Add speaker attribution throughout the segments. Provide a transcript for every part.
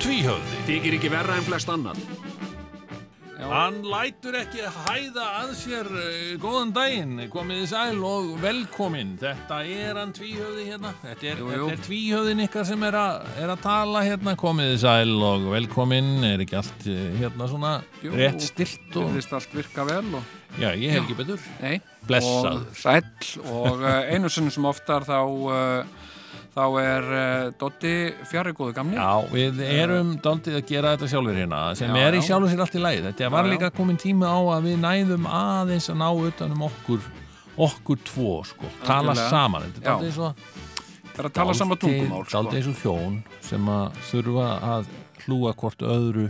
Speaker 1: Tvíhöfði
Speaker 2: Þykir ekki verra en flest annað.
Speaker 1: Hann lætur ekki hæða að sér eh, góðan daginn, komið í sæl og velkomin. Þetta er hann tvíhöfði hérna, þetta er,
Speaker 2: Jú, jú.
Speaker 1: þetta er tvíhöfðin ykkar sem er, a, er að tala hérna, komið í sæl og velkomin, er ekki allt eh, hérna svona
Speaker 3: Jú,
Speaker 1: rétt stilt og,
Speaker 3: Virðist allt virka vel og,
Speaker 1: já, ég hef ekki betur.
Speaker 3: nei,
Speaker 1: Blessaður.
Speaker 3: og sæll og eh, einu sinni sem oftar þá, eh, þá er eh, Doddi fjari góðu gamli.
Speaker 1: Já, við erum daldið að gera þetta sjálfur hérna sem
Speaker 3: Já,
Speaker 1: er í
Speaker 3: já.
Speaker 1: sjálfur sér allt í lagi þetta var
Speaker 3: Já, já.
Speaker 1: líka komin tími á að við næðum aðeins að ná utan um okkur okkur tvo, sko, tala
Speaker 3: Algjörlega.
Speaker 1: saman þetta er
Speaker 3: Já.
Speaker 1: daldið eins og
Speaker 3: Það er að tala sama tungumál. Sko.
Speaker 1: daldið eins og hjón sem að þurfa að hlúa hvort öðru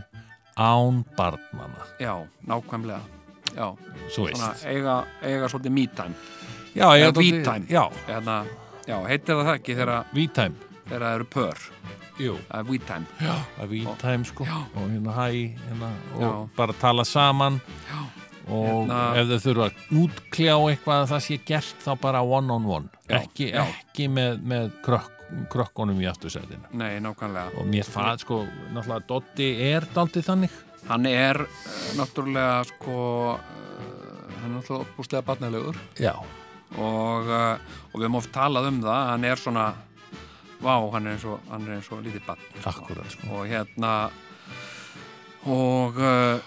Speaker 1: án barnana
Speaker 3: Já, nákvæmlega. Já,
Speaker 1: svo
Speaker 3: svona
Speaker 1: veist
Speaker 3: eiga, eiga svolítið mítæm.
Speaker 1: Já, ég er
Speaker 3: eða
Speaker 1: dálítið-
Speaker 3: vítæm.
Speaker 1: Já,
Speaker 3: Hérna, já, heitir það það ekki þegar
Speaker 1: vítæm
Speaker 3: þegar það eru pör.
Speaker 1: Jú,
Speaker 3: Það er vítæm.
Speaker 1: að vítæm sko
Speaker 3: Já.
Speaker 1: og hérna hæ hérna, og
Speaker 3: Já.
Speaker 1: bara tala saman
Speaker 3: Já.
Speaker 1: og
Speaker 3: Hérna-
Speaker 1: ef þau þurfa að útkljá eitthvað að það sé gert þá bara one on one
Speaker 3: Já,
Speaker 1: ekki,
Speaker 3: já.
Speaker 1: ekki með, með krökk, krökkunum í aftursætinu
Speaker 3: Nei, nákvæmlega.
Speaker 1: og mér fað sko, náttúrulega Dotti er daldið þannig
Speaker 3: Hann er eh, náttúrulega sko, eh, hann er náttúrulega opbúslega barnalegur.
Speaker 1: já,
Speaker 3: og, uh, og við höfum oft talað um það hann er svona vá, hann er eins og, hann er eins og lítið bann
Speaker 1: akkurat sko.
Speaker 3: og hérna og uh,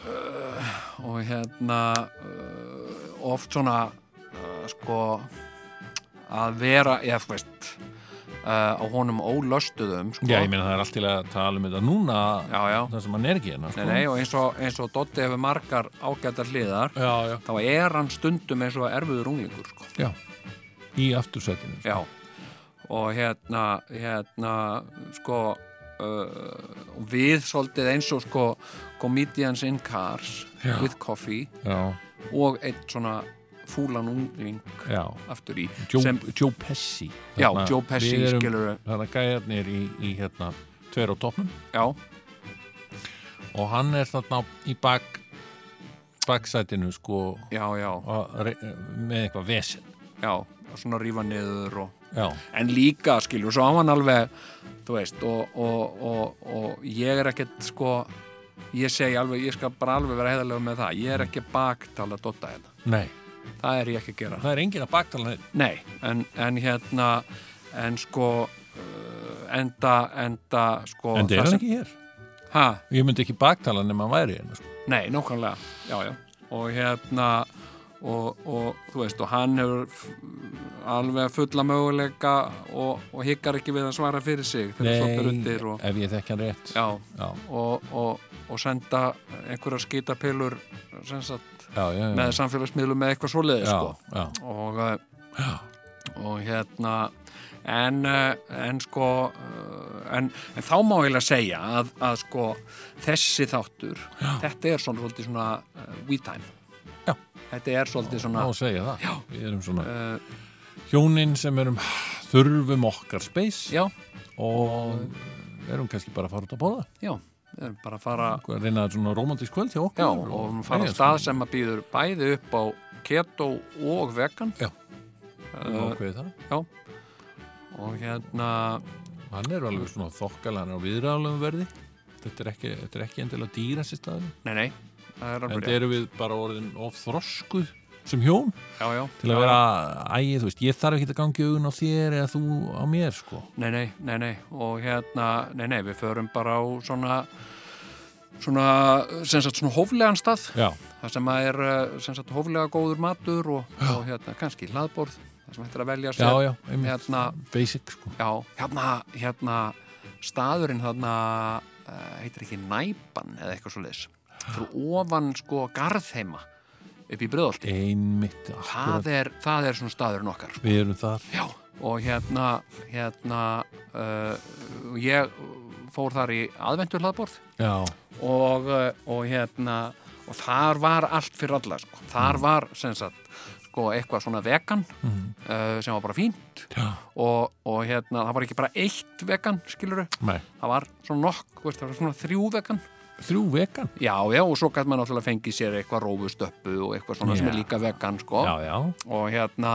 Speaker 3: og hérna uh, oft svona uh, sko að vera, ég þú veist uh, á honum ólöstuðum sko.
Speaker 1: já, ég meina það er allt til að tala um þetta núna
Speaker 3: já, já.
Speaker 1: það sem hann er ekki hérna
Speaker 3: Nei,
Speaker 1: sko.
Speaker 3: nei, og eins og, eins og Dotti hefur margar ágætar hliðar
Speaker 1: já, já.
Speaker 3: þá er hann stundum eins og erfiður unglingur sko.
Speaker 1: já, í aftursætinu sko.
Speaker 3: Já, og hérna, hérna, sko, uh, og við svolítið eins og sko Comedians in Cars
Speaker 1: Já.
Speaker 3: with Coffee
Speaker 1: já,
Speaker 3: og eitt svona fúlan ungling
Speaker 1: já.
Speaker 3: aftur í
Speaker 1: Joe,
Speaker 3: sem,
Speaker 1: Joe Pesci
Speaker 3: já,
Speaker 1: Þarna
Speaker 3: Joe Pesci
Speaker 1: við erum-
Speaker 3: skilur
Speaker 1: þannig að gæjarnir í, í hérna tver á toppnum
Speaker 3: já,
Speaker 1: og hann er þarna á- í bak baksætinu sko
Speaker 3: já, já,
Speaker 1: og re- með eitthvað vesen
Speaker 3: já og svona rífa niður og
Speaker 1: já,
Speaker 3: en líka skilur, svo á hann alveg þú veist, og, og, og, og ég er ekkert sko ég segi alveg, ég skal bara alveg vera heiðarlega með það, ég er ekki að baktala dotta hérna,
Speaker 1: nei,
Speaker 3: það er ég ekki að gera
Speaker 1: það er engin að baktala neitt
Speaker 3: Nei, en, en hérna en sko uh, enda, enda sko,
Speaker 1: en það
Speaker 3: það
Speaker 1: er hann
Speaker 3: sem-
Speaker 1: ekki hér
Speaker 3: ha,
Speaker 1: ég myndi ekki baktala nema hann væri hérna, sko.
Speaker 3: Nei, nákvæmlega já, já. og hérna og, og þú veist, og hann hefur f- alveg fulla möguleika og, og hikkar ekki við að svara fyrir sig þegar svo ber undir og,
Speaker 1: ef ég þekki hann rétt
Speaker 3: já,
Speaker 1: já,
Speaker 3: og, og, og senda einhverja skítapilur sem sagt,
Speaker 1: já, já, já.
Speaker 3: með samfélagsmiðlum með eitthvað svoleiði
Speaker 1: já,
Speaker 3: sko.
Speaker 1: já,
Speaker 3: og eh, og hérna en, eh, en sko eh, en, en þá má ég að segja að, að sko þessi þáttur þetta er svona svolítið svona uh, we time
Speaker 1: Já.
Speaker 3: þetta er svolítið
Speaker 1: má
Speaker 3: svona
Speaker 1: segja það já. við erum svona
Speaker 3: uh,
Speaker 1: hjónin sem erum þurfum okkar space
Speaker 3: já,
Speaker 1: og erum kannski bara að fara út að bóða
Speaker 3: já, við erum bara að fara
Speaker 1: að reyna svona romantísk kvöld hjá okkur
Speaker 3: já, og við erum að fara á
Speaker 1: Nei,
Speaker 3: stað
Speaker 1: sko,
Speaker 3: sem að býður bæði upp á keto og vegan Eh,
Speaker 1: við höfum ákveðið það.
Speaker 3: og hérna,
Speaker 1: Hann er alveg svona þokkal, hann er á viðræðalegu verði. Þetta er ekki, þetta er ekki endilega dýra sér staðinu.
Speaker 3: nei, nei það er alveg
Speaker 1: Þetta eru við bara orðin of þroskuð sem hjón
Speaker 3: rétt. já, já,
Speaker 1: til að vera, æg, þú veist, ég þarf ekki að gangi augun á þér eða þú á mér, sko.
Speaker 3: Nei, nei, nei, nei, og hérna, nei, nei, við förum bara á svona, svona, sem sagt, svona hóflegan stað,
Speaker 1: Já,
Speaker 3: það sem að er, eh, sem sagt, hóflega góður matur og, og hérna, kannski hlaðborð, það sem hættir að velja
Speaker 1: já,
Speaker 3: sér.
Speaker 1: já, einmitt.
Speaker 3: Hérna,
Speaker 1: Basic, sko.
Speaker 3: já, hérna, hérna, staðurinn þarna, uh, heitir ekki næpan eða eitthvað svo leiðis, fyrir ofan, sko, garðheima upp í bröðolti.
Speaker 1: Einmitt, akkurat.
Speaker 3: Það er, það er svona staðurinn okkar, sko.
Speaker 1: Við erum þar.
Speaker 3: Já, og hérna, hérna uh, ég fór þar í aðventur hlaðborð
Speaker 1: Já,
Speaker 3: og, eh, og hérna og þar var allt fyrir alla sko. þar
Speaker 1: Mm.
Speaker 3: var sem sagt sko, eitthvað svona vegan uh, sem var bara fínt
Speaker 1: já,
Speaker 3: og, og hérna, það var ekki bara eitt vegan skiluru,
Speaker 1: nei
Speaker 3: það var svona nokk veist, það var svona þrjú vegan
Speaker 1: Þrjú vegan?
Speaker 3: já, já, og svo gæti maður náttúrulega fengið sér eitthvað rófustöppu og eitthvað svona sem
Speaker 1: Já.
Speaker 3: er líka vegan sko.
Speaker 1: Já, já,
Speaker 3: og hérna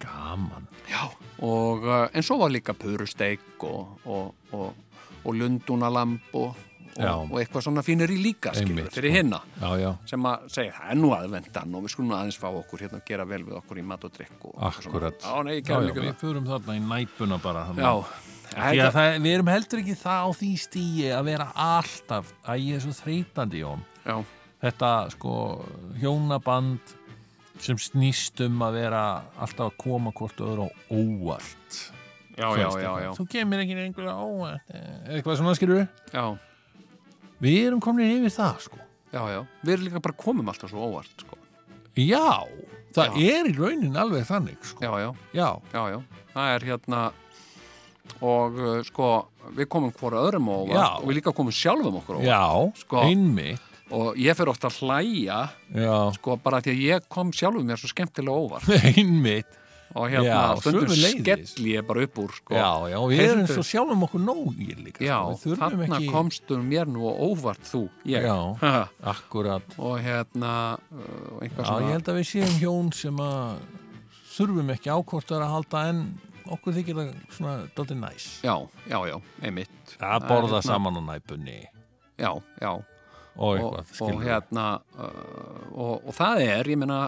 Speaker 1: gaman
Speaker 3: Já, og, eh, en svo var líka purusteik og, og, og, og lundunalamb og,
Speaker 1: Já.
Speaker 3: og, og eitthvað svona fínir í líka skilur
Speaker 1: Einmitt,
Speaker 3: fyrir
Speaker 1: sko.
Speaker 3: hinna
Speaker 1: Já, já,
Speaker 3: sem að segja það er nú aðvendan og við skulum nú aðeins fá okkur hérna og gera vel við okkur í mat og drikk og eitthvað svona.
Speaker 1: akkurat
Speaker 3: Já, nei, ég
Speaker 1: já,
Speaker 3: gerði
Speaker 1: já,
Speaker 3: líka
Speaker 1: Við förum þarna í næpuna bara hann.
Speaker 3: það Já,
Speaker 1: Því að
Speaker 3: þetta-
Speaker 1: það, við erum heldur ekki það á því stíi að vera alltaf að ég er svo þreytandi Jón
Speaker 3: já,
Speaker 1: þetta sko hjónaband sem snýst um að vera alltaf að koma hvort öðru á óvart
Speaker 3: já,
Speaker 1: Þú veist,
Speaker 3: já, já,
Speaker 1: eitthvað,
Speaker 3: já,
Speaker 1: Þú kemur ekki einhverja óvart eh, eitthvað svona skilur við
Speaker 3: já,
Speaker 1: Við erum komin yfir það sko
Speaker 3: já, já Við erum líka bara komum alltaf svo óvart sko.
Speaker 1: Já, það
Speaker 3: Já.
Speaker 1: er í raunin alveg þannig sko
Speaker 3: Já, já,
Speaker 1: Já,
Speaker 3: já, já Það er hérna og eh, sko, við komum hvora öðrum á óvart
Speaker 1: Já.
Speaker 3: og við líka komum sjálfum okkur á óvart
Speaker 1: já,
Speaker 3: Sko.
Speaker 1: einmitt
Speaker 3: og ég fyrir ofta að hlæja
Speaker 1: Já,
Speaker 3: sko bara því að ég kom sjálfur mér svo skemmtilega óvart
Speaker 1: einmitt
Speaker 3: og hérna
Speaker 1: Já,
Speaker 3: stundum
Speaker 1: sömuleiðis.
Speaker 3: skell ég bara upp úr sko
Speaker 1: Já, já, við
Speaker 3: Heyrðu.
Speaker 1: erum svo sjálfum okkur nógir líka
Speaker 3: Já,
Speaker 1: sko. Við þurfum
Speaker 3: þarna
Speaker 1: ekki
Speaker 3: komstu mér nú á óvart þú ég
Speaker 1: Já.
Speaker 3: Ha,
Speaker 1: Akkurat
Speaker 3: og hérna uh,
Speaker 1: Já,
Speaker 3: einhvað
Speaker 1: ég
Speaker 3: svona
Speaker 1: held að við séum hjón sem að þurfum ekki ákvortar að halda en okkur þykir það svona dálítið næs
Speaker 3: já, já, já, einmitt
Speaker 1: Að
Speaker 3: er hérna-
Speaker 1: borða saman á næpunni
Speaker 3: já, já,
Speaker 1: og
Speaker 3: og,
Speaker 1: eitthvað,
Speaker 3: og
Speaker 1: skilur við.
Speaker 3: hérna uh, og, og það er, ég meina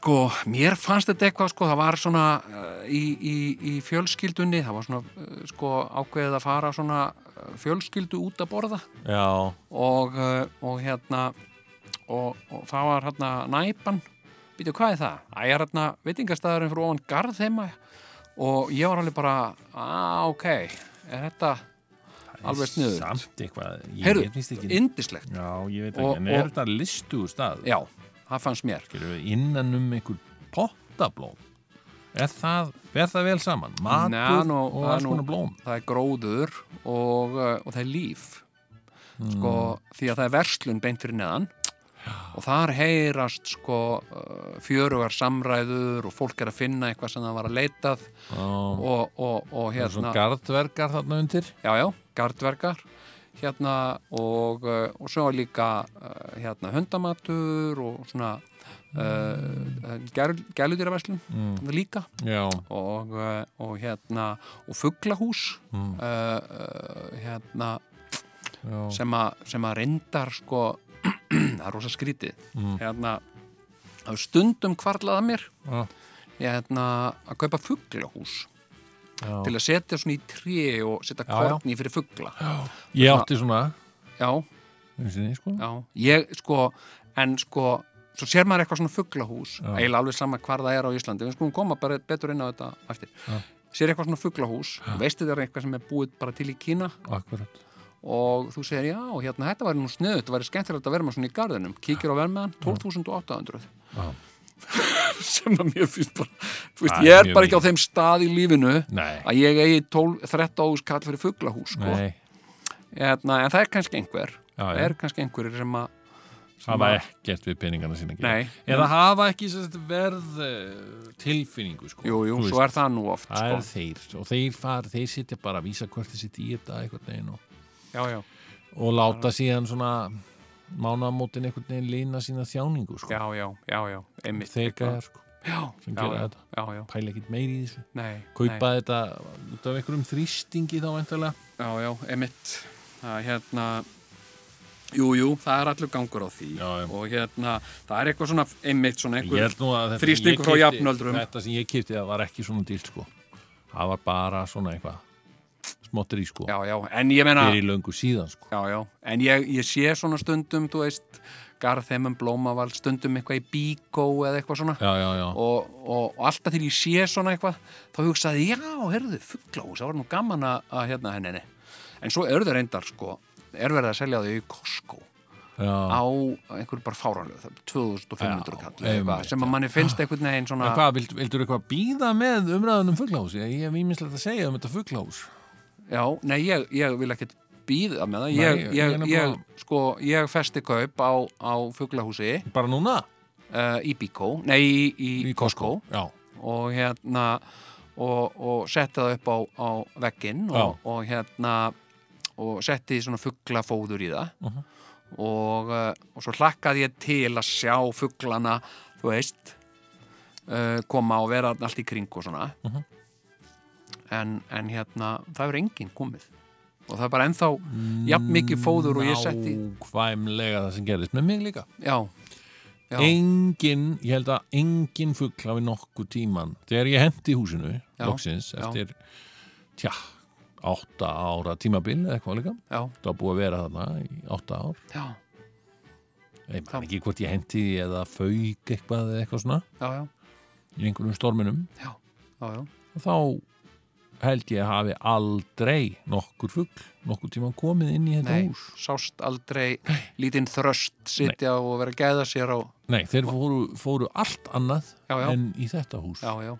Speaker 3: sko, mér fannst þetta eitthvað sko, það var svona uh, í, í, í fjölskyldunni það var svona, uh, sko, ákveðið að fara svona uh, fjölskyldu út að borða
Speaker 1: Já,
Speaker 3: og, uh, og hérna og, og það var hérna næpan býtu, hvað er það? Æ, ég er hérna veitingastæðurinn fyrir ofan garð heima og ég var alveg bara að, ok, er þetta alveg sniður?
Speaker 1: Samt eitthvað, ég
Speaker 3: Heyrðu,
Speaker 1: ég finnst ekki
Speaker 3: Indislegt
Speaker 1: Já, ég veit ekki,
Speaker 3: Og-
Speaker 1: en er
Speaker 3: og-
Speaker 1: þetta listugur stað?
Speaker 3: Já, það fannst mér.
Speaker 1: Skilur við, innan um einhver pottablóm Er það, fer það vel saman? Matur
Speaker 3: Nei, nú,
Speaker 1: og
Speaker 3: það er
Speaker 1: alls
Speaker 3: nú-
Speaker 1: konar blóm
Speaker 3: Það er gróður og, uh, og það er líf. Sko,
Speaker 1: Mm.
Speaker 3: því að það er verslun beint fyrir neðan og þar heyrast sko uh, fjörugar samræður og fólk er að finna eitthvað sem það var að leitað
Speaker 1: Já,
Speaker 3: og, og, og
Speaker 1: það er svona
Speaker 3: hérna,
Speaker 1: garðverkar þarna undir
Speaker 3: já, já, gardverkar hérna og, uh, og svo er líka uh, hérna hundamatur og svona uh, gæl, gæludýraverslun
Speaker 1: Mm.
Speaker 3: það líka
Speaker 1: Já,
Speaker 3: og, eh, og hérna og fugglahús
Speaker 1: Mm.
Speaker 3: uh, uh, hérna
Speaker 1: já,
Speaker 3: sem, a, sem að reyndar sko það er rosa skrítið
Speaker 1: Mm.
Speaker 3: hérna það er stundum kvarlaða mér
Speaker 1: já,
Speaker 3: hérna, að kaupa fugglahús
Speaker 1: já.
Speaker 3: til að setja svona í tré og setja
Speaker 1: Já, já.
Speaker 3: korni fyrir fuggla
Speaker 1: Ég
Speaker 3: Hérna-
Speaker 1: átti svona
Speaker 3: já,
Speaker 1: einu sinni, sko.
Speaker 3: já, ég sko en sko, svo sér maður eitthvað svona fugglahús
Speaker 1: Já.
Speaker 3: eiginlega alveg sama hvar það er á Íslandi við skulum koma bara betur inn á þetta eftir
Speaker 1: Já.
Speaker 3: sér eitthvað svona fugglahús veistu þetta er eitthvað sem er búið bara til í Kína
Speaker 1: Akkurat.
Speaker 3: og þú segir já, hérna, þetta var nú sniðut þetta væri skemmtilegt að vera með svona í garðinum kíkir á verðmeðan, 12.800
Speaker 1: Já.
Speaker 3: sem að mér finnst bara þú veist,
Speaker 1: Það
Speaker 3: ég
Speaker 1: er
Speaker 3: er
Speaker 1: mjög
Speaker 3: bara ekki á þeim stað í lífinu
Speaker 1: Nei.
Speaker 3: að ég eigi 12, 13 árs kall fyrir fuglahús sko.
Speaker 1: Nei.
Speaker 3: hérna, en það er kannski einhver
Speaker 1: Já,
Speaker 3: það
Speaker 1: já.
Speaker 3: er kannski einhverjir sem að
Speaker 1: Hafa ekkert við peningana sína að gera.
Speaker 3: Nei.
Speaker 1: Eða hafa ekki sem sagt, verð eh, tilfinningu, sko.
Speaker 3: jú, jú,
Speaker 1: Þú
Speaker 3: svo er það nú oft
Speaker 1: Það er
Speaker 3: sko.
Speaker 1: þeir. Og þeir far, þeir sitja bara að vísa hvert þeir sitja í þetta einhvern veginn og,
Speaker 3: já, já,
Speaker 1: og láta síðan svona mánamótin einhvern veginn lína sína þjáningu, sko.
Speaker 3: já, já, já, já einmitt
Speaker 1: Þeir gæðar, sko.
Speaker 3: já,
Speaker 1: sem
Speaker 3: já,
Speaker 1: gera
Speaker 3: já,
Speaker 1: þetta.
Speaker 3: já, já,
Speaker 1: Pæla ekkert meiri í þessu.
Speaker 3: nei,
Speaker 1: Kaupa þetta út af einhverjum þrýstingi þá veintalega.
Speaker 3: nei já, já, einmitt það er hérna jú, jú, það er allur gangur á því
Speaker 1: Já, já.
Speaker 3: og hérna, það er eitthvað svona einmitt
Speaker 1: Ég
Speaker 3: svona einhver
Speaker 1: held nú að þetta sem
Speaker 3: þrýstingur
Speaker 1: ég
Speaker 3: frá
Speaker 1: keypti-
Speaker 3: jafnöldrum.
Speaker 1: Þetta sem ég kipti það var ekki svona dýrt sko Það var bara svona eitthvað smottir í sko
Speaker 3: já, já, en ég meina
Speaker 1: fyrir löngu síðan sko
Speaker 3: Já, já, en ég, ég sé svona stundum, þú veist, Garðheimum Blómavald, stundum eitthvað í Bíkó eða eitthvað svona
Speaker 1: Já, já, já,
Speaker 3: og, og, og alltaf þegar ég sé svona eitthvað, þá hugsaði, ég, já, heyrðu, fugglahús, það var nú gaman að, að hérna henni. En svo eru þau reyndar, sko, er verið að selja þau í Costco
Speaker 1: Já.
Speaker 3: á einhverju bara fáranlegu, það er 2500
Speaker 1: Já,
Speaker 3: kall eða eitthvað,
Speaker 1: einmitt,
Speaker 3: sem að manni finnst einhvern veginn svona
Speaker 1: En hvað, vild, vildur eitthvað býða með umræðunum fugglahús? Ég, ég hef ímislegt að segja um þetta fugglahús.
Speaker 3: Já, nei, ég, ég vil ekkert býða með það
Speaker 1: Nei,
Speaker 3: ég,
Speaker 1: ég er
Speaker 3: ég,
Speaker 1: nefnilega-
Speaker 3: ég, sko, ég festi kaup á, á fuglahúsi uh,
Speaker 1: Bara núna?
Speaker 3: í Bíkó, nei, í, í,
Speaker 1: Í
Speaker 3: Costco
Speaker 1: Já.
Speaker 3: og hérna og, og setti það upp á, á vegginn og, og hérna og setti svona fuglafóður í það
Speaker 1: Mhm.
Speaker 3: og, uh, og svo hlakkaði ég til að sjá fuglana þú veist uh, koma og vera þarna allt í kring og svona
Speaker 1: Mhm.
Speaker 3: en, en hérna það er enginn komið og það er bara ennþá
Speaker 1: Mm,
Speaker 3: jafn mikið fóður og ég setti
Speaker 1: Nákvæmlega það sem gerðist með mig líka.
Speaker 3: já, já,
Speaker 1: Engin, ég held að engin fuggl hafi nokkuð tíman. Þegar ég hendi húsinu,
Speaker 3: Já,
Speaker 1: loksins,
Speaker 3: já.
Speaker 1: eftir, tja, átta ára tímabil eða eitthvað líka.
Speaker 3: já,
Speaker 1: Það var búið að vera þarna í átta ár.
Speaker 3: já,
Speaker 1: Ég
Speaker 3: Já.
Speaker 1: man ekki hvort ég hendi því eða fauk eitthvað eða eitthvað svona
Speaker 3: já, já,
Speaker 1: í einhverjum storminum.
Speaker 3: já, já.
Speaker 1: og þá held ég að hafi aldrei nokkur fugg, nokkur tíma komið inn í þetta
Speaker 3: Nei,
Speaker 1: hús.
Speaker 3: sást aldrei lítinn þröst sitja og vera að gæða sér á
Speaker 1: Nei, þeir fóru, fóru allt annað
Speaker 3: Já, já.
Speaker 1: en í þetta hús.
Speaker 3: já, já.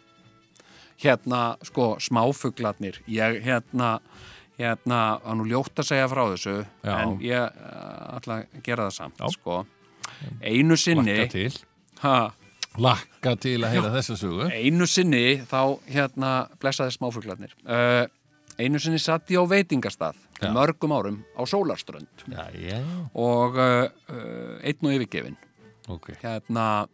Speaker 3: hérna, sko, smáfuglarnir ég, hérna hérna, að nú ljótt að segja frá þessu
Speaker 1: Já.
Speaker 3: en ég eh, ætla að gera það samt,
Speaker 1: Já.
Speaker 3: sko einu
Speaker 1: Lakka
Speaker 3: sinni
Speaker 1: til.
Speaker 3: ha,
Speaker 1: Lakka til að heyra þessa sögu.
Speaker 3: einu sinni þá, hérna, blessaði smáfuglarnir uh, einu sinni satt ég á veitingastað
Speaker 1: Já.
Speaker 3: mörgum árum á Sólarströnd
Speaker 1: Já, já,
Speaker 3: og uh, uh, einn og yfirgefin
Speaker 1: ok.
Speaker 3: hérna,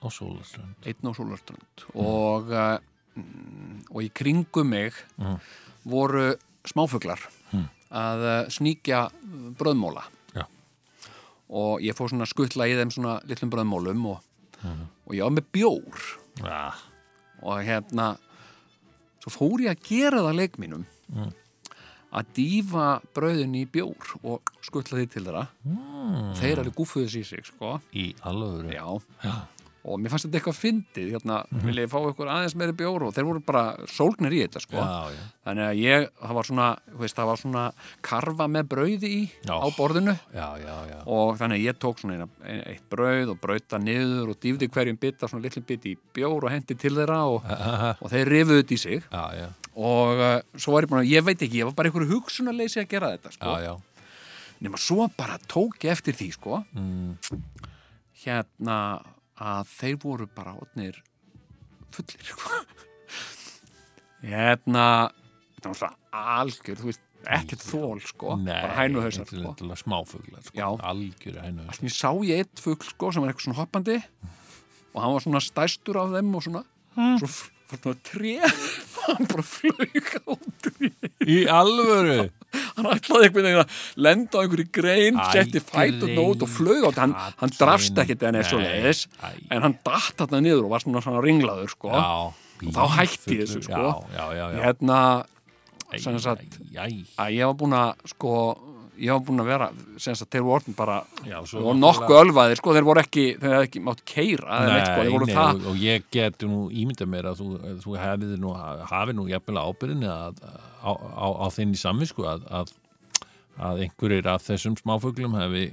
Speaker 1: Og sólaströnd.
Speaker 3: einn á Súlarströnd og, uh, mm, og í kringum mig
Speaker 1: Mm.
Speaker 3: voru smáfuglar að uh, sníkja bröðmóla
Speaker 1: Já.
Speaker 3: og ég fór svona að skuttla í þeim svona litlum bröðmólum og, og ég var með bjór
Speaker 1: Ah,
Speaker 3: og hérna svo fór ég að gera það leik mínum að dýfa bröðin í bjór og skuttla því til þeirra mm. þeir alveg gúfuðu sér í sig sko
Speaker 1: í alvöru.
Speaker 3: Já. Og mér fannst þetta eitthvað fyndið, hérna,
Speaker 1: Mhm.
Speaker 3: vil ég fá ykkur aðeins meiri bjóru og þeir voru bara sólgnir í þetta, sko.
Speaker 1: Já, já.
Speaker 3: Þannig að ég, það var svona, þú veist, það var svona karfa með brauði í
Speaker 1: Já.
Speaker 3: á borðinu
Speaker 1: Já, já, já.
Speaker 3: og þannig að ég tók svona eina, ein- eitt brauð og brauta niður og dýfdi hverjum bita, svona litlu biti í bjór og hendi til þeirra og, og þeir rifuðu þetta í sig
Speaker 1: Já, já,
Speaker 3: og uh, svo var ég búin að, ég veit ekki, ég var bara einhverju hugsunarleysi að gera þetta, sko
Speaker 1: já, já.
Speaker 3: nema svo bara tók ég eftir því sko hérna að þeir voru bara odnir fullir sko. hérna það var svona algjör, þú veist, ekkert þól sko, bara hænuhausar
Speaker 1: þetta er
Speaker 3: sko.
Speaker 1: náttúrulega smáfuglar, sko.
Speaker 3: Já.
Speaker 1: Algjöru hænuhausar.
Speaker 3: ég sá ég eitt fugl sko sem var eitthvað svona hoppandi og hann var svona stæstur af þeim og svona svo f- fór svona tré hann bara flög á tré
Speaker 1: Í alvöru.
Speaker 3: hann ætlaði einhvern veginn að lenda á einhverju grein,
Speaker 1: Æ,
Speaker 3: setti fætur nót og flög á þetta, hann, hann drafst
Speaker 1: Katrín.
Speaker 3: ekkert en eða svo leiðis,
Speaker 1: Nei, æ.
Speaker 3: en hann datt þarna niður og var svona svona ringlaður, sko
Speaker 1: Já.
Speaker 3: og þá hætti ég þessu, sko
Speaker 1: Já, já, já. já.
Speaker 3: hérna,
Speaker 1: Æ,
Speaker 3: sem sagt,
Speaker 1: æ, æ.
Speaker 3: að ég var búin að sko, ég var búin að vera sem sagt, þeir voru orðin bara
Speaker 1: Já, svo
Speaker 3: og nokkuð
Speaker 1: náttúrulega-
Speaker 3: ölvaðir, sko, þeir voru ekki þeir hefði ekki mátt keira, þeir veit, sko, þeir voru
Speaker 1: nei,
Speaker 3: það
Speaker 1: og, og ég get nú ímynda mér að þú, þú hefði nú, hafi nú jafnilega ábyrðinni að, á, á, á þinn í samvisku að, að, að einhverjir af þessum smáfuglum hefði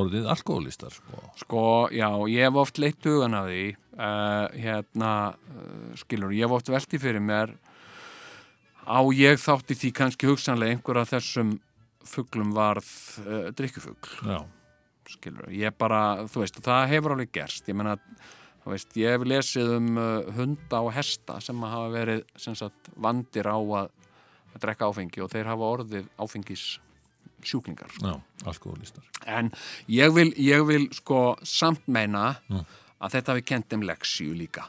Speaker 1: orðið alkoholistar sko.
Speaker 3: Sko, já, ég hef oft leitt hugan að því, uh, hérna, uh, skilur, ég hef oft velti fyrir mér, á ég þátti því kannski hugsanlega einhver af þessum fuglum varð uh, drikkufugl,
Speaker 1: Já,
Speaker 3: skilur, ég bara, þú veist, það hefur alveg gerst, ég meina, þú veist, ég hef lesið um uh, hunda og hesta sem að hafa verið, sem sagt, vandir á að, að drekka áfengi og þeir hafa orðið áfengis sjúklingar,
Speaker 1: já, alkoholistar
Speaker 3: En ég vil, ég vil sko samt meina
Speaker 1: Mm.
Speaker 3: að þetta hafi kent þeim leksíu líka.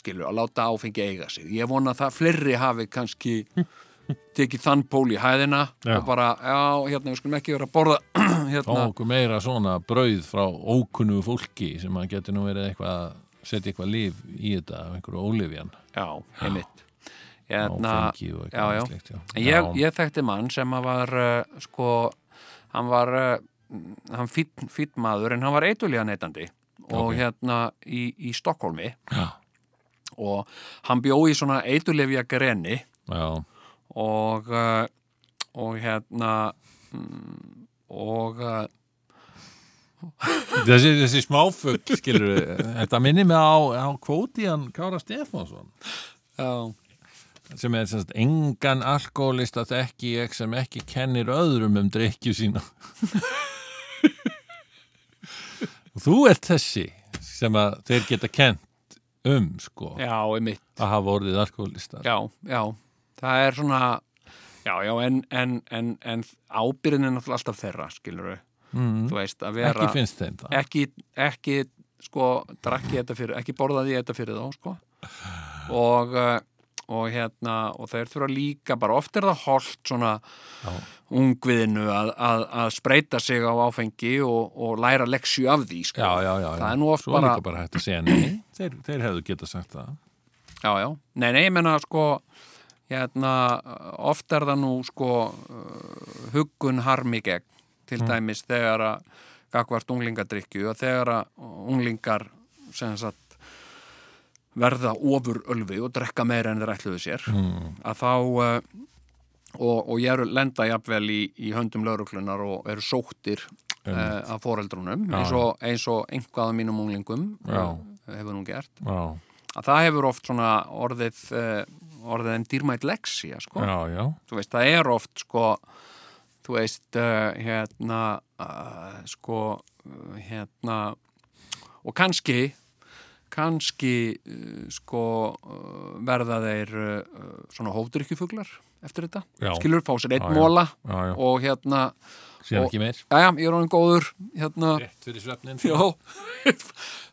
Speaker 3: Skilur, að láta áfengi eiga sig. Ég vona að það fleiri hafi kannski tekið þann pól í hæðina
Speaker 1: Já.
Speaker 3: og bara, já, hérna, við skulum ekki vera að borða
Speaker 1: Þá
Speaker 3: hérna.
Speaker 1: okkur meira svona brauð frá ókunnu fólki sem að getur nú verið eitthvað að setja eitthvað líf í þetta af einhverju ólifjan
Speaker 3: Já, einmitt. Hérna,
Speaker 1: áfengi og
Speaker 3: já,
Speaker 1: eitthvað
Speaker 3: já.
Speaker 1: slíkt, já.
Speaker 3: En Ég, ég þekkti mann sem að var, uh, sko, hann var, uh, hann fýtt fýt maður en hann var eitulíða neytandi og
Speaker 1: Ok.
Speaker 3: hérna í, í Stokkólmi
Speaker 1: já,
Speaker 3: og hann bjó í svona eitulefja greni
Speaker 1: já,
Speaker 3: og, eh, og hérna mm, og uh,
Speaker 1: þessi, þessi smáfugl skilur þetta minnir mig á, á kvótiðan Kára Stefánsson
Speaker 3: já,
Speaker 1: sem er semst engan alkoholista þekki ég sem ekki kennir öðrum um drikju sína og þú ert þessi sem að þeir geta kent um sko
Speaker 3: já, einmitt
Speaker 1: að hafa orðið alkoholista
Speaker 3: já, já, það er svona já, já, en, en, en, en ábyrðin er náttúrulega alltaf þeirra skilur þú veist, að vera
Speaker 1: ekki finnst þeim það
Speaker 3: ekki, ekki sko, drakk ég þetta fyrir, ekki borðaði ég þetta fyrir þá, sko og, eh, og hérna og þeir þurfa líka, bara oft er það holt svona
Speaker 1: Já.
Speaker 3: ungviðinu að, að, að spreita sig á áfengi og, og læra leksju af því, sko
Speaker 1: já, já, já, já.
Speaker 3: Það er nú oft
Speaker 1: svo
Speaker 3: bara-
Speaker 1: líka bara hægt að segja nei þeir, þeir hefðu geta sagt það
Speaker 3: Já, já. Nei, nei, ég menna sko hérna, oft er það nú sko uh, huggun harmi gegn
Speaker 1: Mm.
Speaker 3: til dæmis þegar að gagvart unglingadrykju og þegar að unglingar sem sagt verða ofur ölfi og drekka meira en þeir ætluðu sér
Speaker 1: mm.
Speaker 3: að þá uh, og, og ég eru lenda jafnvel í, í höndum lauruglunar og eru sóttir uh, af foreldrunum
Speaker 1: Já,
Speaker 3: eins og, eins og einhvað af mínum unglingum
Speaker 1: Já.
Speaker 3: eh, hefur nú gert
Speaker 1: já,
Speaker 3: að það hefur oft svona orðið uh, orðið en dýrmætt leksía sko.
Speaker 1: já, já
Speaker 3: þú veist, það er oft sko, þú veist uh, hérna uh, sko, uh, hérna og kannski kannski uh, sko uh, verða þeir uh, uh, svona hófdrykkjufuglar eftir þetta,
Speaker 1: Já.
Speaker 3: skilur fá sér einn
Speaker 1: Já, já.
Speaker 3: móla
Speaker 1: Já, já.
Speaker 3: og hérna,
Speaker 1: síðan
Speaker 3: Og-
Speaker 1: ekki meir
Speaker 3: já já, ég er honum góður hérna,
Speaker 1: rétt fyrir svefnin
Speaker 3: Já,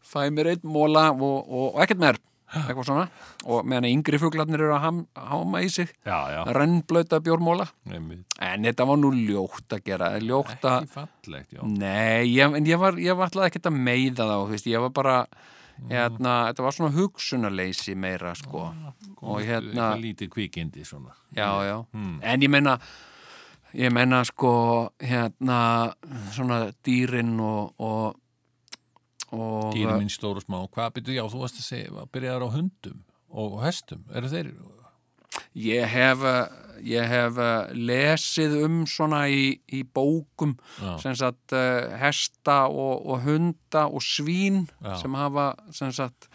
Speaker 3: fæ mér einn móla og, og, og ekkert meir eitthvað svona og meðan yngri fuglarnir eru að ham, háma í sig
Speaker 1: já, já,
Speaker 3: rennblauta bjórmóla
Speaker 1: einmitt.
Speaker 3: en þetta var nú ljótt að gera ljótt að,
Speaker 1: ekki fallegt já.
Speaker 3: nei, ég, en ég var, ég var alltaf ekkert að meiða þá, þú veist, ég var bara
Speaker 1: Mm.
Speaker 3: hérna, þetta var svona hugsunarleysi meira, sko og hérna,
Speaker 1: eitthvað lítið kvikindi svona Hmm.
Speaker 3: já, já
Speaker 1: Mm.
Speaker 3: en ég meina ég meina, sko, hérna svona dýrin og, og, og
Speaker 1: dýri minn stóru smá, hvað byrjuð, já þú varst að segja að byrjaðar á hundum og hestum eru þeir,
Speaker 3: Ég hef, uh, ég hef uh, lesið um svona í, í bókum
Speaker 1: Já.
Speaker 3: sem sagt uh, hesta og, og hunda og svín
Speaker 1: Já.
Speaker 3: sem hafa sem sagt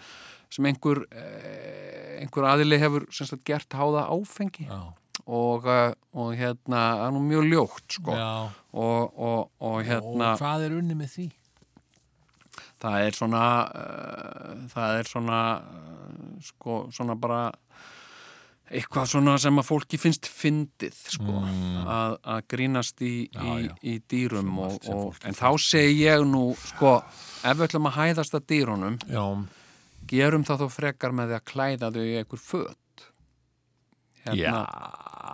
Speaker 3: sem einhver, eh, einhver aðili hefur sem sagt gert háða áfengi
Speaker 1: já,
Speaker 3: og, uh, og hérna, það er nú mjög ljótt sko
Speaker 1: já
Speaker 3: og, og, og hérna
Speaker 1: og hvað er unni með því
Speaker 3: það er svona uh, það er svona uh, sko, svona bara eitthvað svona sem að fólki finnst fyndið, sko, að, að grínast í, í,
Speaker 1: Mm. já.
Speaker 3: í dýrum og,
Speaker 1: margt sem
Speaker 3: og,
Speaker 1: fólki
Speaker 3: en þá segi ég nú, sko, ef við ætlum að hæðast að dýrunum,
Speaker 1: já,
Speaker 3: gerum það þó frekar með því að klæða þau í einhver föt Hérna,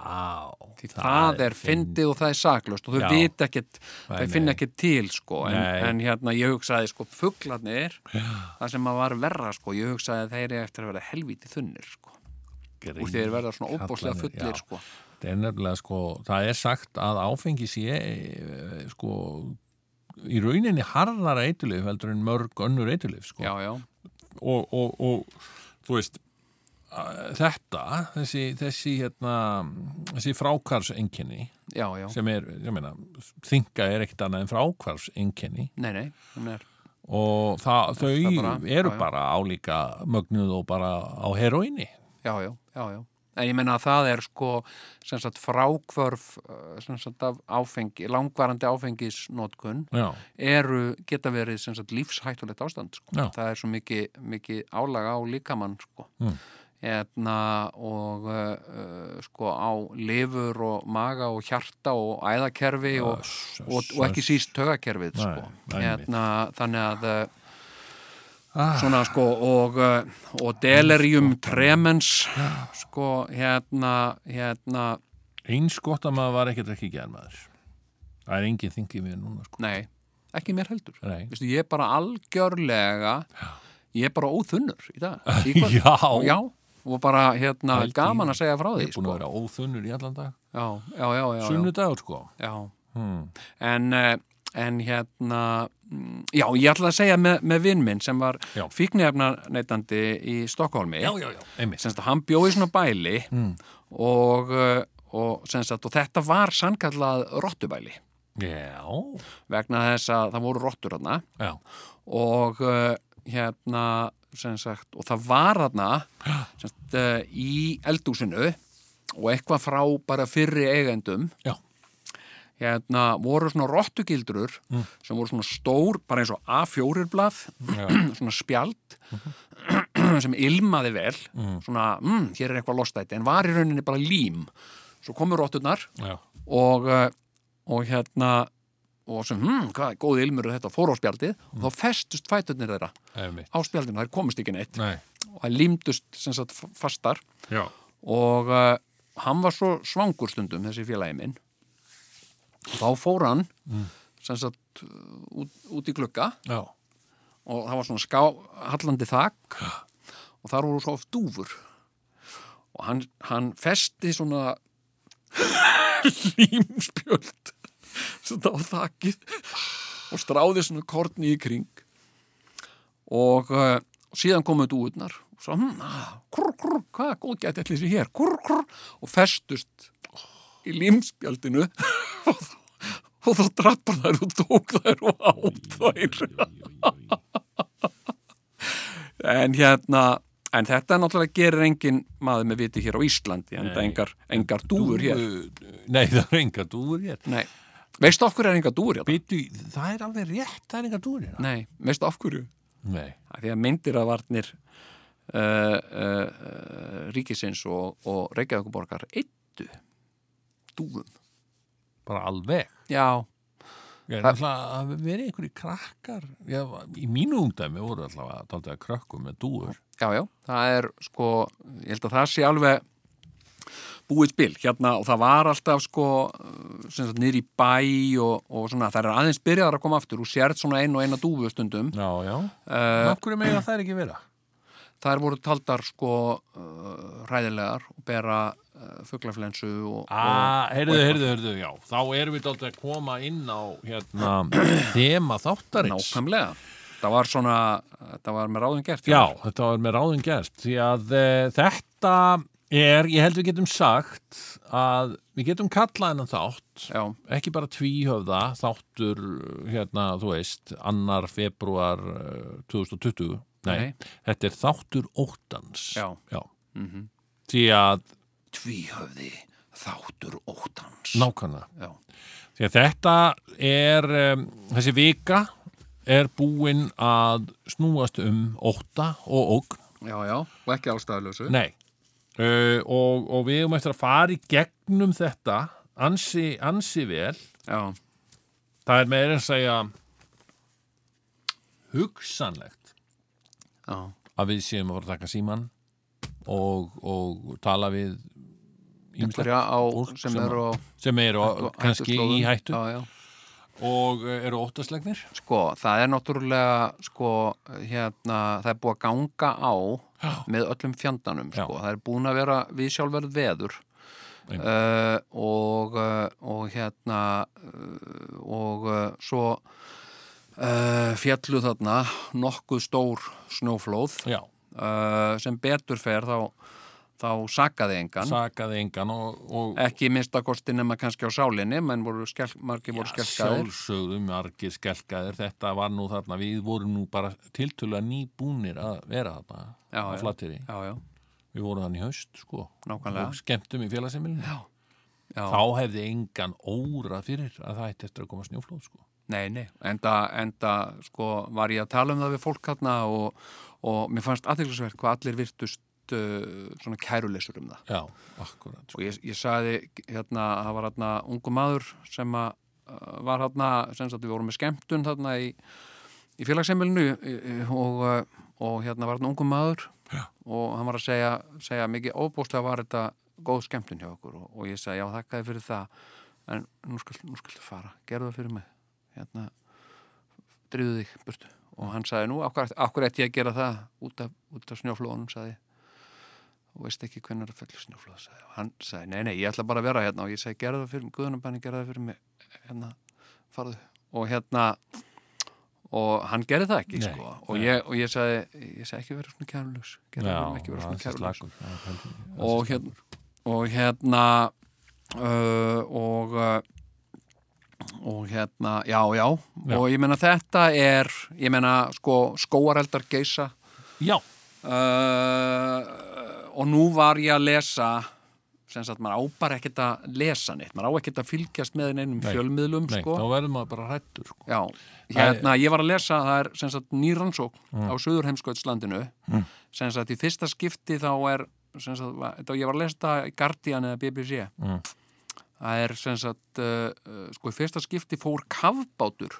Speaker 1: já
Speaker 3: því það, er fyndið og það er saklust og þau
Speaker 1: Já.
Speaker 3: vita ekkert,
Speaker 1: Nei,
Speaker 3: þau finna
Speaker 1: nei.
Speaker 3: ekkert til sko, en,
Speaker 1: Nei.
Speaker 3: en hérna ég hugsaði sko fuglarnir, það sem að var verra sko, ég hugsaði að þeir eru eftir að vera helvíti þunnir sko, úr þeir verða svona óbáslega
Speaker 1: Kallanir, já.
Speaker 3: fullir sko
Speaker 1: Það er nefnilega sko, það er sagt að áfengi sé eh, sko í rauninni harðara eitulif heldur en mörg önnur eitulif sko.
Speaker 3: já, já,
Speaker 1: og, og, og þú veist að- þetta, þessi, þessi hérna, þessi frákarseinkenni
Speaker 3: já, já
Speaker 1: sem er, ég meina, þinga er ekkert annað en frákvarseinkenni
Speaker 3: nei, nei, hún er,
Speaker 1: og það, þau
Speaker 3: Það bara-
Speaker 1: eru
Speaker 3: já, já.
Speaker 1: bara álíka mögnuð og bara á heroinni.
Speaker 3: já, já, já, já en ég menna að það er sko sem sagt frákvörf eh, sem sagt af áfengi, langvarandi áfengisnótkun
Speaker 1: Já,
Speaker 3: eru, geta verið sem sagt lífshættulegt ástand sko.
Speaker 1: Já.
Speaker 3: það er svo mikið, mikið álaga á líkamann sko.
Speaker 1: Mm.
Speaker 3: Eðna, og uh, sko á lifur og maga og hjarta og æðakerfi og,
Speaker 1: Öss,
Speaker 3: og,
Speaker 1: öss,
Speaker 3: og ekki síst tögakerfið sko.
Speaker 1: Nei, einmitt.
Speaker 3: Eðna, þannig að eh,
Speaker 1: Ah.
Speaker 3: svona sko og, eh, og delirium tremens sko hérna hérna,
Speaker 1: eins gott að maður var ekkert ekki germaður. Það er enginn þingið mér núna sko.
Speaker 3: nei, ekki mér heldur
Speaker 1: Nei.
Speaker 3: Vistu, ég er bara algjörlega ég er bara óþunnur í dag í kvöld.
Speaker 1: Já,
Speaker 3: já, og bara hérna
Speaker 1: Pældi í-
Speaker 3: gaman að segja frá því
Speaker 1: ég er búin
Speaker 3: sko.
Speaker 1: að vera óþunnur í allan dag.
Speaker 3: já, já, já, já, já,
Speaker 1: Sunnudagur sko.
Speaker 3: já.
Speaker 1: Hmm.
Speaker 3: En, eh, en hérna mm, já, ég ætla að segja með, með vinn minn sem var
Speaker 1: Já.
Speaker 3: fíknefnarneitandi í Stokkólmi
Speaker 1: já, Hmm. já. Einmitt.
Speaker 3: semst að hann bjóði svona bæli og, eh, og, semst að, og þetta var sannkallað rottubæli
Speaker 1: Já,
Speaker 3: vegna þess að það voru rottur þarna
Speaker 1: já,
Speaker 3: og uh, hérna sem sagt, og það var þarna sem sagt, uh, í eldúsinu og eitthvað frá bara fyrri eigendum
Speaker 1: já,
Speaker 3: hérna voru svona rottugildrur sem voru svona stór, bara eins og A4-blað, svona spjald sem ilmaði vel svona, mm, hér er eitthvað lostæti en var í rauninni bara lím svo komu rotturnar
Speaker 1: já,
Speaker 3: og, eh, og hérna og sem, hm, hvað, góð ilmur er þetta fór á spjaldið og þá festust fæturnir þeirra
Speaker 1: einmitt.
Speaker 3: á spjaldinu, þær komust ekki neitt
Speaker 1: Nei,
Speaker 3: og þær límdust sem sagt f- fastar
Speaker 1: já,
Speaker 3: og uh, hann var svo svangur stundum þessi félagi minn þá fór hann sem sagt uh, út, út í glugga
Speaker 1: já,
Speaker 3: og það var svona ská, hallandi þak og þar voru svo oft dúfur og hann, hann festi svona límspjöld svona á þakið og stráði svona korni í kring og uh, síðan komu dúurnar og svo, hm, ah, kurr, kurr, hvað góð gæti allir sér hér, kurr, kurr og festust í límspjöldinu og þá og þá drappar þær og tók þær og átt þær En hérna, en þetta náttúrulega gerir engin maður með viti hér á Íslandi, en það engar, engar dúfur hér.
Speaker 1: Nei, það er enga dúur hér
Speaker 3: Nei. Veistu af hverju er engar dúfur hérna?
Speaker 1: Býtu, það er alveg rétt, það er enga dúur hér
Speaker 3: Nei, veistu af hverju?
Speaker 1: Nei,
Speaker 3: Af Því að myndir að varnir uh, uh, uh, ríkisins og, og Reykjavíkuborgar eittu dúfum.
Speaker 1: bara alveg
Speaker 3: Já,
Speaker 1: Ég er
Speaker 3: Það-
Speaker 1: alltaf að verið einhverju krakkar já, Í mínu ungdæmi voru alltaf að taldið að krökkum með dúur
Speaker 3: já, já, það er sko, ég held að það sé alveg búið spil hérna og það var alltaf sko uh, sem sagt niður í bæ og, og svona það er aðeins byrjaðar að koma aftur og sérð svona einu og eina dúfu stundum
Speaker 1: Já, já
Speaker 3: uh,
Speaker 1: Af hverju meina það er ekki vera?
Speaker 3: þar voru taldar sko uh, ræðilegar og bera uh, fuglaflensu og,
Speaker 1: Ah,
Speaker 3: og,
Speaker 1: heyrðu, heyrðu, heyrðu, já Þá erum við dálítið að koma inn á hérna, þema
Speaker 3: og
Speaker 1: þáttarins
Speaker 3: nákvæmlega það var svona, það var með ráðum gert
Speaker 1: Já, þetta var með ráðum gerst því að e, þetta er, ég held við getum sagt að við getum kallað hennan þátt
Speaker 3: já,
Speaker 1: ekki bara tvíhöfða þáttur hérna, þú veist, annar eh, februar 2020 Nei,
Speaker 3: Nei.
Speaker 1: þetta er þáttur óttans
Speaker 3: Já.
Speaker 1: Mhm. því að
Speaker 3: tvíhöfði þáttur óttans
Speaker 1: nákvæmlega
Speaker 3: já,
Speaker 1: Því að þetta er, um, þessi vika er búin að snúast um ótta og ógn.
Speaker 3: já, já, og ekki ástæðalösu
Speaker 1: Nei. Uh, og, og við erum eftir að fara í gegnum þetta ansi, ansi vel.
Speaker 3: já,
Speaker 1: Það er meira að segja hugsanlegt
Speaker 3: já,
Speaker 1: að við séum að fara að taka síman og, og tala við ýmislegt
Speaker 3: einhverja á
Speaker 1: fólk
Speaker 3: sem
Speaker 1: sem
Speaker 3: eru á
Speaker 1: sem eru á- kannski í
Speaker 3: hættuslóðum.
Speaker 1: hættu
Speaker 3: já, já.
Speaker 1: og uh, eru óttaslegnir.
Speaker 3: sko, það er náttúrulega sko, hérna, það er búið að ganga á með öllum fjandanum
Speaker 1: Já.
Speaker 3: sko. það er búin að vera við sjálfverð veður
Speaker 1: Einmitt.
Speaker 3: uh, og, uh, og hérna uh, og uh, svo uh, fjallu þarna nokkuð stór snjóflóð
Speaker 1: Já,
Speaker 3: uh, sem betur fer þá, þá sakaði engan
Speaker 1: sakaði engan og, og,
Speaker 3: ekki minnstakosti nema kannski á sálinni menn voru skelk, margir voru skelkaðir
Speaker 1: sjálfsögðu margir skelkaðir þetta var nú þarna, við vorum nú bara tiltölulega nýbúnir að vera þarna
Speaker 3: Já,
Speaker 1: á
Speaker 3: já.
Speaker 1: flattiri,
Speaker 3: já, já,
Speaker 1: við vorum hann í haust sko,
Speaker 3: nákvæmlega
Speaker 1: og skemmtum í félagsemmilinu
Speaker 3: já.
Speaker 1: þá hefði engan óra fyrir að það ætti eftir að koma snjóflóð sko.
Speaker 3: Nei, nei, enda, enda sko, var ég að tala um það við fólk hérna og, og mér fannst aðeinslisvert hvað allir virtust uh, svona kærulesur um það.
Speaker 1: já, akkurat sko.
Speaker 3: Og ég, ég sagði hérna, það var hérna ungu maður sem að uh, var hérna, sem sagt við vorum með skemmtun hérna í, í félagsheimilinu í- í- og, uh, og hérna var hérna ungu maður
Speaker 1: Já.
Speaker 3: og hann var að segja, segja mikið óbúslega var þetta góð skemmtun hjá okkur og, og ég sagði já þakkaði fyrir það en nú skal, nú skal fara, gerðu það fyrir mig hérna drýðu þig burtu og hann sagði nú, akkur, akkur ætti ég að gera það út af, út af snjóflóðunum, sagði ég. og veist ekki hvernig það fellur snjóflóð sagði. ég. og hann sagði, nei, nei, ég ætla bara að vera hérna og ég sagði, gerðu það fyrir mig, guðunum bæni, gerðu það fyrir mig hérna, farðu og hérna og hann gerði það ekki,
Speaker 1: Nei,
Speaker 3: sko og,
Speaker 1: nei.
Speaker 3: Ég, og ég sagði, ég sagði ekki vera svona kærlus gerðu það fyrir mig, ekki vera
Speaker 1: já,
Speaker 3: svona
Speaker 1: ansi
Speaker 3: kærlus
Speaker 1: slakur, já, heldur-
Speaker 3: og
Speaker 1: ansi slakur.
Speaker 3: hérna og hérna uh, og uh, og hérna, já, já,
Speaker 1: Já.
Speaker 3: og ég meina þetta er, ég meina sko skóareldar geisa
Speaker 1: Já,
Speaker 3: uh, og nú var ég að lesa sem sagt, maður á bara ekkert að lesa neitt, maður á ekkert að fylgjast með neinum
Speaker 1: Nei.
Speaker 3: fjölmiðlum,
Speaker 1: nei,
Speaker 3: sko
Speaker 1: þá verður maður bara hrættur sko.
Speaker 3: Já, hérna, ég var að lesa það er sem sagt nýrannsók
Speaker 1: Mm.
Speaker 3: á Suðurheimskautslandinu mm. sem sagt í fyrsta skipti þá er sem sagt, va- þetta, ég var að lesa þetta í Guardian eða BBC
Speaker 1: Mm.
Speaker 3: það er sem sagt uh, uh, sko í fyrsta skipti fór kafbátur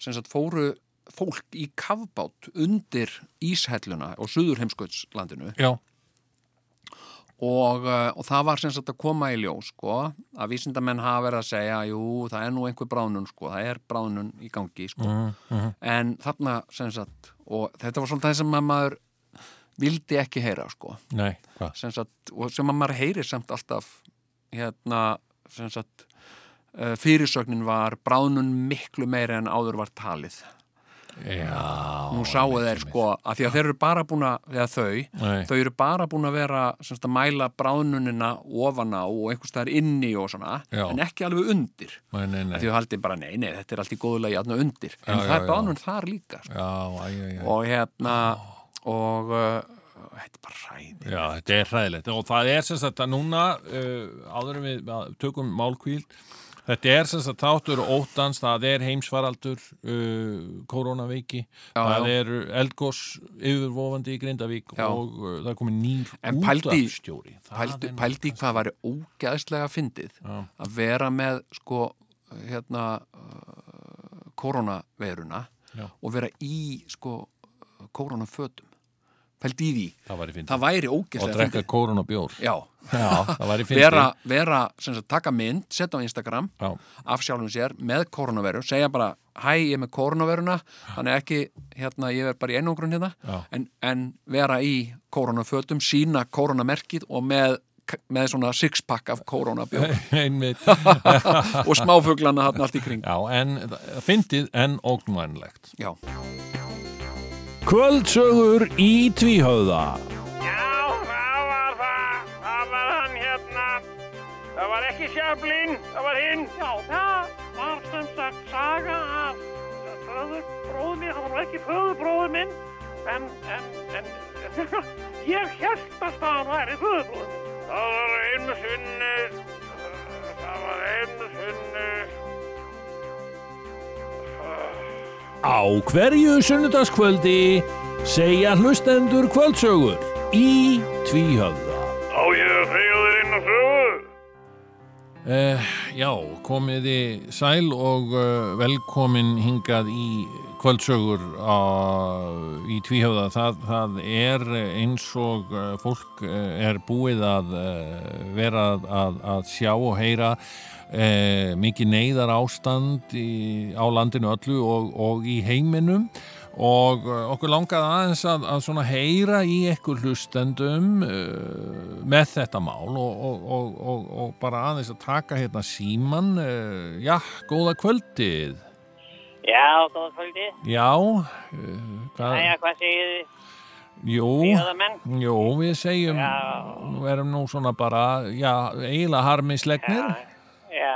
Speaker 3: sem sagt fóru fólk í kafbát undir íshelluna á Suðurheimskautslandinu
Speaker 1: Já,
Speaker 3: og, uh, og það var sem sagt að koma í ljós sko, að vísindamenn hafa verið að segja jú, það er nú einhver bráðnun sko, það er bráðnun í gangi sko.
Speaker 1: Mm.
Speaker 3: en þarna sem sagt og þetta var svolítið það sem að maður vildi ekki heyra sko.
Speaker 1: nei, hvað?
Speaker 3: sem sagt, og sem að maður heyri samt alltaf hérna sem sagt uh, fyrirsögnin var bráðnun miklu meira en áður var talið
Speaker 1: Já
Speaker 3: nú sáu þeir sko, að því að þeir eru bara búin að, þegar þau
Speaker 1: Nei,
Speaker 3: þau eru bara búin að vera semst, að mæla bráðnunina ofan á og einhvers staðar inni og svona
Speaker 1: Já.
Speaker 3: en ekki alveg undir
Speaker 1: nei, nei, nei.
Speaker 3: því þau haldið bara nei, nei, þetta er allt í góðulegi aðna undir en
Speaker 1: Já,
Speaker 3: það
Speaker 1: já,
Speaker 3: er
Speaker 1: já.
Speaker 3: bráðnun þar líka sko.
Speaker 1: Já, æ, æ, æ.
Speaker 3: og hérna og uh, þetta er bara ræði
Speaker 1: Já, þetta er hræðilegt og það er sem sagt að núna uh, áður en við að tökum málkvíl þetta er sem sagt þáttur óttans það er heimsfaraldur uh, koronaveiki, það
Speaker 3: já.
Speaker 1: er eldgós yfirvofandi í Grindavík
Speaker 3: Já.
Speaker 1: og uh, það er komið nýr
Speaker 3: En pældi-
Speaker 1: útvarpsstjóri. Það
Speaker 3: pældi,
Speaker 1: er nú-
Speaker 3: pældi í hvað væri ógeðslega fyndið
Speaker 1: Já.
Speaker 3: að vera með sko hérna uh, koronaveiruna
Speaker 1: Já.
Speaker 3: og vera í sko koronafötum pældi í því
Speaker 1: það væri fyndið
Speaker 3: það væri
Speaker 1: og
Speaker 3: ógeðslega
Speaker 1: drekka
Speaker 3: fyndið
Speaker 1: koronabjór
Speaker 3: Já,
Speaker 1: Já, það væri fyndið
Speaker 3: vera, vera sem sagt, taka mynd, setja á Instagram
Speaker 1: Já,
Speaker 3: af sjálfum sér með koronaveru segja bara, hæ, ég er með koronaveruna þannig ekki, hérna, ég er bara í einogrun hérna
Speaker 1: Já.
Speaker 3: en, en vera í koronafötum, sína koronamerkið og með, með svona sixpack af koronabjóð
Speaker 1: einmitt
Speaker 3: og smáfuglana hann allt í kring
Speaker 1: Já, en það- fyndið en ógnvænlegt
Speaker 3: Já,
Speaker 1: Kvöldsögur í tvíhöða
Speaker 4: Já, það var það. Það var hann hérna. Það var ekki sjöflinn, það var hinn. Já, það var sem sagt saga af föðurbróðu mér. Það var nú ekki föðurbróðu minn, en, en, en, ég held að það væri föðurbróðu minn. Það var einu sinni, það var einu sinni.
Speaker 1: Á hverju sunnudagskvöldi segja hlustendur kvöldsögur í tvíhöfða.
Speaker 4: Á ég að segja þér inn á sögu?
Speaker 1: Uh, já, komiði sæl og uh, velkomin hingað í kvöldsögur á, í tvíhöfða. Það, það er eins og uh, fólk uh, er búið að uh, vera að, að, að sjá og heyra uh, mikið neyðar ástand í, á landinu öllu og, og í heiminum og uh, okkur langaði aðeins að, að svona heyra í ekkur hlustendum uh, með þetta mál og, og, og, og, og bara aðeins að taka hérna síman uh, já, góða kvöldið
Speaker 4: Já, góða kvöldi.
Speaker 1: já uh, hvað,
Speaker 4: Æja, hvað segir þið?
Speaker 1: jú
Speaker 4: Bíðamenn?
Speaker 1: jú, við segjum
Speaker 4: Já.
Speaker 1: nú erum nú svona bara, já, eiginlega harmislegnir,
Speaker 4: Já,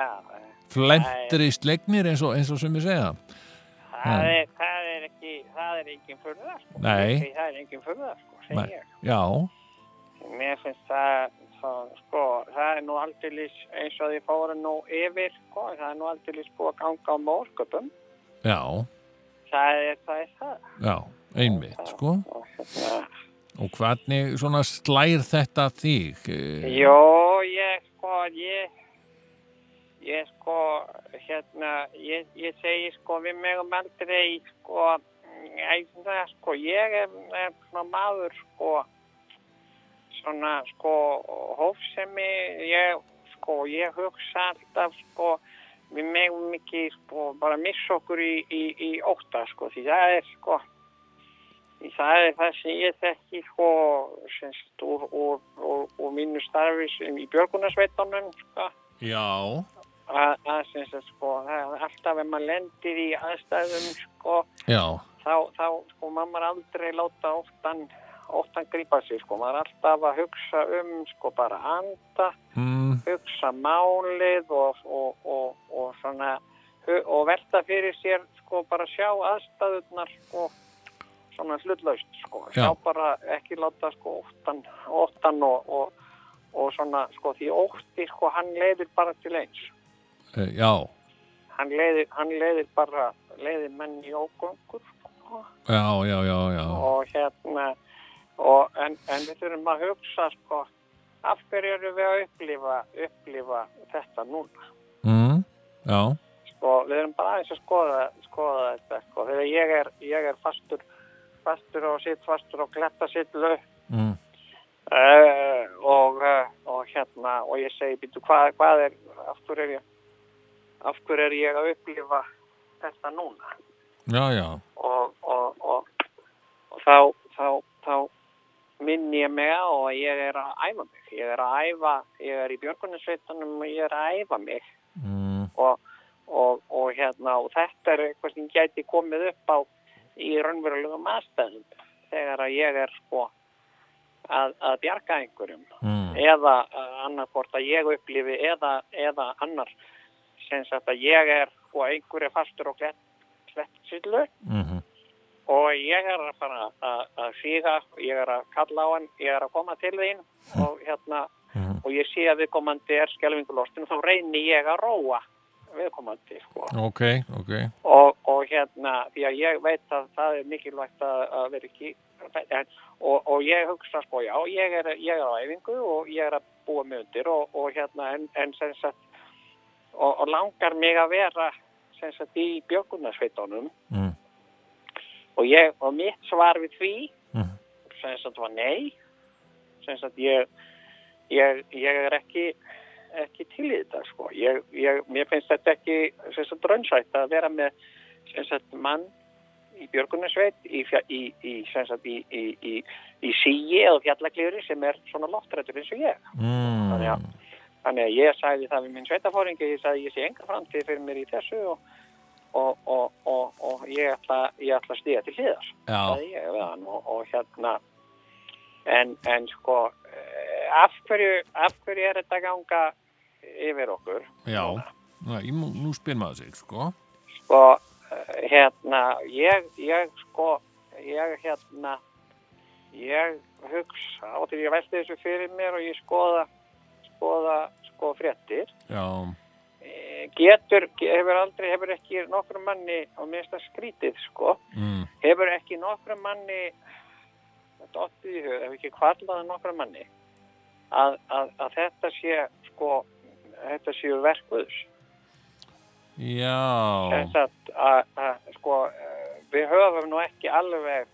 Speaker 1: flentri slegnir eins og, eins og sem við segja
Speaker 4: það
Speaker 1: Já.
Speaker 4: er, það er ekki, það er engin furða, sko.
Speaker 1: Nei.
Speaker 4: Því Það er engin furða, sko, segi
Speaker 1: Nei.
Speaker 4: ég.
Speaker 1: já,
Speaker 4: Mér finnst það, það, sko, það er nú aldeilis eins og því fóru nú yfir, sko, það er nú aldeilis búið að ganga á mórsköpum.
Speaker 1: já,
Speaker 4: Það er, það er það.
Speaker 1: já einmitt, sko
Speaker 4: Og, hérna,
Speaker 1: Og hvernig svona slær þetta þig? Eh,
Speaker 4: Jó, ég sko, ég, ég sko, hérna, ég, ég segi sko, við megum aldrei, sko, ætla, sko, ég er, er svona maður, sko, svona, sko, hófsemi, ég, sko, ég hugsa alltaf, sko, við megum ekki, sko, bara missa okkur í, í, í óta, sko, því það er, sko, Í Það er það sem ég þekki sko, semst, úr, úr, úr, úr mínu starfi sem í björgunarsveitunum sko,
Speaker 1: Já,
Speaker 4: að, að semst, að, sko, það er alltaf ef maður lendir í aðstæðum sko,
Speaker 1: já,
Speaker 4: þá, þá sko, maður aldrei láta óttan, óttan grípa sig sko, maður er alltaf að hugsa um sko, bara anda
Speaker 1: mm,
Speaker 4: hugsa málið og, og, og, og svona hu- og velta fyrir sér sko bara sjá aðstæðurnar sko svona hlutlaust sko,
Speaker 1: Já.
Speaker 4: sjá bara ekki láta sko óttan, óttan og, og, og svona sko því ótti sko hann leiðir bara til eins
Speaker 1: Eh, já,
Speaker 4: hann leiðir, hann leiðir bara leiðir menn í ógöngur sko
Speaker 1: já, já, já, já.
Speaker 4: og hérna og, en, en við þurfum að hugsa sko af hverju erum við að upplifa, upplifa þetta núna
Speaker 1: Mm, já,
Speaker 4: sko við erum bara aðeins að skoða, skoða þetta sko þegar ég er, ég er fastur fastur og sitt fastur og kletta sitt lög
Speaker 1: mm,
Speaker 4: uh, og, uh, og hérna og ég segi býtu hvað, hvað er af hverju er ég af hverju er ég að upplifa þetta núna
Speaker 1: já, já,
Speaker 4: og, og, og, og þá, þá, þá minni ég mig á að ég er að æfa mig. Ég er að æfa, ég er í björgunarsveitunum og ég er að æfa mig
Speaker 1: mm,
Speaker 4: og, og, og, hérna, og þetta er eitthvað sem gæti komið upp á í raunverulegum aðstæðum þegar að ég er sko að, að bjarga einhverjum
Speaker 1: mm,
Speaker 4: eða annarkort að ég upplifi eða, eða annar sem sagt að ég er sko einhverju fastur og glett, glett sillu
Speaker 1: mm,
Speaker 4: og ég er bara að að síga, ég er að kalla á hann, ég er að koma til þín og hérna,
Speaker 1: mm.
Speaker 4: og ég sé að viðkomandi er skelvingulostin og þá reyni ég að róa viðkomandi, sko.
Speaker 1: Ok, ok,
Speaker 4: Og, og hérna, því að ég veit að það er mikilvægt að, að vera ekki, en, og, og ég hugsa, sko, já, ég er, ég er á æfingu og ég er að búa mig undir og, og hérna, en, en sem sagt, og, og langar mig að vera, sem sagt, í bjökunarsveitunum
Speaker 1: mm,
Speaker 4: og, ég, og mitt svar við því
Speaker 1: mm,
Speaker 4: sem sagt var nei sem sagt ég ég, ég er ekki ekki til í þetta sko ég, ég, mér finnst þetta ekki sem sagt raunsætt að vera með sem sagt mann í Björgunarsveit í, fja- í, í, sem sagt í, í, í, í síi eða fjallaglýri sem er svona loftrættur eins og ég
Speaker 1: mm,
Speaker 4: Þannig að- Þannig að ég sagði það við minn sveitafóringi, ég sagði ég sé enga framtíð fyrir mér í þessu og, og, og, og, og ég ætla, ég ætla að stíða til hliðar.
Speaker 1: Já.
Speaker 4: Sagði ég við hann og, og hérna, en, en sko, eh, af hverju, af hverju er þetta að ganga yfir okkur?
Speaker 1: já, já, ég mú- nú spyr maður sig, sko.
Speaker 4: Sko, eh, hérna, ég, ég sko, ég hérna, ég hugsa og þegar ég velti þessu fyrir mér og ég skoða, skoða, sko fréttir
Speaker 1: Já,
Speaker 4: Eh, getur, hefur aldrei, hefur ekki nokkrum manni, og mér finnst það skrítið sko,
Speaker 1: mm,
Speaker 4: hefur ekki nokkrum manni dottið í hug, hefur ekki kvarlaði nokkrum manni að, að, að þetta sé sko, þetta séu verkuðs
Speaker 1: já,
Speaker 4: þess að, að, að sko, eh, við höfum nú ekki alveg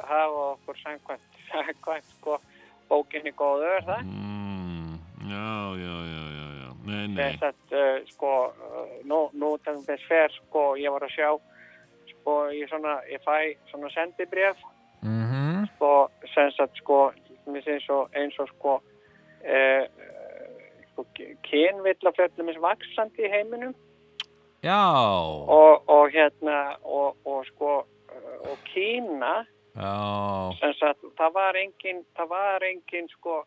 Speaker 4: hafa okkur samkvæmt, samkvæmt sko, bókinni góðu er það
Speaker 1: mm, já, já, já, já, já, nei, nei,
Speaker 4: þess að uh, sko uh, nú, nú tegum þess fer sko ég var að sjá sko ég svona ég fæ svona sendibref
Speaker 1: mhm,
Speaker 4: sko sem sagt sko mér sé eins og eins og sko uh, sko kynvillafjöldum er vaksandi í heiminum
Speaker 1: já,
Speaker 4: og, og hérna og, og sko eh, og Kína
Speaker 1: já,
Speaker 4: sem sagt það var engin það var engin sko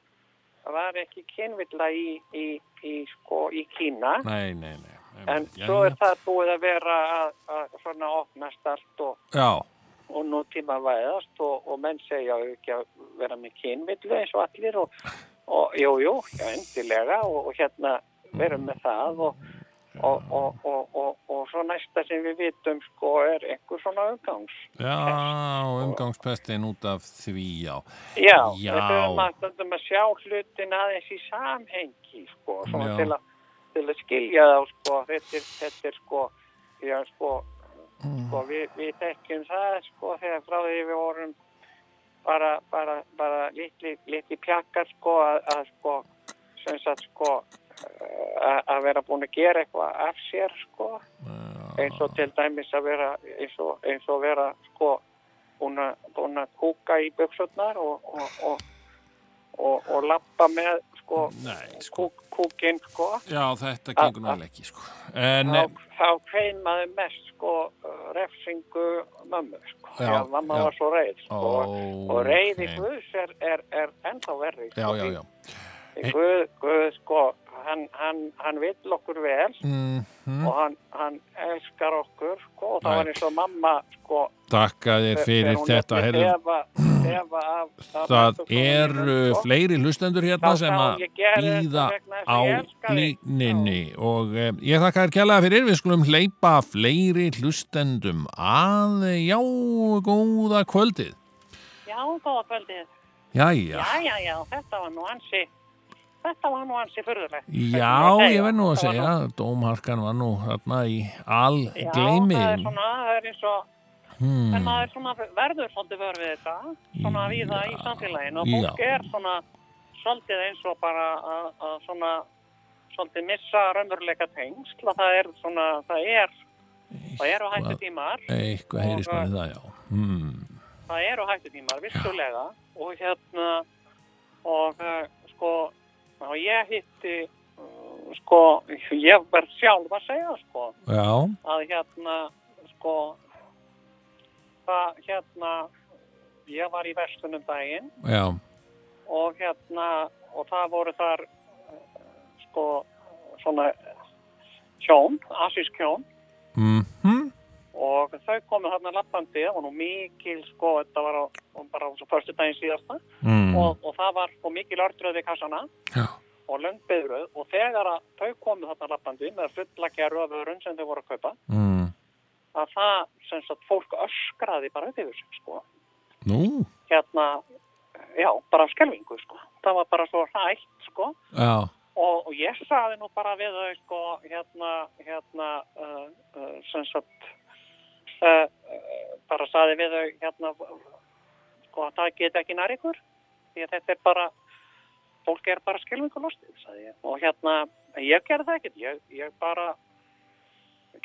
Speaker 4: það var ekki kynvilla í, í, í sko í Kína
Speaker 1: nei, nei, nei.
Speaker 4: En
Speaker 1: já,
Speaker 4: svo er
Speaker 1: já.
Speaker 4: það búið að vera að, að svona opnast allt og,
Speaker 1: Já,
Speaker 4: og nú tíma væðast og, og menn segja "Á ekki að vera með kynvillu eins og allir og, og jú, jú, já, endilega og, og hérna verum með það og, og, og, og, og, og svo næsta sem við vitum sko er einhver svona umgangs.
Speaker 1: já, umgangspestin út af því, já,
Speaker 4: Já,
Speaker 1: Já.
Speaker 4: við höfum að, stundum að sjá hlutin aðeins í samhengi sko,
Speaker 1: Já.
Speaker 4: svona til að, til að skilja þá sko, þetta er, þetta er sko, já, sko,
Speaker 1: Mm.
Speaker 4: sko við, við tekjum það sko þegar frá því við vorum bara, bara, bara litli, litli pjakkar sko að, að sko, sem sagt sko að að vera búin að gera eitthvað af sér sko eins og til dæmis að vera eins og, eins og vera sko búin að- búin að kúka í buksutnar og, og, og, og, og lappa með sko,
Speaker 1: nei, sko.
Speaker 4: kúk, kúkin sko
Speaker 1: Já, þetta gengur
Speaker 4: ah.
Speaker 1: náttúrulega ekki, sko. En,
Speaker 4: þá, þá hvein maður mest sko uh, refsingu mömmu sko
Speaker 1: Já,
Speaker 4: þegar mamma
Speaker 1: já.
Speaker 4: var svo reið sko
Speaker 1: Ó,
Speaker 4: og reiði
Speaker 1: ok.
Speaker 4: guðs er, er, er ennþá verri
Speaker 1: já,
Speaker 4: sko,
Speaker 1: já,
Speaker 4: því-
Speaker 1: já,
Speaker 4: því Guð, guð sko hann, hann, hann vill okkur vel
Speaker 1: mm
Speaker 4: og hann, hann elskar okkur sko, og
Speaker 1: Æ.
Speaker 4: það var eins og mamma sko,
Speaker 1: Takka þér fyrir þetta
Speaker 4: heyrðu,
Speaker 1: heyrðu,
Speaker 4: efa, efa af, af
Speaker 1: það
Speaker 4: rannsóknum
Speaker 1: eru
Speaker 4: mínum, sko.
Speaker 1: fleiri hlustendur hérna
Speaker 4: Þá
Speaker 1: sem
Speaker 4: sá
Speaker 1: að
Speaker 4: ég gera þetta
Speaker 1: býða
Speaker 4: vegna þess
Speaker 1: á
Speaker 4: að ég elska þig.
Speaker 1: líninni og eh, ég þakka þér kjærlega fyrir við skulum hleypa fleiri hlustendum að eh, já, góða kvöldið
Speaker 4: Já, góða kvöldið.
Speaker 1: Jæja,
Speaker 4: Já, já, já, þetta var nú ansi, þetta var nú ansi furðulegt.
Speaker 1: já, ég verð nú að segja Dómharkan var nú þarna í al
Speaker 4: Já, það er
Speaker 1: gleymið
Speaker 4: svona, það er eins og, en
Speaker 1: hmm.
Speaker 4: maður er svona verður svolítið vörð við þetta, svona
Speaker 1: Já.
Speaker 4: víða í samfélaginu og fólk
Speaker 1: Já.
Speaker 4: er svona svolítið eins og bara að að svona, svolítið missa raunveruleika tengsl og það er svona, það er, það eru hættu tímar,
Speaker 1: eitthvað heyrist maður það, já hmm.
Speaker 4: það eru hættu tímar, vissulega, og hérna, og uh, sko, og ég hitti, uh, sko, ég verð sjálf að segja, sko,
Speaker 1: já,
Speaker 4: að hérna, sko, það, hérna, ég var í vestunum daginn
Speaker 1: já,
Speaker 4: og hérna og það voru þar eh, sko svona hjón, asísk hjón
Speaker 1: mhm
Speaker 4: og þau komu þarna lappandi það var nú mikil sko þetta var á, bara á svo förstu daginn síðasta
Speaker 1: mm.
Speaker 4: og, og það var sko mikil ördröð við kassana
Speaker 1: Já.
Speaker 4: og löngbeðröð og þegar að þau komu þarna lappandi með fulla gerðu af öðrun sem þau voru að kaupa
Speaker 1: mm.
Speaker 4: að það sem sagt fólk öskraði bara upp yfir sig sko
Speaker 1: nú,
Speaker 4: hérna, já, bara af skelfingu sko það var bara svo hrætt sko
Speaker 1: já
Speaker 4: og, og ég saði nú bara við þau sko hérna, hérna uh, uh, sem sagt uh, uh, bara saði við þau hérna sko að það get ekki nær ykkur því að þetta er bara fólk er bara skilfingu lostið sagði ég og hérna en ég gerði það ekkert ég, ég bara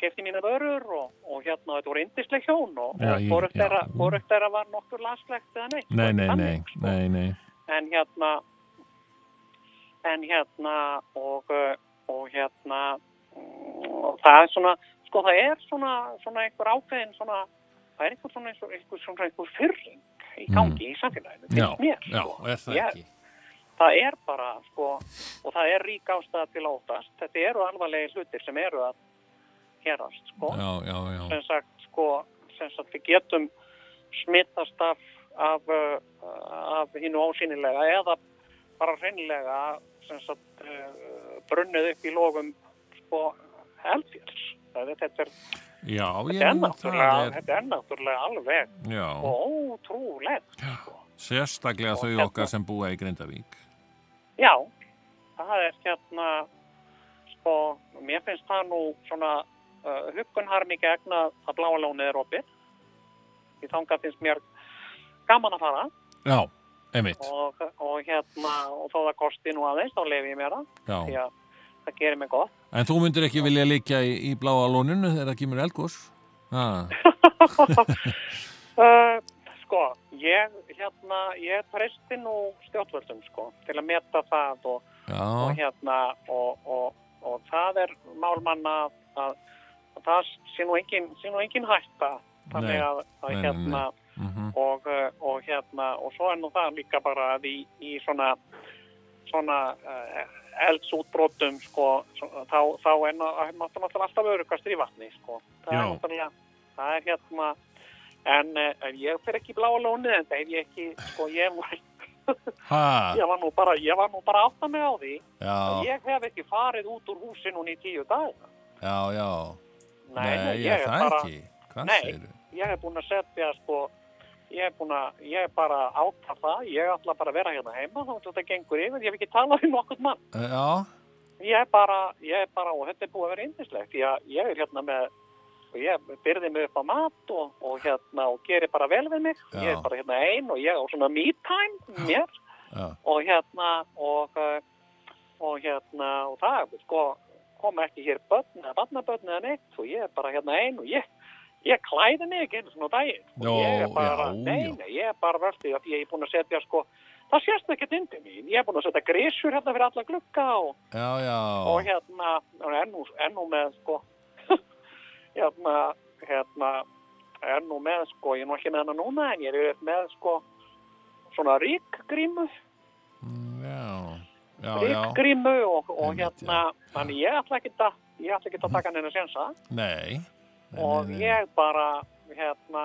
Speaker 4: gefti mínu vörur og, og hérna þetta voru indisleg hjón og,
Speaker 1: Já,
Speaker 4: og
Speaker 1: ég-
Speaker 4: hvorugt
Speaker 1: já.
Speaker 4: þeirra, hvorugt þeirra var nokkur laslegt eða neitt
Speaker 1: Nei, nei,
Speaker 4: Þannig,
Speaker 1: nei,
Speaker 4: sko
Speaker 1: nei, nei.
Speaker 4: en hérna en hérna og, uh, og hérna mm, og það er svona sko það er svona, svona einhver ákveðin svona, það er einhver svona einhver, einhver, svona einhver fyrring í gangi í samfélaginu
Speaker 1: Mm. Já,
Speaker 4: finnst mér,
Speaker 1: já,
Speaker 4: sko.
Speaker 1: er það
Speaker 4: Ég-
Speaker 1: ekki?
Speaker 4: það er bara sko, og það er rík ástæða til að óttast þetta eru alvarlegi hlutir sem eru að hérast sko
Speaker 1: Já, já, já.
Speaker 4: sem sagt, sko, sem sagt við getum smittast af, af, uh, af hinnu ósýnilega eða bara hreinlega sem sagt uh, brunnið upp í logum sko eldfjöls. Það er- Þetta er,
Speaker 1: Já, ég
Speaker 4: þetta er,
Speaker 1: meina, það
Speaker 4: náttúrulega,
Speaker 1: er,
Speaker 4: þetta er náttúrulega alveg
Speaker 1: já,
Speaker 4: og ótrúlegt. Sko.
Speaker 1: sérstaklega
Speaker 4: og
Speaker 1: þau
Speaker 4: hérna-
Speaker 1: okkar sem búa í Grindavík.
Speaker 4: Já, það er hérna sko, mér finnst það nú svona uh, huggunharmi gegn að að bláa lónið er opið. Því þangað finnst mér gaman að fara.
Speaker 1: Já, einmitt,
Speaker 4: og, og hérna og þó það kosti nú aðeins, þá lefi ég mér það því
Speaker 1: já.
Speaker 4: að það gerir mig gott
Speaker 1: En þú myndir ekki vilja líka í, í bláa lóninu þegar það kemur elgós? Ha,
Speaker 4: uh, sko, ég hérna, ég treysti nú stjórnvöldum sko, til að meta það og, og
Speaker 1: já,
Speaker 4: hérna og, og, og það er málmanna að, að það sé nú engin, sé nú engin hætta
Speaker 1: Nei,
Speaker 4: þannig að, að
Speaker 1: nei, nei,
Speaker 4: hérna
Speaker 1: mhm,
Speaker 4: og, uh, og hérna og svo er nú það líka bara að í, í svona svona uh, eldsútbrotum sko, svo, þá, þá er ná- er náttúrulega alltaf örugast í vatni sko. það
Speaker 1: Já.
Speaker 4: er náttúrulega það er hérna en uh, ég fer ekki í bláa lónið en það er ég ekki sko, ég,
Speaker 1: ha,
Speaker 4: ég var nú bara ég var nú bara átt að mig á því að
Speaker 1: já,
Speaker 4: ég hef ekki farið út úr húsi núna í tíu dag
Speaker 1: já, já. Nei,
Speaker 4: ég
Speaker 1: ég
Speaker 4: er
Speaker 1: það
Speaker 4: bara
Speaker 1: ekki. Hvað
Speaker 4: Nei.
Speaker 1: segirðu?
Speaker 4: ég hef búin að setja sko ég hef búin að, ég hef bara átta það ég ætla bara að vera hérna heima þá þetta gengur yfir, ég hef ekki talað við nokkurn mann
Speaker 1: Eh, Já,
Speaker 4: ég er bara, ég er bara og þetta er búið að vera indislegt því að ég er hérna með og ég byrði mig upp á mat og, og hérna og geri bara vel við mig
Speaker 1: Já.
Speaker 4: ég er bara hérna ein og ég á svona me time mér
Speaker 1: já,
Speaker 4: og hérna og, eh, og hérna og það sko koma ekki hér börn eða barnabörn eða neitt og ég er bara hérna ein og ég ég klæði mig ekki einu svona daginn og
Speaker 1: Jó,
Speaker 4: ég er bara,
Speaker 1: já, já.
Speaker 4: nei, nei, ég er bara vörtið að ég er búin að setja sko það sést ekki undir mín, ég er búin að setja grísur hérna fyrir alla glugga og,
Speaker 1: já,
Speaker 4: og
Speaker 1: já,
Speaker 4: hérna ennú, ennú með sko hérna, hérna ennú með sko, ég er nú ekki með hana núna en ég er yfirleitt með sko svona ríkgrímu
Speaker 1: Mm, já, já, já,
Speaker 4: Ríkgrímu og, og
Speaker 1: Einmitt,
Speaker 4: hérna, þannig ég ætla ekki að, ég ætla ekki að taka neina sensa
Speaker 1: nei Nei,
Speaker 4: og
Speaker 1: nei, nei.
Speaker 4: ég bara, hérna,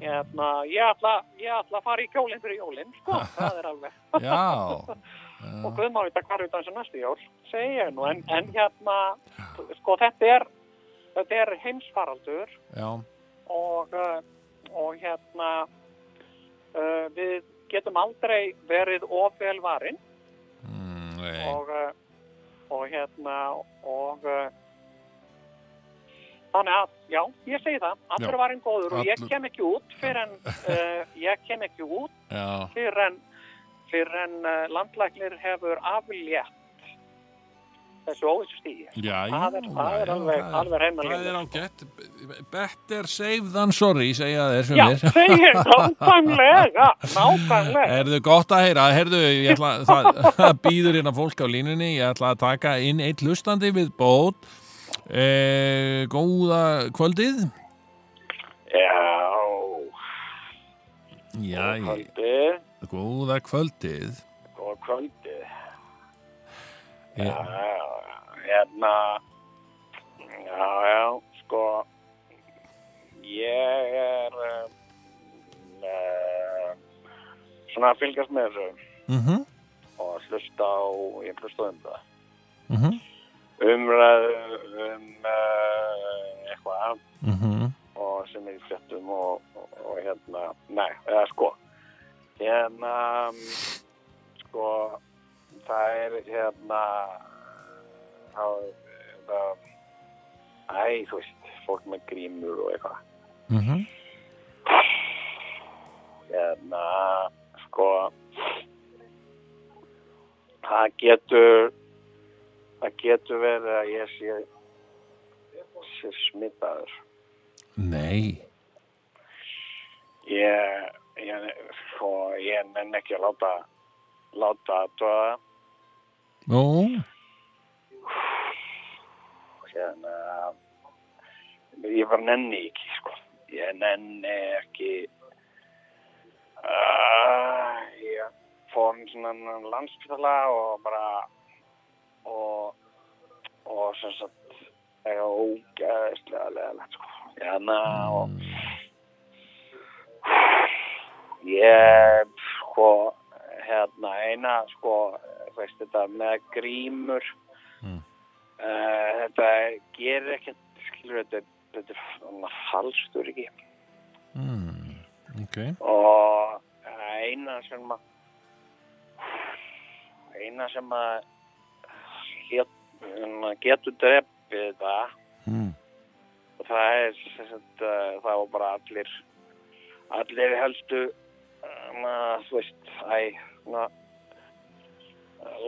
Speaker 4: hérna, ég ætla, ég ætla að fara í kjólinn fyrir jólinn, sko, það er alveg.
Speaker 1: Já,
Speaker 4: Og
Speaker 1: já, Mm.
Speaker 4: guð má vita hvar utan sem næstu jól, segi ég nú, en, en hérna, sko, þetta er, þetta er heimsfaraldur
Speaker 1: Eh, já,
Speaker 4: og, uh, og hérna, uh, við getum aldrei verið ofvel varinn
Speaker 1: mm, nei,
Speaker 4: og, uh, og hérna og uh, þannig að, já, ég segi það allur
Speaker 1: Já.
Speaker 4: var einn góður og ég
Speaker 1: Allur.
Speaker 4: kem ekki út fyrir en uh, ég kem ekki út
Speaker 1: já,
Speaker 4: fyrir en, fyrir en uh, landlæknir hefur aflétt þessu óvissu stíði
Speaker 1: já,
Speaker 4: Það er-
Speaker 1: já,
Speaker 4: það er
Speaker 1: já,
Speaker 4: alveg-
Speaker 1: það
Speaker 4: alveg heimalegt.
Speaker 1: Það er ágætt, better safe than sorry, segja þeir
Speaker 4: Já,
Speaker 1: sem er.
Speaker 4: segir nákvæmlega, nákvæmlega.
Speaker 1: Erðu gott að heyra, herðu, ég ætla, það, það býður hérna fólk á línunni, ég ætla að taka inn eitt hlustandi við bót. E, góða kvöldið.
Speaker 4: Já,
Speaker 1: Já, ég,
Speaker 4: kvöldið,
Speaker 1: góða kvöldið.
Speaker 4: góð kvöldið.
Speaker 1: E,
Speaker 4: Já, hérna, já, já, sko, ég er uh, uh, svona að fylgjast með þessu
Speaker 1: mhm,
Speaker 4: og hlusta á, ég hlusta um það,
Speaker 1: mhm,
Speaker 4: umræðu um uh, eitthvað
Speaker 1: mhm,
Speaker 4: og sem er í fréttum og, og, og hérna, nei, eða sko hérna mm, sko það er hérna þá það, æ, þú veist, fólk með grímur og eitthvað
Speaker 1: mhm,
Speaker 4: hérna, sko það getur það getur verið að ég sé sé smitaður
Speaker 1: nei,
Speaker 4: ég, ég, sko, ég nenn ekki að láta láta að það
Speaker 1: nú,
Speaker 4: hérna ég bara nenni ekki sko. ég nenni ekki uh, ég fór um svona landspítala og bara og og sem sagt ég var ógæðislega leðilegt sko. hérna og
Speaker 1: Mm,
Speaker 4: Ég, sko, hérna, eina, sko, þú veist þetta með grímur,
Speaker 1: Mm.
Speaker 4: eh, þetta gerir ekkert, skilur þetta, þetta er svona falstur ekki.
Speaker 1: mm, ok,
Speaker 4: Og eh, eina sem að, eina sem að get, hérna, getur dreppið þetta, Hmm.
Speaker 1: mm,
Speaker 4: og það er, sem sagt, eh, það var bara allir, allir helstu, na, þú veist, æ, na,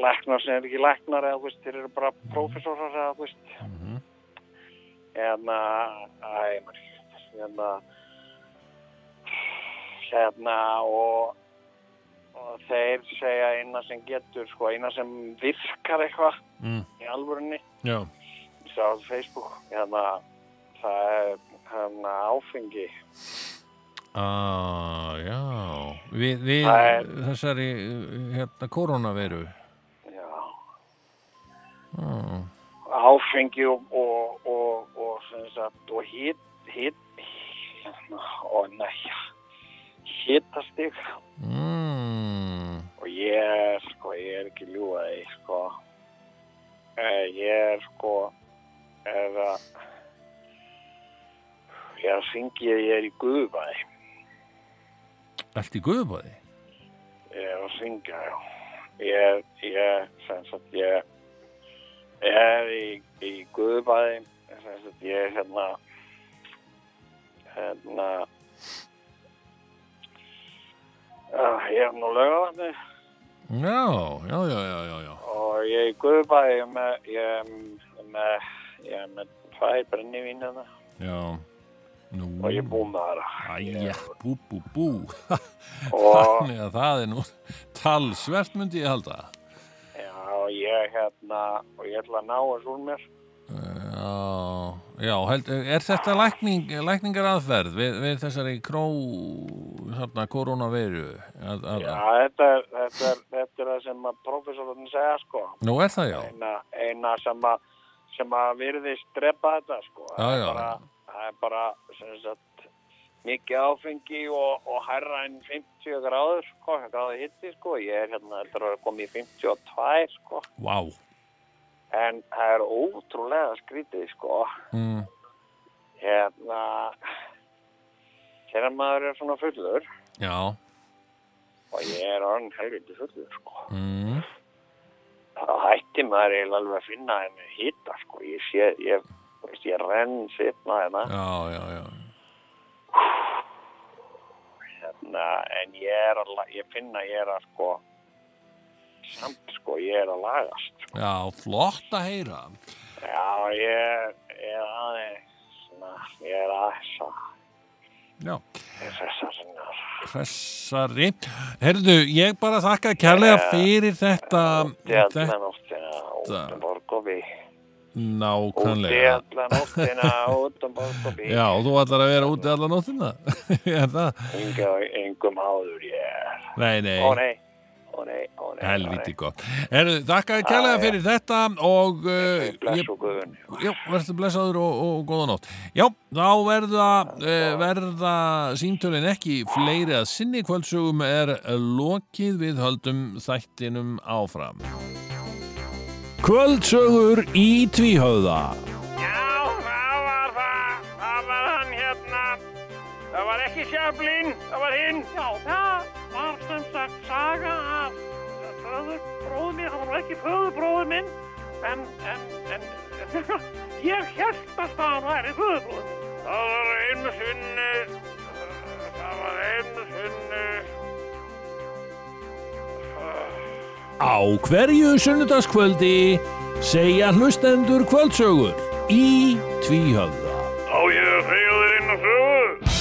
Speaker 4: læknar sem er ekki læknar eða, þú veist, þeir eru bara prófessorar eða, þú veist,
Speaker 1: mhm,
Speaker 4: hérna, æ, maður, hérna, hérna og, og þeir segja eina sem getur, sko, eina sem virkar eitthvað
Speaker 1: mm,
Speaker 4: í alvörunni,
Speaker 1: já,
Speaker 4: sá á Facebook, hérna, það er, hérna, áfengi,
Speaker 1: Ah, já, við, við
Speaker 4: Það er-
Speaker 1: þessari hérna koronaviru.
Speaker 4: já,
Speaker 1: Ah,
Speaker 4: áfengi og og, og, og, sem sagt, og hit, hit hérna, og næja hitastig
Speaker 1: mm,
Speaker 4: og ég sko, ég er ekki ljúaði sko Eh, ég er sko ef að ég syngi ég er í Guðbæði
Speaker 1: allt í guðbóði.
Speaker 4: ég er að syngja já. ég, ég, sem sagt ég, ég er í, í Guðbæði sem sagt ég er hérna hérna uh, ég er nú lögavatni
Speaker 1: Já, já, já, já, já, já.
Speaker 4: og ég er í Guðbæði ég er með ég er með, ég er með tvær brennivín hérna
Speaker 1: Já, nú.
Speaker 4: og ég er búinn með það
Speaker 1: Æja, bú, bú, bú.
Speaker 4: og
Speaker 1: Þannig að það er nú talsvert myndi ég halda.
Speaker 4: já, og ég hérna og ég ætla að ná þessu úr mér
Speaker 1: Já, Já, held, er þetta lækning, lækningar aðferð við, við þessari kró þarna koronaveiru að, að,
Speaker 4: Já, þetta er, þetta er, þetta er það sem að professorinn segja sko.
Speaker 1: Nú er það já
Speaker 4: Eina, eina sem að, sem að virði strepa þetta sko. Það er
Speaker 1: já.
Speaker 4: bara- Það er bara, sem sagt, mikið áfengi og, og hærra en 50 gráður sko, gráði hitti sko. Ég er hérna, þetta er að koma í 52 sko.
Speaker 1: Vá
Speaker 4: En það er ótrúlega skrítið sko.
Speaker 1: mm,
Speaker 4: Hérna, þegar maður er svona fullur
Speaker 1: Já
Speaker 4: og ég er orðin helviti fullur sko.
Speaker 1: mm,
Speaker 4: það hætti maður eiginlega alveg að finna henni hýta sko, ég sé ég, þú veist, ég renn sitna hérna
Speaker 1: Já, já, já
Speaker 4: hérna, en ég er að la- ég finna ég er að sko samt sko, ég er að lagast sko.
Speaker 1: Já, flott að heyra
Speaker 4: já, ég, ég er aðeins svona, ég er aðeins að
Speaker 1: Já,
Speaker 4: þessa sinna
Speaker 1: pressari Herðu, ég bara þakka kærlega
Speaker 4: Já.
Speaker 1: fyrir þetta Um, þetta
Speaker 4: allan óttina, út
Speaker 1: Þetta-
Speaker 4: um borgobi úti
Speaker 1: nákvæmlega
Speaker 4: allan óttina, út um borgobi
Speaker 1: Já, og þú ætlar að vera úti allan nóttina Er það?
Speaker 4: engum áður ég er
Speaker 1: Nei, nei
Speaker 4: ó nei, ó nei, ó nei ó,
Speaker 1: Helviti
Speaker 4: nei.
Speaker 1: gott. Herðu, þakka kærlega
Speaker 4: já.
Speaker 1: fyrir þetta og uh,
Speaker 4: bless og guðun
Speaker 1: já, verður blessaður og, og góða nótt. Já, þá verða, uh, verða símtölin ekki fleiri að sinni kvöldsögum er lokið við höldum þættinum áfram. Kvöldsögur í tvíhauða.
Speaker 5: Já, það var það. Það var hann hérna. Það var ekki sjöflinn, það var hinn. Já, það var sem sagt saga af föðurbróðum minn. Það var nú ekki föðurbróðum minn, en, en, en, ég held að það væri föðurbróðum minn. Það var einu sinni, það var einu sinni.
Speaker 1: Á hverju sunnudagskvöldi segja hlustendur kvöldsögur í tvíhauða.
Speaker 5: Á ég að segja þér einu sögu.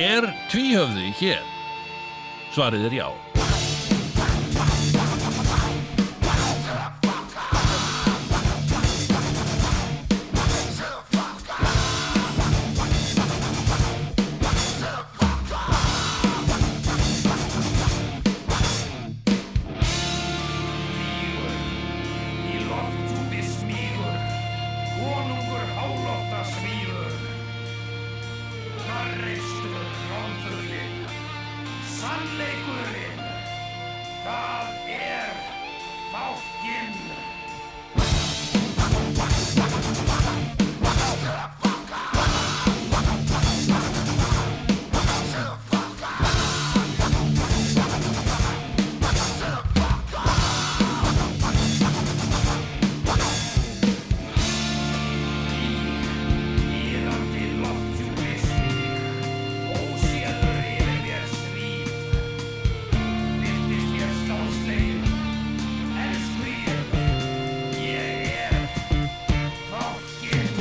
Speaker 1: Er tvíhöfði hér? Svarið er já.
Speaker 6: í lofthúpi smýgur, konungur hálóta smýgur. Narreistur, rómfuglinn, sannleikurinn, það er fákinn. Íðandi lofthjúpi smýr, óséður yfir mér svíf. Byrtist ég stálslegin, elsku ég, ég er fákinn.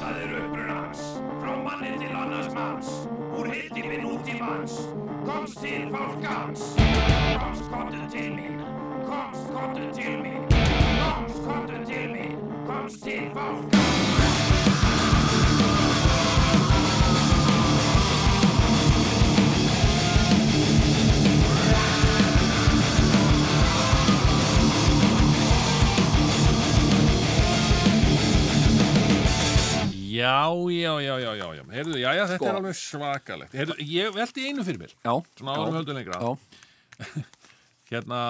Speaker 6: Það er uppruna hans, frá manni til annars manns, úr hildi minn út í manns, komst til fálkans. Komst, komdu til mín, komst, komdu til mín, komst, komdu til mín, komst til fálkans.
Speaker 1: Já, já, já, já, já, já. Heyrðu, já, já, þetta
Speaker 3: Sko.
Speaker 1: er alveg svakalegt. Heyrðu, ég velti einu fyrir mér,
Speaker 3: já,
Speaker 1: svona árum höldum lengra.
Speaker 3: já,
Speaker 1: Hérna,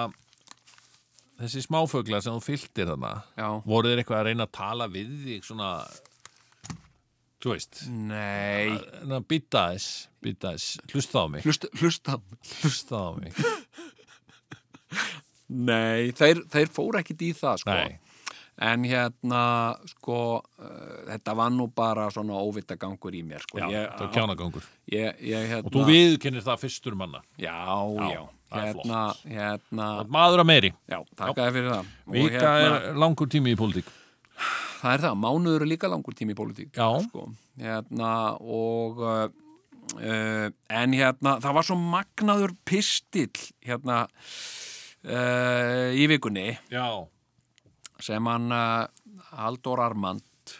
Speaker 1: þessi smáfugla sem þú fylgtir þarna,
Speaker 3: já.
Speaker 1: voru þeir eitthvað að reyna að tala við þig svona, þú veist,
Speaker 3: Nei,
Speaker 1: hérna, býta þess, býta þess, hlusta á mig,
Speaker 3: hlusta, hlusta
Speaker 1: hlusta á mig.
Speaker 3: Nei, þeir, þeir fóru ekkit í það sko.
Speaker 1: Nei.
Speaker 3: En hérna, sko, uh, þetta var nú bara svona óvita gangur í mér, sko.
Speaker 1: Já,
Speaker 3: ég,
Speaker 1: það var kjánagangur.
Speaker 3: Ég, ég, hérna,
Speaker 1: Og þú viðkennir það fyrstur manna.
Speaker 3: Já,
Speaker 1: Já,
Speaker 3: já,
Speaker 1: það er
Speaker 3: hérna,
Speaker 1: flott.
Speaker 3: hérna,
Speaker 1: Maður að meiri.
Speaker 3: já, takkaði fyrir það. Og hérna,
Speaker 1: Vika er langur tími í pólitík.
Speaker 3: það er það, mánuður er líka langur tími í pólitík
Speaker 1: Já.
Speaker 3: sko. hérna, og uh, uh, en hérna það var svo magnaður pistill hérna uh, í vikunni
Speaker 1: Já. sem
Speaker 3: sem hann uh, Halldór Armand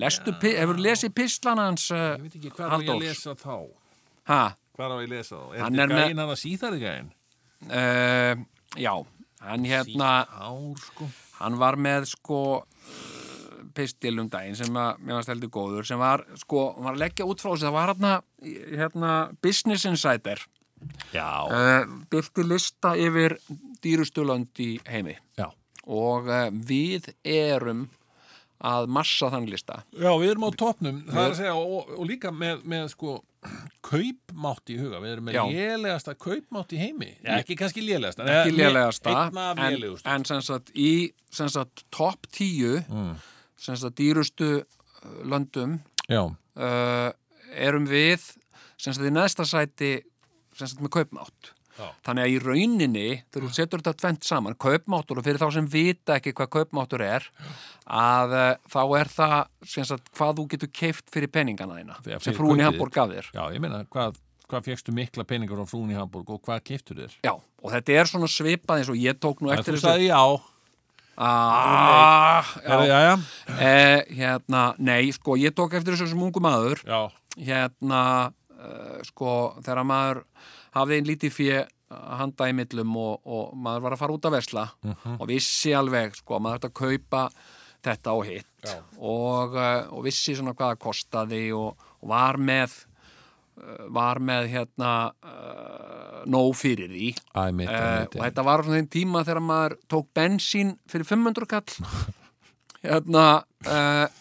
Speaker 3: Lestu, pi- hefur lesið pistlan hans uh,
Speaker 1: Ég veit ekki hvað er að
Speaker 3: Halldórs.
Speaker 1: lesa þá.
Speaker 3: ha,
Speaker 1: Hvað á ég að lesa þá? Er
Speaker 3: Hann
Speaker 1: þetta
Speaker 3: er með-
Speaker 1: gæinn hann að síðari gæinn?
Speaker 3: uh, já hann hérna
Speaker 1: Ár, sko.
Speaker 3: hann var með sko pistil um daginn sem að mér var steldi góður sem var sko, hann var að leggja út frá sig það var hérna, hérna Business Insider
Speaker 1: Já.
Speaker 3: uh, byrti lista yfir dýrustu lönd í heimi
Speaker 1: Já.
Speaker 3: og uh, við erum að massa þann lista
Speaker 1: Já, við erum á topnum, það er að segja, og, og líka með, með sko, kaupmátt í huga, við erum með
Speaker 3: Já.
Speaker 1: lélegasta kaupmátt í heimi. Já, ekki kannski lélegasta. en-
Speaker 3: ekki lélegasta
Speaker 1: Einna af
Speaker 3: en,
Speaker 1: lélegustu.
Speaker 3: en sem sagt í sem sagt topp 10 sem sagt dýrustu eh, löndum
Speaker 1: Já,
Speaker 3: uh, erum við sem sagt í neðsta sæti sem sagt með kaupmátt
Speaker 1: Já.
Speaker 3: þannig að í rauninni, þegar þú setur þetta tvent saman, kaupmáttur og fyrir þá sem vita ekki hvað kaupmáttur er að uh, þá er það sem sagt hvað þú getur keift fyrir peningana þína
Speaker 1: Þegar
Speaker 3: sem
Speaker 1: fyrir
Speaker 3: frúin
Speaker 1: kaupið
Speaker 3: í Hamburg gaf þér
Speaker 1: já, ég meina, hvað, hvað fegstu mikla peningar á frún í Hamburg og hvað keiftur þér?
Speaker 3: Já, og þetta er svona svipað eins og ég tók nú
Speaker 1: Þú
Speaker 3: eftir
Speaker 1: sagði já.
Speaker 3: Ah,
Speaker 1: Já,
Speaker 3: já,
Speaker 1: já, já.
Speaker 3: eh, hérna, nei, sko, ég tók eftir þessu sem ungu maður
Speaker 1: Já,
Speaker 3: hérna uh, sko þegar maður hafði einn lítið fyrir handa í millum og, og maður var að fara út að vesla og vissi alveg sko maður ætti að kaupa þetta og hitt og, uh, og vissi svona hvað það kostaði og, og var með uh, var með hérna uh, nóg fyrir því
Speaker 1: Æ, mitt,
Speaker 3: uh,
Speaker 1: mitt,
Speaker 3: og þetta var á svona þeim tíma þegar maður tók bensín fyrir 500 kall hérna uh,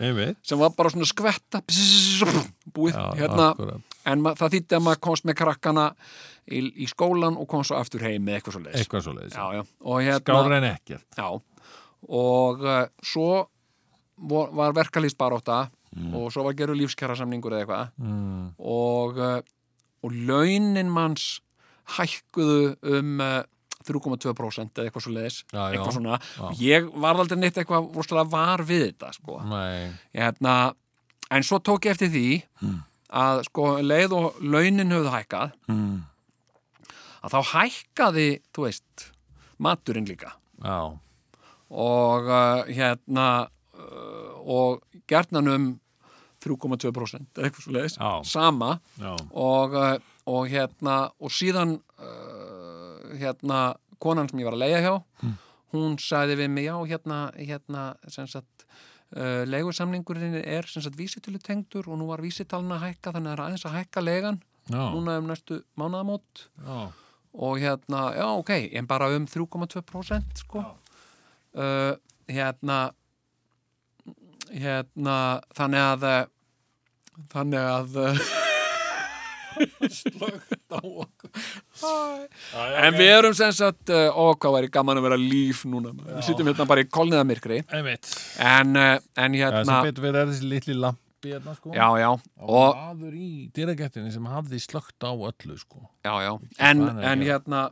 Speaker 1: einmitt.
Speaker 3: sem var bara svona skvetta bzz, búið
Speaker 1: Já,
Speaker 3: hérna
Speaker 1: akkúrat.
Speaker 3: en ma- það þýtti að maður komst með krakkana í, í skólan og komst svo aftur heim með eitthvað svo leiðis
Speaker 1: Eitthvað svo leiðis.
Speaker 3: já, já. og hérna
Speaker 1: Gára en ekkert.
Speaker 3: já. og uh, svo vor, var verkalýst baróta
Speaker 1: Mm.
Speaker 3: og svo var gerur lífskjara samningur eða eitthvað mm. og, uh, og launin manns hækkuðu um uh, 3,2% eða eitthvað svo leiðis
Speaker 1: Já, já.
Speaker 3: eitthvað svona, ég var aldrei neitt eitthvað rosalega var við þetta sko
Speaker 1: Nei.
Speaker 3: hérna, en svo tók ég eftir því að sko leið og launin höfðu hækkað að þá hækkaði þú veist, maturinn líka
Speaker 1: Já,
Speaker 3: og uh, hérna uh, og gerðnan um 3,2% eða eitthvað svo leiðis
Speaker 1: Já.
Speaker 3: sama
Speaker 1: já.
Speaker 3: og, uh, og hérna og síðan uh, hérna konan sem ég var að leiga hjá hún sagði við mig já hérna, hérna sem sagt uh, leigusamningurinn er sem sagt vísitölu tengdur og nú var vísitalna að hækka þannig að það er aðeins að hækka leigan
Speaker 1: Já,
Speaker 3: núna um næstu mánaðamót
Speaker 1: já.
Speaker 3: og hérna, já ok, en bara um 3,2% sko uh, hérna hérna, þannig að uh, þannig að slögt á okkur en við erum sem sagt uh, ó, hvað væri gaman að vera líf núna maður. við sittum hérna bara í kolniðamyrkri
Speaker 1: Einmitt.
Speaker 3: en, uh, en
Speaker 1: Já,
Speaker 3: hérna
Speaker 1: sem betur verið er þessi litli lampi hérna sko
Speaker 3: já, já,
Speaker 1: og
Speaker 3: og,
Speaker 1: aður í dyragættinni sem hafði slögt á öllu sko
Speaker 3: já, já. en,
Speaker 1: hvað hann er að
Speaker 3: en
Speaker 1: gera.
Speaker 3: hérna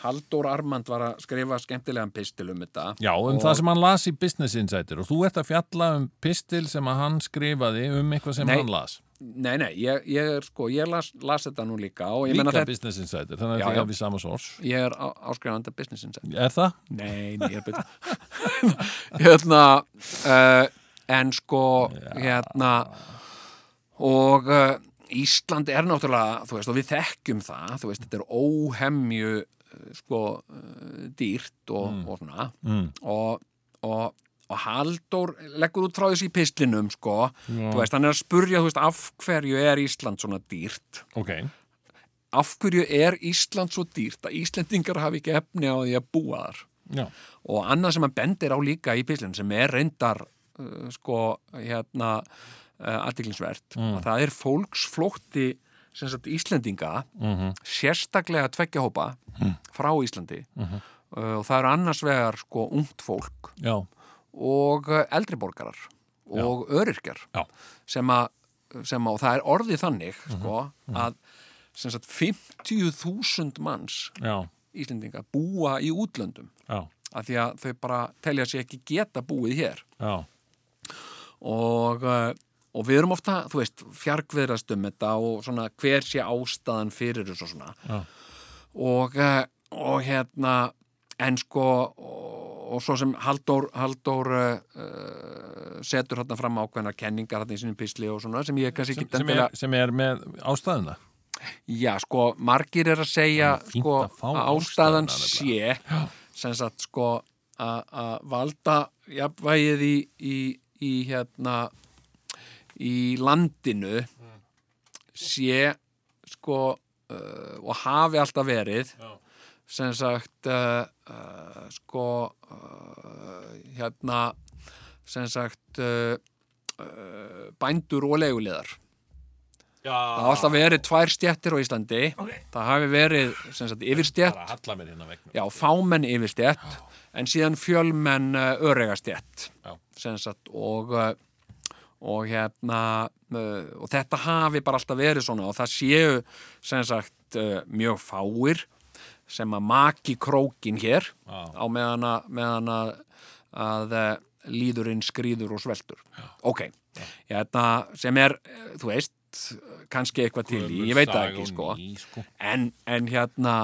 Speaker 3: Halldór Armand var að skrifa skemmtilegan pistil um þetta
Speaker 1: Já, um
Speaker 3: Og-
Speaker 1: það sem hann las í Business Insider og þú ert að fjalla um pistil sem að hann skrifaði um eitthvað sem
Speaker 3: Nei.
Speaker 1: hann las
Speaker 3: Nei, nei, ég, ég er sko, ég las, las þetta nú líka og ég
Speaker 1: Líka
Speaker 3: menna þetta,
Speaker 1: Business Insider, þannig að
Speaker 3: Já, já.
Speaker 1: það er við sama sors
Speaker 3: ég er á- áskrifandi af business insight.
Speaker 1: Er það?
Speaker 3: Nei, nei, ég er betur. hérna, uh, en sko, hérna, og uh, Ísland er náttúrulega, þú veist, og við þekkjum það, þú veist, þetta er óhemju, eh, Mm. uh, sko, uh, dýrt og, og svona,
Speaker 1: Mm.
Speaker 3: og, og, og Halldór leggur út frá þessu í pislinum sko,
Speaker 1: Já.
Speaker 3: þú veist, hann er að spurja þú veist, af hverju er Ísland svona dýrt
Speaker 1: ok,
Speaker 3: af hverju er Ísland svo dýrt að Íslendingar hafi ekki efni á því að búa þar
Speaker 1: já,
Speaker 3: og annað sem hann bendir á líka í pislinu sem er reyndar uh, sko hérna uh, aðdiklinsvert, að það er fólksflótti sem sagt Íslendinga -hmm. sérstaklega tveggjahópa frá Íslandi uh, og það eru annars vegar sko ungt fólk
Speaker 1: já,
Speaker 3: og uh, eldri borgarar og öryrkjar
Speaker 1: já,
Speaker 3: sem að, sem að og það er orðið þannig sko að sem sagt 50.000 manns
Speaker 1: já,
Speaker 3: Íslendinga búa í útlöndum
Speaker 1: já,
Speaker 3: af því að þau bara telja sér ekki geta búið hér
Speaker 1: já,
Speaker 3: og, eh, og við erum ofta, þú veist, fjarkviðrast um þetta og svona hver sé ástæðan fyrir þessu og svona
Speaker 1: Já.
Speaker 3: og, eh, og hérna en sko og, og svo sem Halldór, Halldór uh, setur hérna fram ákveðna kenningar hérna í sínum písli og svona sem ég kannski
Speaker 1: sem,
Speaker 3: ekki
Speaker 1: sem, er, sem er með ástæðuna
Speaker 3: Já, sko, margir er að segja
Speaker 1: Það er fínt
Speaker 3: sko,
Speaker 1: að fá
Speaker 3: að
Speaker 1: ástæðuna
Speaker 3: ástæðan sé sem sagt, sko, að að valda jafnvægið í, í, í hérna í landinu sé sko uh, og hafi alltaf verið sem sagt uh, uh, sko uh, hérna sem sagt uh, uh, bændur og leigulegar Það hafa alltaf verið tvær stjættir á Íslandi Það hafi verið sem sagt,
Speaker 1: bara
Speaker 3: yfirstjætt,
Speaker 1: að halla mér hérna vegna
Speaker 3: já, fámenn yfirstjætt en síðan fjölmenn uh, öregastjætt
Speaker 1: Já.
Speaker 3: sem sagt, og, uh, og hérna uh, og þetta hafi bara alltaf verið svona og það séu sem sagt uh, mjög fáir sem að maki krókin hér
Speaker 1: Já.
Speaker 3: á meðan að, meðan að, að eh, líðurinn skrýður og sveltur ok, hérna, sem er eh, þú veist, kannski eitthvað til í ég veit
Speaker 1: Gömul
Speaker 3: það ekki,
Speaker 1: saga
Speaker 3: sko
Speaker 1: og ný, sko.
Speaker 3: en, en hérna,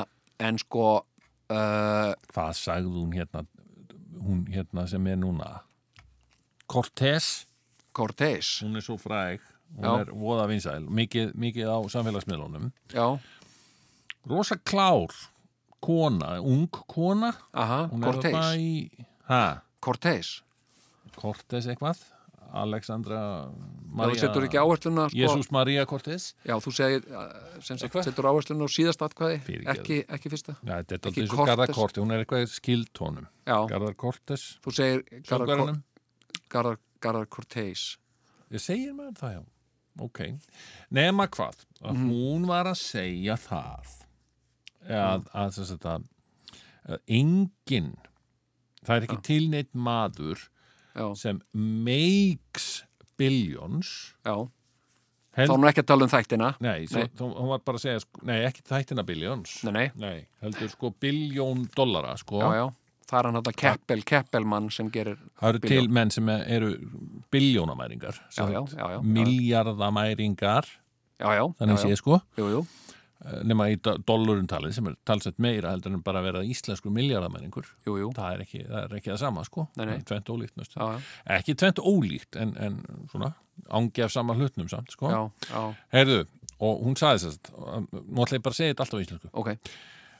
Speaker 3: en sko uh,
Speaker 1: hvað sagði hún hérna hún hérna sem er núna Cortés
Speaker 3: Cortés
Speaker 1: hún er svo fræg hún
Speaker 3: Já.
Speaker 1: er voða vinsæl, mikið, mikið á samfélagsmiðlunum
Speaker 3: já,
Speaker 1: rosa klár kona, ung kona
Speaker 3: aha,
Speaker 1: hún er
Speaker 3: Cortés
Speaker 1: þarna í ha,
Speaker 3: Cortés,
Speaker 1: Cortés eitthvað Alexandra
Speaker 3: já, þú setur ekki áhersluna sko,
Speaker 1: Jésús María Cortés
Speaker 3: já, þú segir, eh, sem sagt,
Speaker 1: Eitthvað?
Speaker 3: setur áhersluna á síðast atkvæði,
Speaker 1: Fyrirgefðu.
Speaker 3: ekki, ekki fyrsta
Speaker 1: Já, þetta er alltaf
Speaker 3: Ekki
Speaker 1: eins og Garðar
Speaker 3: Cortés.
Speaker 1: Cortés, hún er eitthvað skild honum
Speaker 3: já,
Speaker 1: Garðar Cortés,
Speaker 3: þú segir Garðar Cor-
Speaker 1: sjókvaranum
Speaker 3: Garðar- Garðar Cortés
Speaker 1: Ég segir maður það, já. Ok. Nema hvað, að
Speaker 3: Mhm.
Speaker 1: hún var að segja það að, að þess að það engin það er ekki tilneitt maður
Speaker 3: já,
Speaker 1: sem makes billions
Speaker 3: já
Speaker 1: held,
Speaker 3: Þá er nú ekki að tala um þættina.
Speaker 1: nei, svo,
Speaker 3: nei.
Speaker 1: Þó, hún var bara að segja sko, nei, ekki þættina billions
Speaker 3: Nei, nei,
Speaker 1: heldur sko biljón dollara sko.
Speaker 3: já, já. Það er hann þetta Keppel, Keppelmann sem gerir...
Speaker 1: það eru
Speaker 3: Billjón.
Speaker 1: til menn sem eru biljónamæringar
Speaker 3: Já, já, já, já.
Speaker 1: miljardamæringar
Speaker 3: Já, já,
Speaker 1: þannig
Speaker 3: já, já.
Speaker 1: sé sko
Speaker 3: Jú, jú,
Speaker 1: nema í dollurinn talið sem er talsett meira heldur en bara að vera íslenskur miljardamenningur
Speaker 3: jú, jú.
Speaker 1: það er ekki það, er ekki það sama sko
Speaker 3: Nei, nei.
Speaker 1: Það er tvennt ólíkt næstu.
Speaker 3: Já, já,
Speaker 1: ekki tvennt ólíkt en, en svona ángef sama hlutnum samt sko
Speaker 3: já, já,
Speaker 1: heyrðu og hún sagði þess að nú ætla ég bara að segja þetta alltaf á íslensku
Speaker 3: ok.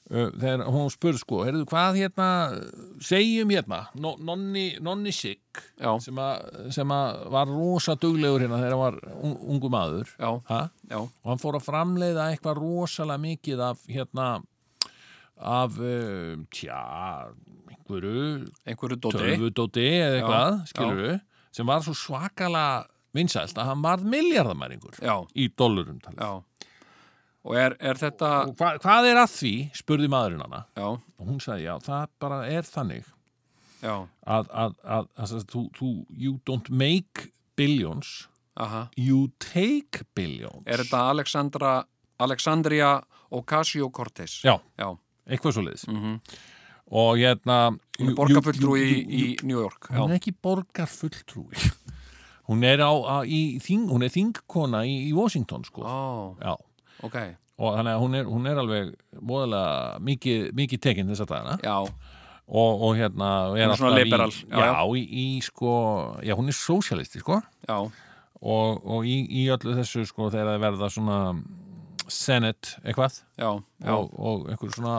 Speaker 1: Uh, þegar hún spurði sko heyrðu hvað hérna segjum hérna no, nonni, nonni Sigg
Speaker 3: Já.
Speaker 1: sem, að- sem að var rosa duglegur hérna þegar hann var un, ungu maður
Speaker 3: Já.
Speaker 1: ha?
Speaker 3: Já,
Speaker 1: og hann fór að framleiða eitthvað rosalega mikið af hérna af, uh, tja einhverju
Speaker 3: einhverju dóti.
Speaker 1: tölvudóti eða eitthvað,
Speaker 3: Já,
Speaker 1: skilur sem var svo svakalega vinsælt að hann varð miljardamæringur
Speaker 3: Já,
Speaker 1: í dollurum
Speaker 3: já.
Speaker 1: talið
Speaker 3: Og er, er þetta...
Speaker 1: og hva, hvað er að því, spurði maðurinn hana
Speaker 3: Já,
Speaker 1: og hún sagði, já, það bara er þannig
Speaker 3: já,
Speaker 1: að, að, að, að, að þú, þú, you don't make billions,
Speaker 3: aha.
Speaker 1: you take billions
Speaker 3: Er þetta Alexandra, Alexandria Ocasio-Cortez?
Speaker 1: já,
Speaker 3: Já,
Speaker 1: eitthvað svo liðis og hérna
Speaker 3: Mhm. hún
Speaker 1: you-
Speaker 3: er
Speaker 1: you-
Speaker 3: borgarfulltrúi
Speaker 1: you-
Speaker 3: í,
Speaker 1: you-
Speaker 3: í New York.
Speaker 1: hún
Speaker 3: Já,
Speaker 1: er ekki borgar fulltrúi hún er, á, á, í, þing, hún er þingkona í, í Washington sko
Speaker 3: ó,
Speaker 1: Já.
Speaker 3: ok.
Speaker 1: og þannig að hún er, hún er alveg móðalega mikið, mikið tekinn þess að dagana
Speaker 3: Já,
Speaker 1: og, og hérna og
Speaker 3: Hún er svona
Speaker 1: alltaf
Speaker 3: liberal,
Speaker 1: í,
Speaker 3: já,
Speaker 1: já, Í, í sko, já, hún er sósialisti sko
Speaker 3: já,
Speaker 1: og, og í, í öllu þessu sko þegar það verða svona senate eitthvað
Speaker 3: já, já,
Speaker 1: og, og einhver svona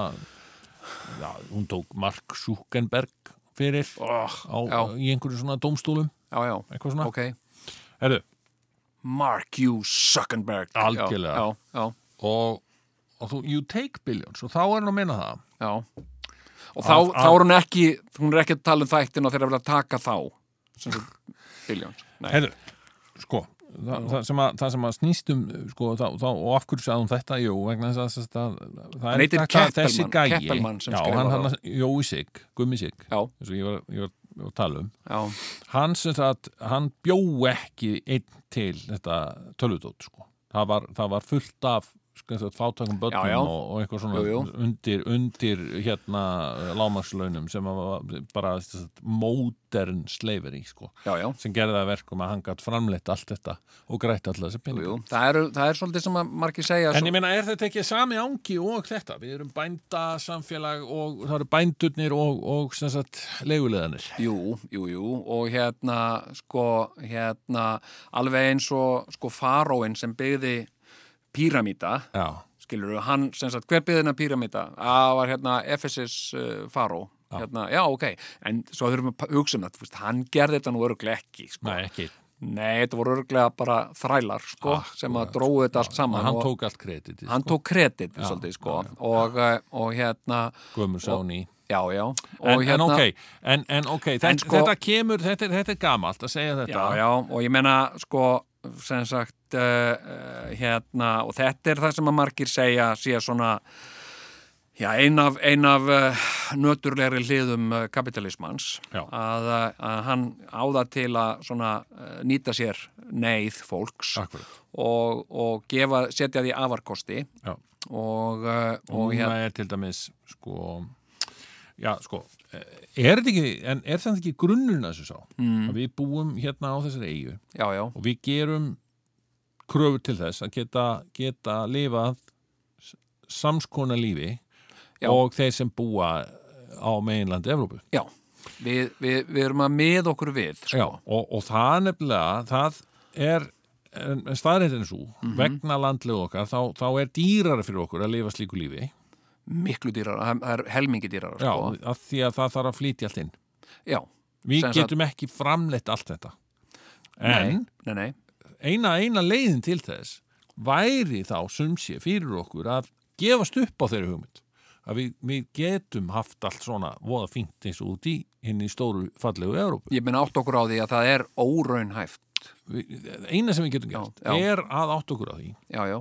Speaker 1: já, hún tók Mark Zuckerberg fyrir
Speaker 3: oh,
Speaker 1: á,
Speaker 3: já,
Speaker 1: í einhverju svona dómstúlum
Speaker 3: já, já,
Speaker 1: eitthvað svona
Speaker 3: ok
Speaker 1: Heru,
Speaker 3: Mark you Zuckerberg
Speaker 1: Algjörlega.
Speaker 3: já, já,
Speaker 1: og, og þú, you take billions og þá er hann að minna það
Speaker 3: já, já. og þá,
Speaker 1: Að-
Speaker 3: þá er hún ekki hún er ekki að tala um þættin og þeirra vilja taka þá sem sagt, biljóns Nei,
Speaker 1: Heyrðu, sko Þa, það, sem að, það sem að snýstum sko, þá, þá, og af hverju sagði hún þetta jú, vegna þess að, þess að, að það
Speaker 3: Hann
Speaker 1: er
Speaker 3: heitir
Speaker 1: þetta- þessi
Speaker 3: Keppelman-
Speaker 1: gæi
Speaker 3: Keppelman sem
Speaker 1: já,
Speaker 3: skrifar
Speaker 1: hann,
Speaker 3: það.
Speaker 1: hann, Jói Sig, Gummi Sig
Speaker 3: já,
Speaker 1: eins og ég var, ég var, ég var að tala um
Speaker 3: já,
Speaker 1: hann sem sagt, hann bjó ekki einn til þetta tölvutótt sko. það, var, það var fullt af sko, sagt, fátakum börnum
Speaker 3: Já, já.
Speaker 1: Og, og eitthvað svona
Speaker 3: Jú, jú.
Speaker 1: undir, undir hérna lámarslaunum sem að var bara sem sagt, modern slavery sko,
Speaker 3: já, já
Speaker 1: sem gerði það að verkum að hann gætt framleitt allt þetta og grætt alltaf þessi
Speaker 3: Jú,
Speaker 1: peninga
Speaker 3: jú. Það, er, það er svolítið sem að margir segja
Speaker 1: En ég meina, er þetta ekki sami ángi og þetta? Við erum bænda samfélag og það eru bændurnir og, og sem sagt, leiguleðanir.
Speaker 3: Jú, jú, jú, og hérna, sko, hérna, alveg eins og, sko, faróin sem byggði píramíta,
Speaker 1: Já,
Speaker 3: skilur við, hann, sem sagt, hver byggði hennar píramíta? Að var, hérna, Ephesus uh, faró, hérna, já, ok, en svo þurfum við að hugsa um þetta, þú veist, hann gerði þetta nú öruglega ekki, sko.
Speaker 1: nei, ekki.
Speaker 3: Nei, þetta voru öruglega bara þrælar, sko,
Speaker 1: Akkurat.
Speaker 3: sem að dróðu þetta allt
Speaker 1: Og
Speaker 3: saman
Speaker 1: hann
Speaker 3: og
Speaker 1: tók allt kreditið,
Speaker 3: hann
Speaker 1: sko.
Speaker 3: tók kredit,
Speaker 1: Já,
Speaker 3: svolítið, sko,
Speaker 1: já, já.
Speaker 3: og, eh, og hérna,
Speaker 1: Gömur sá ný.
Speaker 3: já, já, og
Speaker 1: En,
Speaker 3: hérna...
Speaker 1: en ok, en, en ok, þetta,
Speaker 3: En sko-
Speaker 1: þetta kemur, þetta, er- þetta er gamalt að segja þetta.
Speaker 3: já, já, og ég meina sko, sem sagt uh, uh, hérna, og þetta er það sem að margir segja, sé svona já, ein af, ein af uh, nöturlegri hliðum uh, kapitalismans
Speaker 1: Já.
Speaker 3: að, uh, að hann áða til að svona uh, nýta sér neyð fólks
Speaker 1: Akkurat.
Speaker 3: og, og gefa, setja því afarkosti
Speaker 1: Já.
Speaker 3: og, uh,
Speaker 1: Og
Speaker 3: og hérna,
Speaker 1: núna er til dæmis, sko, já, sko, er þetta ekki, en er þetta ekki grunnurinn að þessu sá? Mm. Að við búum hérna á þessari eigu
Speaker 3: já, já,
Speaker 1: og við gerum kröfur til þess að geta, geta lifað s- samskona lífi
Speaker 3: Já.
Speaker 1: og þeir sem búa á meginlandi Evrópu.
Speaker 3: já við, við, við erum að mið okkur við sko.
Speaker 1: Já, og, og það nefnilega, það er staðrættin svo,
Speaker 3: Mhm.
Speaker 1: vegna landlegu okkar, þá, þá er dýrara fyrir okkur að lifa slíku lífi,
Speaker 3: miklu dýrar, það er helmingi dýrar
Speaker 1: já,
Speaker 3: sko.
Speaker 1: að því að það þarf að flytja allt inn.
Speaker 3: já,
Speaker 1: Við
Speaker 3: Sem sagt-
Speaker 1: getum ekki framleitt allt þetta. En
Speaker 3: nei, nei, nei.
Speaker 1: eina, eina leiðin til þess væri þá sumsé fyrir okkur að gefast upp á þeirri hugmynd að við, við getum haft allt svona voða fínt eins og út í hinn í stóru fallegu Európu.
Speaker 3: ég minn átt okkur á því að það er óraunhæft
Speaker 1: Við- Eina sem við getum
Speaker 3: Já,
Speaker 1: gert
Speaker 3: já.
Speaker 1: er að átt okkur á því
Speaker 3: já, já,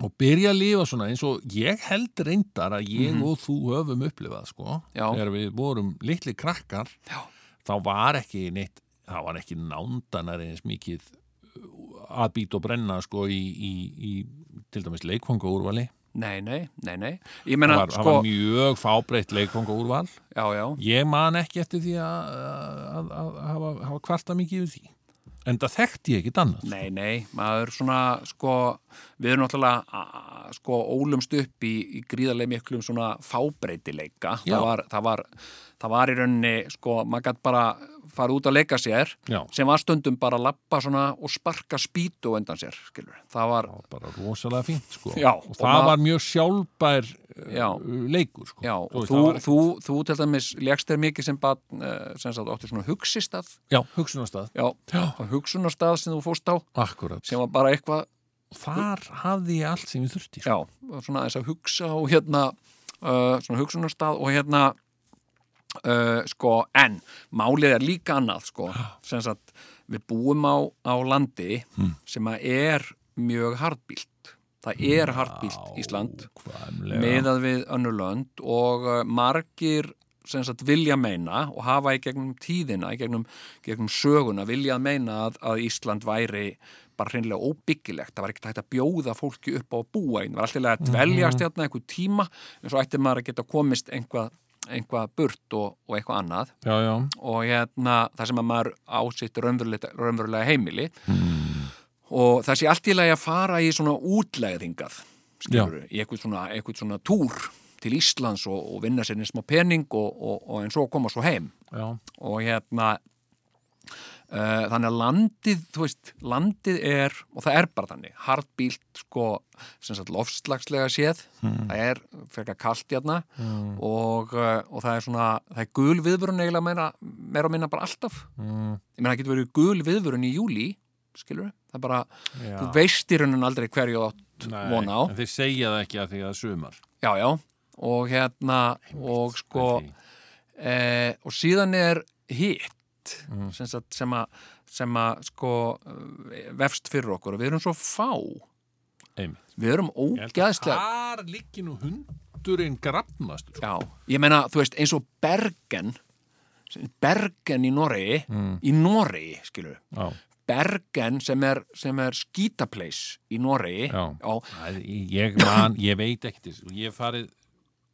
Speaker 1: og byrja að lifa svona eins og ég held reyndar að ég og þú höfum upplifað sko,
Speaker 3: Mhm. Já.
Speaker 1: þegar við vorum litli krakkar
Speaker 3: Já.
Speaker 1: þá var ekki neitt, það var ekki nándanar eins mikið uh, að býta og brenna sko í, í, í til dæmis leikfanga úrvali
Speaker 3: nei, nei, nei, nei ég menna,
Speaker 1: það var, það
Speaker 3: sko,
Speaker 1: var mjög fábreytt leikfanga úrval
Speaker 3: já, já
Speaker 1: ég man ekki eftir því að, að, að, að hafa, hafa kvarta mikið yfir því en það þekkti ég ekkit annað
Speaker 3: nei, nei, maður svona, sko við erum náttúrulega, a- sko, ólumst upp í, í gríðarlega miklum svona fábreytileika,
Speaker 1: Já.
Speaker 3: það var, það var það var í rauninni, sko, maður gætt bara fara út að leika sér
Speaker 1: Já.
Speaker 3: sem var stundum bara að lappa svona og sparka spýtu á undan sér, skilur það var,
Speaker 1: það var bara rosalega fínt sko
Speaker 3: Já,
Speaker 1: og
Speaker 3: og
Speaker 1: það
Speaker 3: ma-
Speaker 1: var mjög sjálfbær
Speaker 3: Já.
Speaker 1: já. leikur sko
Speaker 3: já,
Speaker 1: þú,
Speaker 3: og
Speaker 1: veist,
Speaker 3: þú,
Speaker 1: það var ekki-
Speaker 3: þú, þú til dæmis legst þér mikið sem bara, sem sagt, áttu svona hugsistað
Speaker 1: já, hugsunarstað
Speaker 3: Já, og hugsunarstað sem þú fórst á
Speaker 1: akkurat,
Speaker 3: sem var bara eitthvað,
Speaker 1: þar hafði ég allt sem ég þurfti sko.
Speaker 3: já, svona þess að hugsa og hérna, uh, svona hugsunarstað og hérna uh, sko, en málið er líka annað, sko, sem sagt við búum á, á landi sem að er mjög hardbílt það er hardbílt Ísland
Speaker 1: Nákvæmlega.
Speaker 3: meðað við önnulönd og uh, margir sem sagt vilja meina og hafa í gegnum tíðina, í gegnum, gegnum söguna viljað meina að, að Ísland væri bara hreinlega óbyggilegt það var ekkert hægt að bjóða fólki upp á að búa einn, það var alltaf lega að dveljast hérna einhver tíma en svo ætti maður að geta komist einhvað, einhvað burt og, og eitthvað annað
Speaker 1: já, já,
Speaker 3: og hérna, það sem að maður ásitt raunverulega, raunverulega heimili og það sé allt í lagi að fara í svona útlegðingað skilur, í eitthvað svona, eitthvað svona túr til Íslands og, og vinna sér einn smá pening og, og, og en svo koma svo heim
Speaker 1: já,
Speaker 3: og hérna Uh, þannig að landið, þú veist, landið er, og það er bara þannig, hardbílt, sko, sem sagt lofslagslega séð, það er frekar kalt hérna og, uh, og það er svona, það er gul viðvörun eiginlega meira, meira og minna bara alltaf.
Speaker 1: Mm,
Speaker 3: Ég meina, það getur verið gul viðvörun í júli, skilur það er bara,
Speaker 1: já.
Speaker 3: þú veist í raunin aldrei hverju þú átt
Speaker 1: Nei,
Speaker 3: von á.
Speaker 1: en þeir segja það ekki að því að það er sumar
Speaker 3: Já, já, og hérna, og sko,
Speaker 1: Því.
Speaker 3: eh, og síðan er hitt
Speaker 1: Mm.
Speaker 3: sem, sagt, sem að sem að sko eh, vefst fyrir okkur og við erum svo fá
Speaker 1: Einmitt.
Speaker 3: við erum ógæðslega
Speaker 1: Þar liggi nú hundurinn sko. grafnast
Speaker 3: Já, ég meina, þú veist, eins og Bergen Bergen í Noregi
Speaker 1: Mm.
Speaker 3: í Noregi, skilur
Speaker 1: Já,
Speaker 3: Bergen sem er, sem er skítapleis í Noregi
Speaker 1: Já.
Speaker 3: já,
Speaker 1: Æ, ég man, ég veit ekkert þess og ég hef farið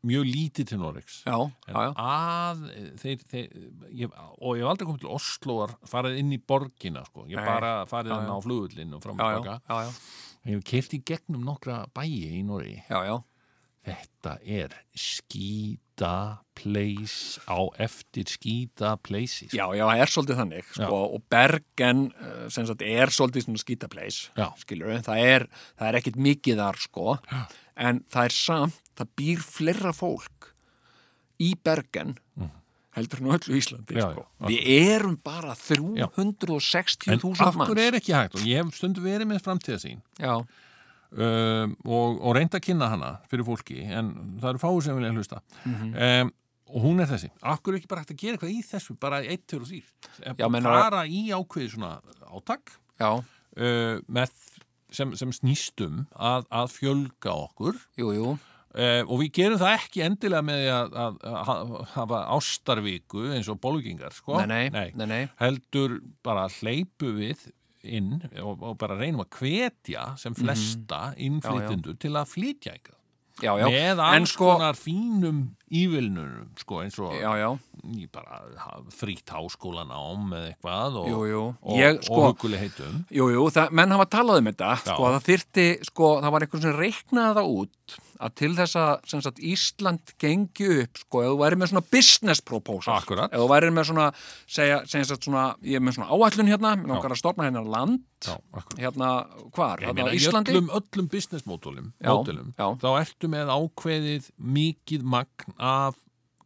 Speaker 1: mjög lítið til Noregs
Speaker 3: já,
Speaker 1: en
Speaker 3: já, já.
Speaker 1: að eh, þeir, þeir ég, og ég hef aldrei komið til Osloar farið inn í borgina sko ég
Speaker 3: Nei.
Speaker 1: bara farið
Speaker 3: Já,
Speaker 1: hann
Speaker 3: já.
Speaker 1: á flugullin og fram
Speaker 3: Já,
Speaker 1: og
Speaker 3: já,
Speaker 1: baka
Speaker 3: já, já,
Speaker 1: ég hef keift í gegnum nokkra bæi í Noregi
Speaker 3: já, já.
Speaker 1: þetta er skýta place á eftir sko. skýta places
Speaker 3: Já, já, það er svolítið þannig sko, og Bergen eh, sem sagt er svolítið svona skítapleis
Speaker 1: Já.
Speaker 3: skilur við, það er, það er ekkit mikið þar sko, já. en það er samt það býr fleira fólk í Bergen heldur nú öllu Íslandi
Speaker 1: Mhm. Já,
Speaker 3: sko.
Speaker 1: já,
Speaker 3: við erum bara
Speaker 1: Já.
Speaker 3: 360.000
Speaker 1: en af
Speaker 3: manns
Speaker 1: hverju er ekki hægt og ég hef stundu verið með framtíðasín
Speaker 3: Já,
Speaker 1: um, og, og reynda að kynna hana fyrir fólki en það eru fáið sem vilja hlusta
Speaker 3: Mhm.
Speaker 1: um, og hún er þessi Akkur er ekki bara hægt að gera eitthvað í þessu bara eitt, tveir og þýr
Speaker 3: Já, menar-
Speaker 1: fara í ákveði svona átak
Speaker 3: já,
Speaker 1: uh, með, sem, sem snýstum að, að fjölga okkur
Speaker 3: jú, jú
Speaker 1: Uh, og við gerum það ekki endilega með því að, að, að hafa ástarviku eins og bólgingar, sko.
Speaker 3: Nei, nei, nei, nei.
Speaker 1: Heldur bara hleypu við inn og, og bara reynum að hvetja sem
Speaker 3: Mhm.
Speaker 1: flesta innflytjendur til að flytja eitthvað.
Speaker 3: Já, já,
Speaker 1: Með
Speaker 3: en
Speaker 1: alls
Speaker 3: sko
Speaker 1: konar fínum ívilnunum, sko, eins og
Speaker 3: Já, já,
Speaker 1: í bara ha- frítt háskólanám eða eitthvað og,
Speaker 3: Jú, jú.
Speaker 1: og,
Speaker 3: Ég,
Speaker 1: og
Speaker 3: sko-
Speaker 1: huguleg heitum.
Speaker 3: Jú, jú, það, menn hafa talað um þetta
Speaker 1: Já.
Speaker 3: sko, að það þyrti, sko, það var einhvern sem reiknaði það út að til þess að sem sagt, Ísland gengi upp sko, ef þú væri með svona business proposal
Speaker 1: Akkúrat.
Speaker 3: ef þú væri með svona, segja, segja sagt, svona ég er með svona áætlun hérna með nokkar að stofna hérna land
Speaker 1: Já, akkurat.
Speaker 3: hérna, hvar,
Speaker 1: Ég
Speaker 3: hérna
Speaker 1: meina,
Speaker 3: á
Speaker 1: í
Speaker 3: Íslandi
Speaker 1: öllum, öllum business módulum,
Speaker 3: Já,
Speaker 1: módulum
Speaker 3: já.
Speaker 1: þá ertu með ákveðið mikið magn af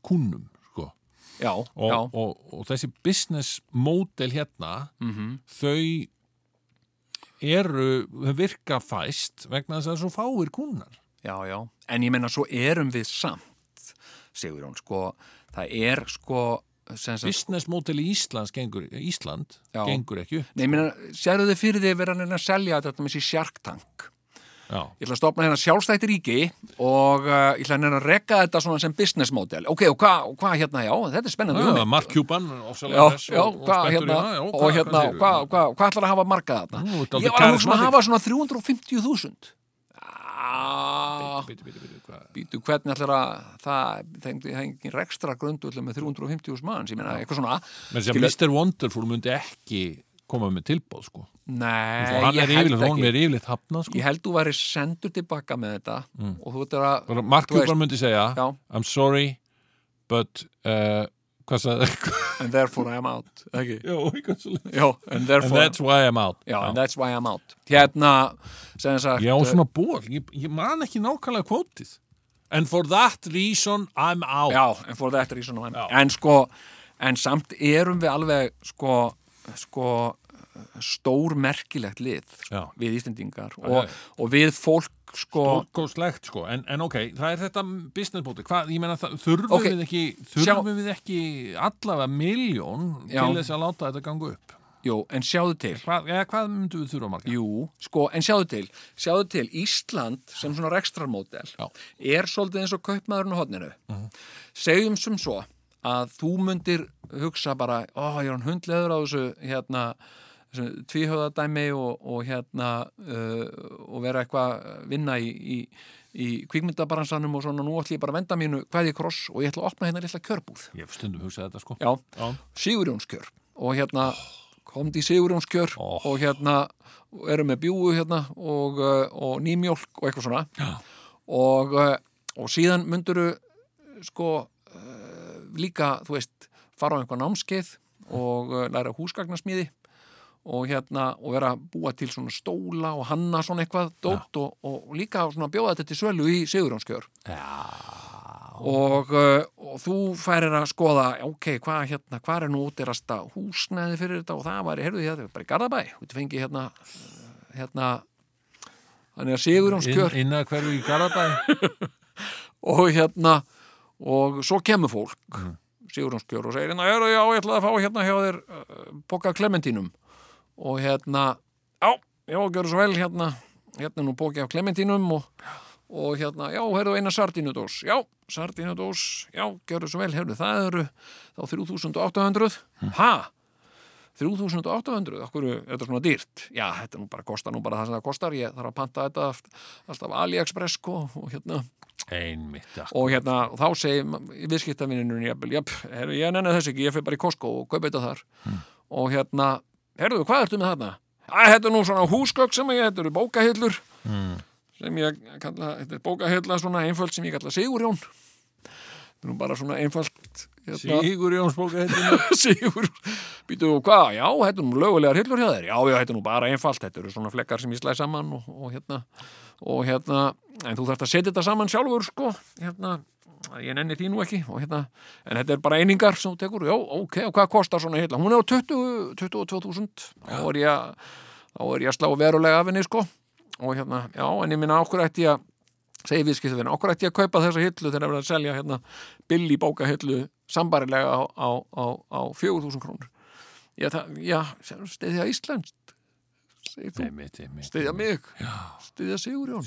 Speaker 1: kunnum sko.
Speaker 3: já,
Speaker 1: og,
Speaker 3: já,
Speaker 1: og, og þessi business módel hérna
Speaker 3: mhm,
Speaker 1: þau eru þau virka fæst vegna þess að svo fáir kunnar
Speaker 3: já, já en ég meina svo erum við samt Sigurjón, sko, það er sko, sem sagt
Speaker 1: business módel í Íslands gengur, Ísland
Speaker 3: Já.
Speaker 1: gengur ekki upp
Speaker 3: Nei, ég meina, sérðu þið fyrir því að vera að reyna að selja þetta með sér sjarktank
Speaker 1: já,
Speaker 3: ég ætla að stopna hérna sjálfstætt ríki og uh, ég ætla hérna að rekka þetta svona sem business model. Ok, og hvað hva, hérna, já, þetta er spennandi.
Speaker 1: já,
Speaker 3: hugmynd.
Speaker 1: Mark Cuban
Speaker 3: já,
Speaker 1: ofsalega hress
Speaker 3: já,
Speaker 1: og- og spenntur
Speaker 3: hvað
Speaker 1: í
Speaker 3: hérna,
Speaker 1: það, já,
Speaker 3: og hérna,
Speaker 1: segirðu?
Speaker 3: hvað hva, hva ætlar að hafa markað þarna?
Speaker 1: Nú, þetta er
Speaker 3: Ég
Speaker 1: aldrei
Speaker 3: var að hugsa um
Speaker 1: karismatik.
Speaker 3: að hafa svona 350.000. Ah,
Speaker 1: Bíddu, bíddu, bíddu, hvað-
Speaker 3: býtu hvernig ætlar að það, það það er engin rekstra grundull með 350.000 manns, ég meina, eitthvað svona.
Speaker 1: menn sem
Speaker 3: Skilur-
Speaker 1: Mr. Wonderful myndi ekki koma með tilbóð sko
Speaker 3: Nei,
Speaker 1: Svo hann
Speaker 3: ég
Speaker 1: er
Speaker 3: held
Speaker 1: yfirleitt, hún
Speaker 3: ekki.
Speaker 1: er yfirleitt hafnað sko.
Speaker 3: Ég held þú væri sendur tilbaka með þetta og þú ert að...
Speaker 1: Mm. Bara Mark
Speaker 3: þú veist-
Speaker 1: Cuban myndi segja
Speaker 3: Já.
Speaker 1: I'm sorry, but uh, hvað sagði
Speaker 3: And therefore I am out, ekki?
Speaker 1: and
Speaker 3: Já, and therefore...
Speaker 1: that's why I'm out
Speaker 3: Já, and that's why I'm out. Hérna, sem sagt...
Speaker 1: ég á svona ból, ég, ég man ekki nákvæmlega kvótið and for that reason I'm out
Speaker 3: eh, Já, en fór þetta í svona hann.
Speaker 1: Já.
Speaker 3: En sko, en samt erum við alveg sko, sko stór merkilegt lið sko,
Speaker 1: Já.
Speaker 3: við Íslendingar
Speaker 1: já.
Speaker 3: og, og við fólk sko...
Speaker 1: Stórkostlegt sko, en, en ok, það er þetta businessbóti, hvað, ég meina, það- þurfum
Speaker 3: Ok,
Speaker 1: við ekki þurfum við ekki allavega miljón
Speaker 3: Já.
Speaker 1: til þess að láta þetta ganga upp
Speaker 3: Jú, en sjáðu til.
Speaker 1: hvað, eða, hvað myndum við þurfa marga?
Speaker 3: Jú, sko, en sjáðu til, sjáðu til, Ísland sem svona rekstrarmódel
Speaker 1: Já.
Speaker 3: er svolítið eins og kaupmaðurinn á hodninu. Segjum sem svo að þú mundir hugsa bara, ó, ég er hann hundleður á þessu, hérna, þessu tvíhöðadæmi og, og hérna, uh, og vera eitthvað að vinna í, í, í kvikmyndabaransanum og svona, nú ætlum ég bara að venda mínu hvað ég kross og ég ætla að opna hérna lilla kjörbúð.
Speaker 1: Ég hef stundum hugsað þetta sko
Speaker 3: Já,
Speaker 1: Já.
Speaker 3: Sigurjónskjör og hérna komd í Sigurjónskjör
Speaker 1: Oh.
Speaker 3: og hérna og erum með bjúu hérna og, uh, og nýmjólk og eitthvað svona
Speaker 1: Já.
Speaker 3: og, uh, og síðan mynduru sko eh, uh, líka, þú veist, fara á einhvað námskeið og uh, eh, læra húsgagnasmíði og hérna, og vera að búa til svona stóla og hanna svona eitthvað dótt og, og líka svona bjóða þetta til sölu í Sigurjónskjör og, uh, og þú færir að skoða, ok, hvað hérna, hvað er nú útirasta húsnæði fyrir þetta og það var, heyrðu, hérna, bara í Garðabæ og þú fengi hérna, uh, hérna þannig að Sigurjónskjör
Speaker 1: inn, inna hverju í Garabæ
Speaker 3: og hérna og svo kemur fólk mm. Sigurjónskjör og segir hérna, já, já, ég ætlaði að fá hérna hjá þér uh, boka Clementínum og hérna já, já, gjörðu svo vel hérna hérna er nú bóki af Clementínum og, og hérna, já, heyrðu eina sardínudós já, sardínudós, já, gjörðu svo vel heyrðu, það eru þá 3800 ha? 3800, okkur er þetta svona dýrt já, þetta nú bara kostar nú bara það sem það kostar ég þarf að panta þetta allt- alltaf AliExpress sko, og hérna
Speaker 1: einmitt já.
Speaker 3: og hérna og þá segir viðskiptavinninu jafnvel, jafn, herru, ég nenni þess ekki, ég fyrir bara í Costco og kaupa þetta þar og hérna, herru, hvað ertu með þarna? Æ, þetta er nú svona húsgögg sem ég, þetta eru bókahillur sem ég kalla, þetta er bókahilla svona einfalt sem ég kalla Sigurjón þetta er nú bara svona einfalt hérna,
Speaker 1: Sigur Jónsbóka heitir
Speaker 3: Sigur, býtu og hvað, já, þetta er nú lögulegar hillur hjá þér, já, já, þetta er nú bara einfalt, þetta eru svona flekkar sem ég slæði saman og, og hérna, og hérna, en þú þarft að setja þetta saman sjálfur, sko, hérna, ég nenni því nú ekki, og hérna, en þetta er bara einingar sem þú tekur, já, ok, og hvað kostar svona hilla, hún er á 20 22.000, þá er ég að, þá er ég að slá verulega af henni, sko, og hérna, já, en ég minna okkur ætti ég að, segi viðskiptafinn, okkur ætti ég að kaupa þessa hillu þegar verið að selja hérna billi bókahillu sambarilega á, á, á, á 4.000 krónur já, það, já, stiðja Ísland segir þú,
Speaker 1: einmitt, einmitt
Speaker 3: stiðja mig stiðja Sigurjón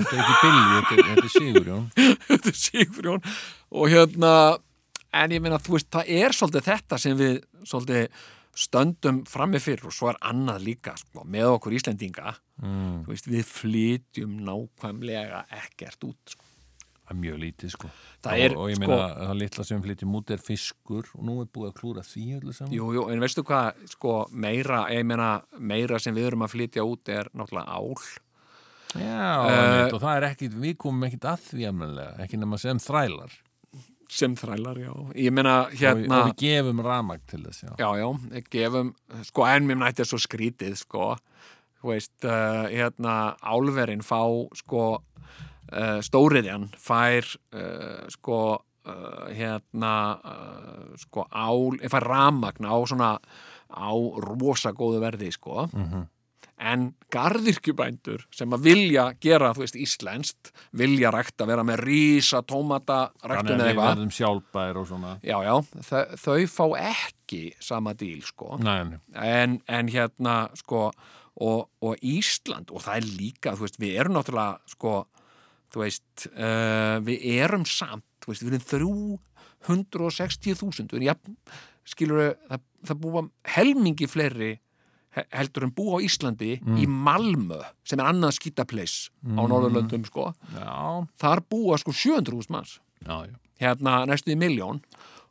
Speaker 1: Þetta er Sigurjón, þetta er ekki Billy, þetta er, þetta er Sigurjón
Speaker 3: þetta er Sigurjón og hérna, en ég meina þú veist, það er svolítið þetta sem við svolítið stöndum frammi fyrir og svo er annað líka sko, með okkur Íslendinga
Speaker 1: mm,
Speaker 3: Þú veist, við flytjum nákvæmlega ekkert út sko.
Speaker 1: það er mjög lítið sko
Speaker 3: Það er,
Speaker 1: og, og ég
Speaker 3: sko-
Speaker 1: meina það litla sem flytjum út er fiskur og nú er búið að klúra því öllu saman
Speaker 3: Jú, jú, en veistu hvað, sko, meira, ég meina, meira sem við erum að flytja út er náttúrulega ál.
Speaker 1: já,
Speaker 3: Eh,
Speaker 1: einmitt, og það er ekkit, við komum ekkit að því amlega, ekki nema sem þrælar
Speaker 3: Sem þrælar, já. Ég meina,
Speaker 1: og,
Speaker 3: hérna,
Speaker 1: og við gefum ramag til þess já.
Speaker 3: já, já, við gefum, sko, en mér nætti er svo skrítið, sko, þú veist, uh, hérna, álverin fá, sko, uh, stóriðjan fær, uh, sko, uh, hérna, uh, sko, ál, eh, fær ramagn á svona, á rosa góðu verði, sko. Mhm. en garðirkjubændur sem að vilja gera, þú veist, íslenskt vilja rækta, vera með rísa tómata
Speaker 1: þannig að
Speaker 3: ræktun eða
Speaker 1: við
Speaker 3: eitthvað
Speaker 1: verðum sjálfbæðir og svona
Speaker 3: já, já, þau, þau fá ekki sama díl, sko
Speaker 1: Næ,
Speaker 3: en, en hérna, sko og, og Ísland, og það er líka þú veist, við erum náttúrulega, sko þú veist, uh, við erum samt, þú veist, við erum 360.000, við erum jafn skilur það, það búa helmingi fleiri he- heldur en búa á Íslandi í Malmö sem er annað skítapleis á Norðurlöndum sko,
Speaker 1: já,
Speaker 3: þar búa sko 700.000 manns
Speaker 1: já, já
Speaker 3: hérna næstu í miljón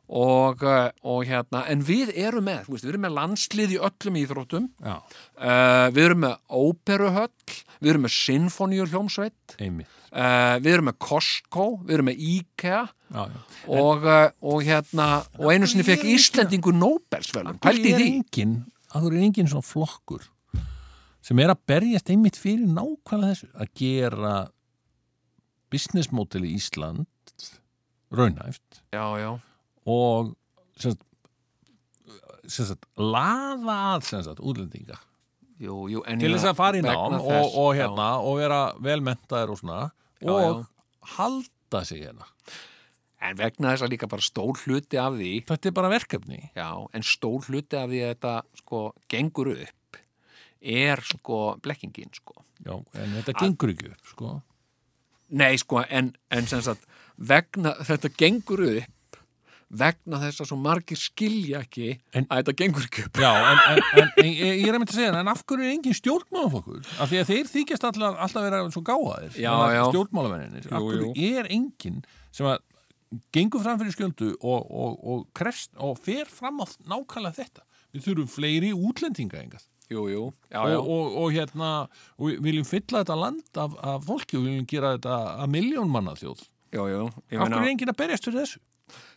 Speaker 3: og, eh, og hérna, en við erum með, þú veist, við erum með landslið í öllum íþróttum
Speaker 1: Já,
Speaker 3: uh, við erum með óperuhöll við erum með sinfoníur hljómsveit
Speaker 1: einmitt
Speaker 3: uh, við erum með Costco, við erum með IKEA
Speaker 1: já, já.
Speaker 3: og, uh, og hérna og einu sinni fekk Íslendingu Nobelsvelun, pældi
Speaker 1: er
Speaker 3: því
Speaker 1: engin, að þú er engin svona flokkur sem er að berjast einmitt fyrir nákvæmlega þessu að gera business model í Ísland raunhæft
Speaker 3: já, já,
Speaker 1: og sem sagt, sem sagt, laða að sem sagt, útlendinga
Speaker 3: jú, jú en
Speaker 1: til
Speaker 3: ég-
Speaker 1: þess að fara í
Speaker 3: vegna
Speaker 1: nám og,
Speaker 3: þess,
Speaker 1: og,
Speaker 3: já.
Speaker 1: hérna, og vera velmentaðir og svona
Speaker 3: Já,
Speaker 1: og halda sig hérna
Speaker 3: en vegna þess að líka bara stór hluti af því
Speaker 1: þetta er bara verkefni
Speaker 3: já, en stór hluti af því að þetta sko gengur upp er sko blekkingin sko
Speaker 1: já, en þetta gengur ekki upp sko.
Speaker 3: Nei, sko, en, en sem sagt, vegna, þetta gengur upp vegna þess að svo margir skilja ekki
Speaker 1: En-
Speaker 3: að þetta gengur ekki upp.
Speaker 1: Já, en, en, en, en ég ég er að mynda að segja það, en af hverju er engin stjórnmálaflokkur? Af því að þeir þykjast allar, alltaf vera svo gáðaðir
Speaker 3: Já,
Speaker 1: svona
Speaker 3: já.
Speaker 1: Stjórnmálamenninir, af
Speaker 3: Jú,
Speaker 1: hverju er engin sem að gengur fram fyrir skjöldu og, og, og krefst og fer fram á nákvæmlega þetta Við þurfum fleiri útlendinga engað
Speaker 3: Jú, jú. Já,
Speaker 1: og,
Speaker 3: já.
Speaker 1: og, og hérna og við viljum fylla þetta land af, af fólki og við viljum gera þetta að miljónmanna þjóð
Speaker 3: jú, jú, ég
Speaker 1: Af
Speaker 3: meina
Speaker 1: hverju er enginn að berjast fyrir þessu?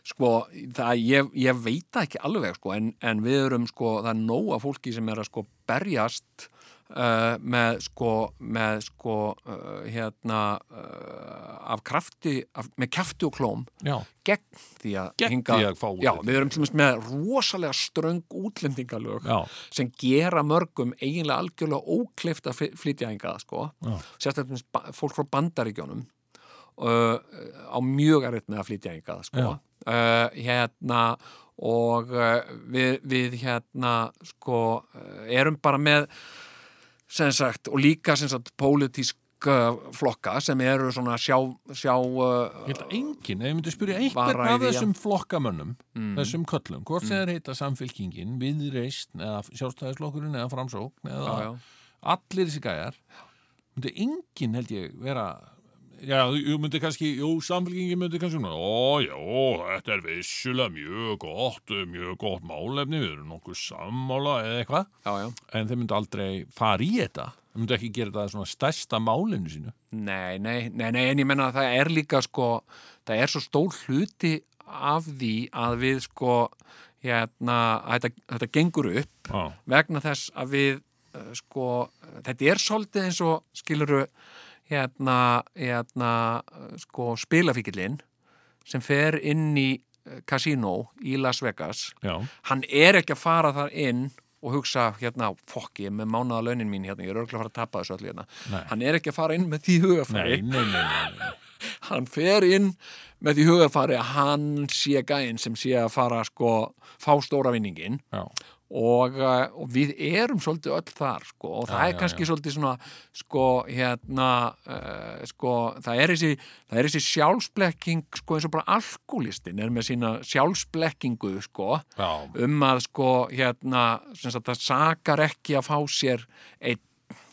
Speaker 3: sko, það, ég, ég veit það ekki alveg sko, en, en við erum sko, það er nóga fólki sem er að sko berjast uh, með sko, með sko uh, hérna uh, af krafti, af, með kjafti og klóm
Speaker 1: Já,
Speaker 3: gegn því að
Speaker 1: Gegn
Speaker 3: hinga,
Speaker 1: því að fá
Speaker 3: já,
Speaker 1: útlendinga.
Speaker 3: við erum sem sagt með rosalega ströng útlendingalög
Speaker 1: já,
Speaker 3: sem gera mörgum eiginlega algjörlega ókleift að fly- flytja hingað sko.
Speaker 1: Já.
Speaker 3: sérstaklega til dæmis ba- fólk frá bandaríkjónum uh, á mjög erfitt með að flytja hingað sko.
Speaker 1: Já.
Speaker 3: uh, hérna og uh, við, við hérna sko uh, erum bara með sem sagt og líka sem sagt pólitísk uh, flokka sem eru svona sjá, sjá uh,
Speaker 1: ég held að enginn, ef ég myndi spyrja
Speaker 3: Vara
Speaker 1: einhvern
Speaker 3: í
Speaker 1: af
Speaker 3: því að-
Speaker 1: þessum flokkamönnum,
Speaker 3: mm,
Speaker 1: þessum köllum, hvort sem þeir heita samfylkingin, viðreist, eða sjálfstæðislokkurinn, eða framsókn, eða
Speaker 3: já, já.
Speaker 1: allir þessi gæjar, myndi enginn held ég vera, já, jú, myndi kannski, jú, samfylkingin myndi kannski, svona, ó, já, þetta er vissulega mjög gott, mjög gott málefni, við erum nokkuð sammála eða eitthvað,
Speaker 3: já, já.
Speaker 1: en þeir myndi aldrei fara í þetta, þeir myndi ekki gera þetta að svona stærsta málinu sínu.
Speaker 3: Nei, nei, nei, nei, en ég menna að það er líka sko, það er svo stór hluti af því að við sko, hérna, að þetta, þetta gengur upp
Speaker 1: Já,
Speaker 3: vegna þess að við uh, sko, þetta er svolítið eins og skiluru hérna, hérna, uh, sko, spilafíkillinn sem fer inn í uh, kasínó í Las Vegas
Speaker 1: já,
Speaker 3: hann er ekki að fara þar inn og hugsa hérna, fokk ég er með mánaða launin mín hérna, ég er örgulega að fara að tapa þessu öllu hérna
Speaker 1: Nei.
Speaker 3: hann er ekki að fara inn með því hugafæri
Speaker 1: nei, nei, nei, nei, nei.
Speaker 3: hann fer inn með því hugafæri að hann sé gæinn sem sé að fara sko fá stóra vinningin
Speaker 1: já,
Speaker 3: og, eh, og við erum svolítið öll þar sko og það
Speaker 1: Já,
Speaker 3: er
Speaker 1: já,
Speaker 3: kannski svolítið svona sko hérna uh, sko það er þessi, það er þessi sjálfsblekking sko eins og bara alkoholistin er með sína sjálfsblekkingu sko
Speaker 1: já,
Speaker 3: um að sko hérna sem sagt það sakar ekki að fá sér einn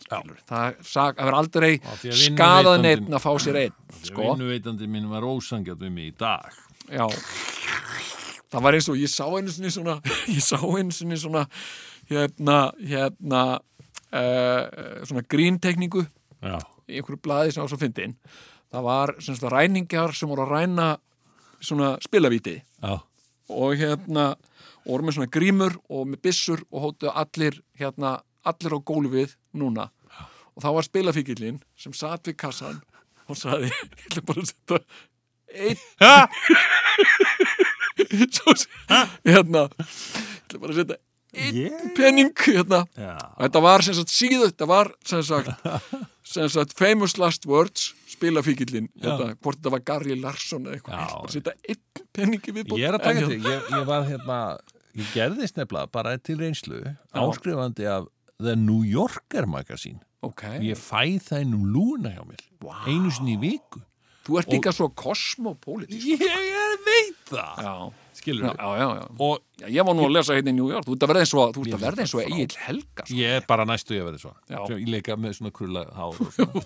Speaker 3: skilur, það, sak, það er aldrei
Speaker 1: Af því að
Speaker 3: skadað
Speaker 1: vinnuveitandinn-
Speaker 3: neitt að fá sér einn
Speaker 1: sko.
Speaker 3: sko,
Speaker 1: vinnuveitandi minn var ósangjart við mig í dag
Speaker 3: já það var eins og ég sá einu sinni svona ég sá einu sinni svona hérna, hérna uh, svona gríntekningu
Speaker 1: já,
Speaker 3: í einhverju blaði sem á svo fyndin það var sem sagt ræningjar sem voru að ræna svona spilavíti
Speaker 1: já,
Speaker 3: og hérna og voru með svona grímur og með byssur og hóttu allir hérna allir á gólfið núna og þá var spilafíkillinn sem satt við kassan og saði ég ætla bara að setja einn svo se- hérna ég ætla bara að setja einn penning hérna
Speaker 1: já,
Speaker 3: Og Þetta var sem sagt síðu, þetta var sem sagt, sem sagt famous last words, spilafíkillin, þetta, hvort þetta var Gary Larsson
Speaker 1: Já.
Speaker 3: eða eitthvað, bara setja einn peningi við
Speaker 1: ég er að taka þetta ég, ég var hérna, ég gerðist nefnilega bara til reynslu, áskrifandi af The New Yorker magasín
Speaker 3: Ok,
Speaker 1: ég fæ það innum lúna hjá mér
Speaker 3: Vá.
Speaker 1: einu sinni í viku
Speaker 3: þú ert líka svo kosmopolitísk.
Speaker 1: ég, ég veit það
Speaker 3: Já,
Speaker 1: skilur
Speaker 3: já,
Speaker 1: við
Speaker 3: já, já.
Speaker 1: og
Speaker 3: já. Ég var nú að lesa hérna í New York, þú ert að verða eins og, þú
Speaker 1: Ég
Speaker 3: ert að
Speaker 1: finnst
Speaker 3: verða eins og
Speaker 1: þetta
Speaker 3: Egil Helga. Sko.
Speaker 1: ég er bara næstu ég verði svo
Speaker 3: Já.
Speaker 1: ég leika með svona krulla hár og svona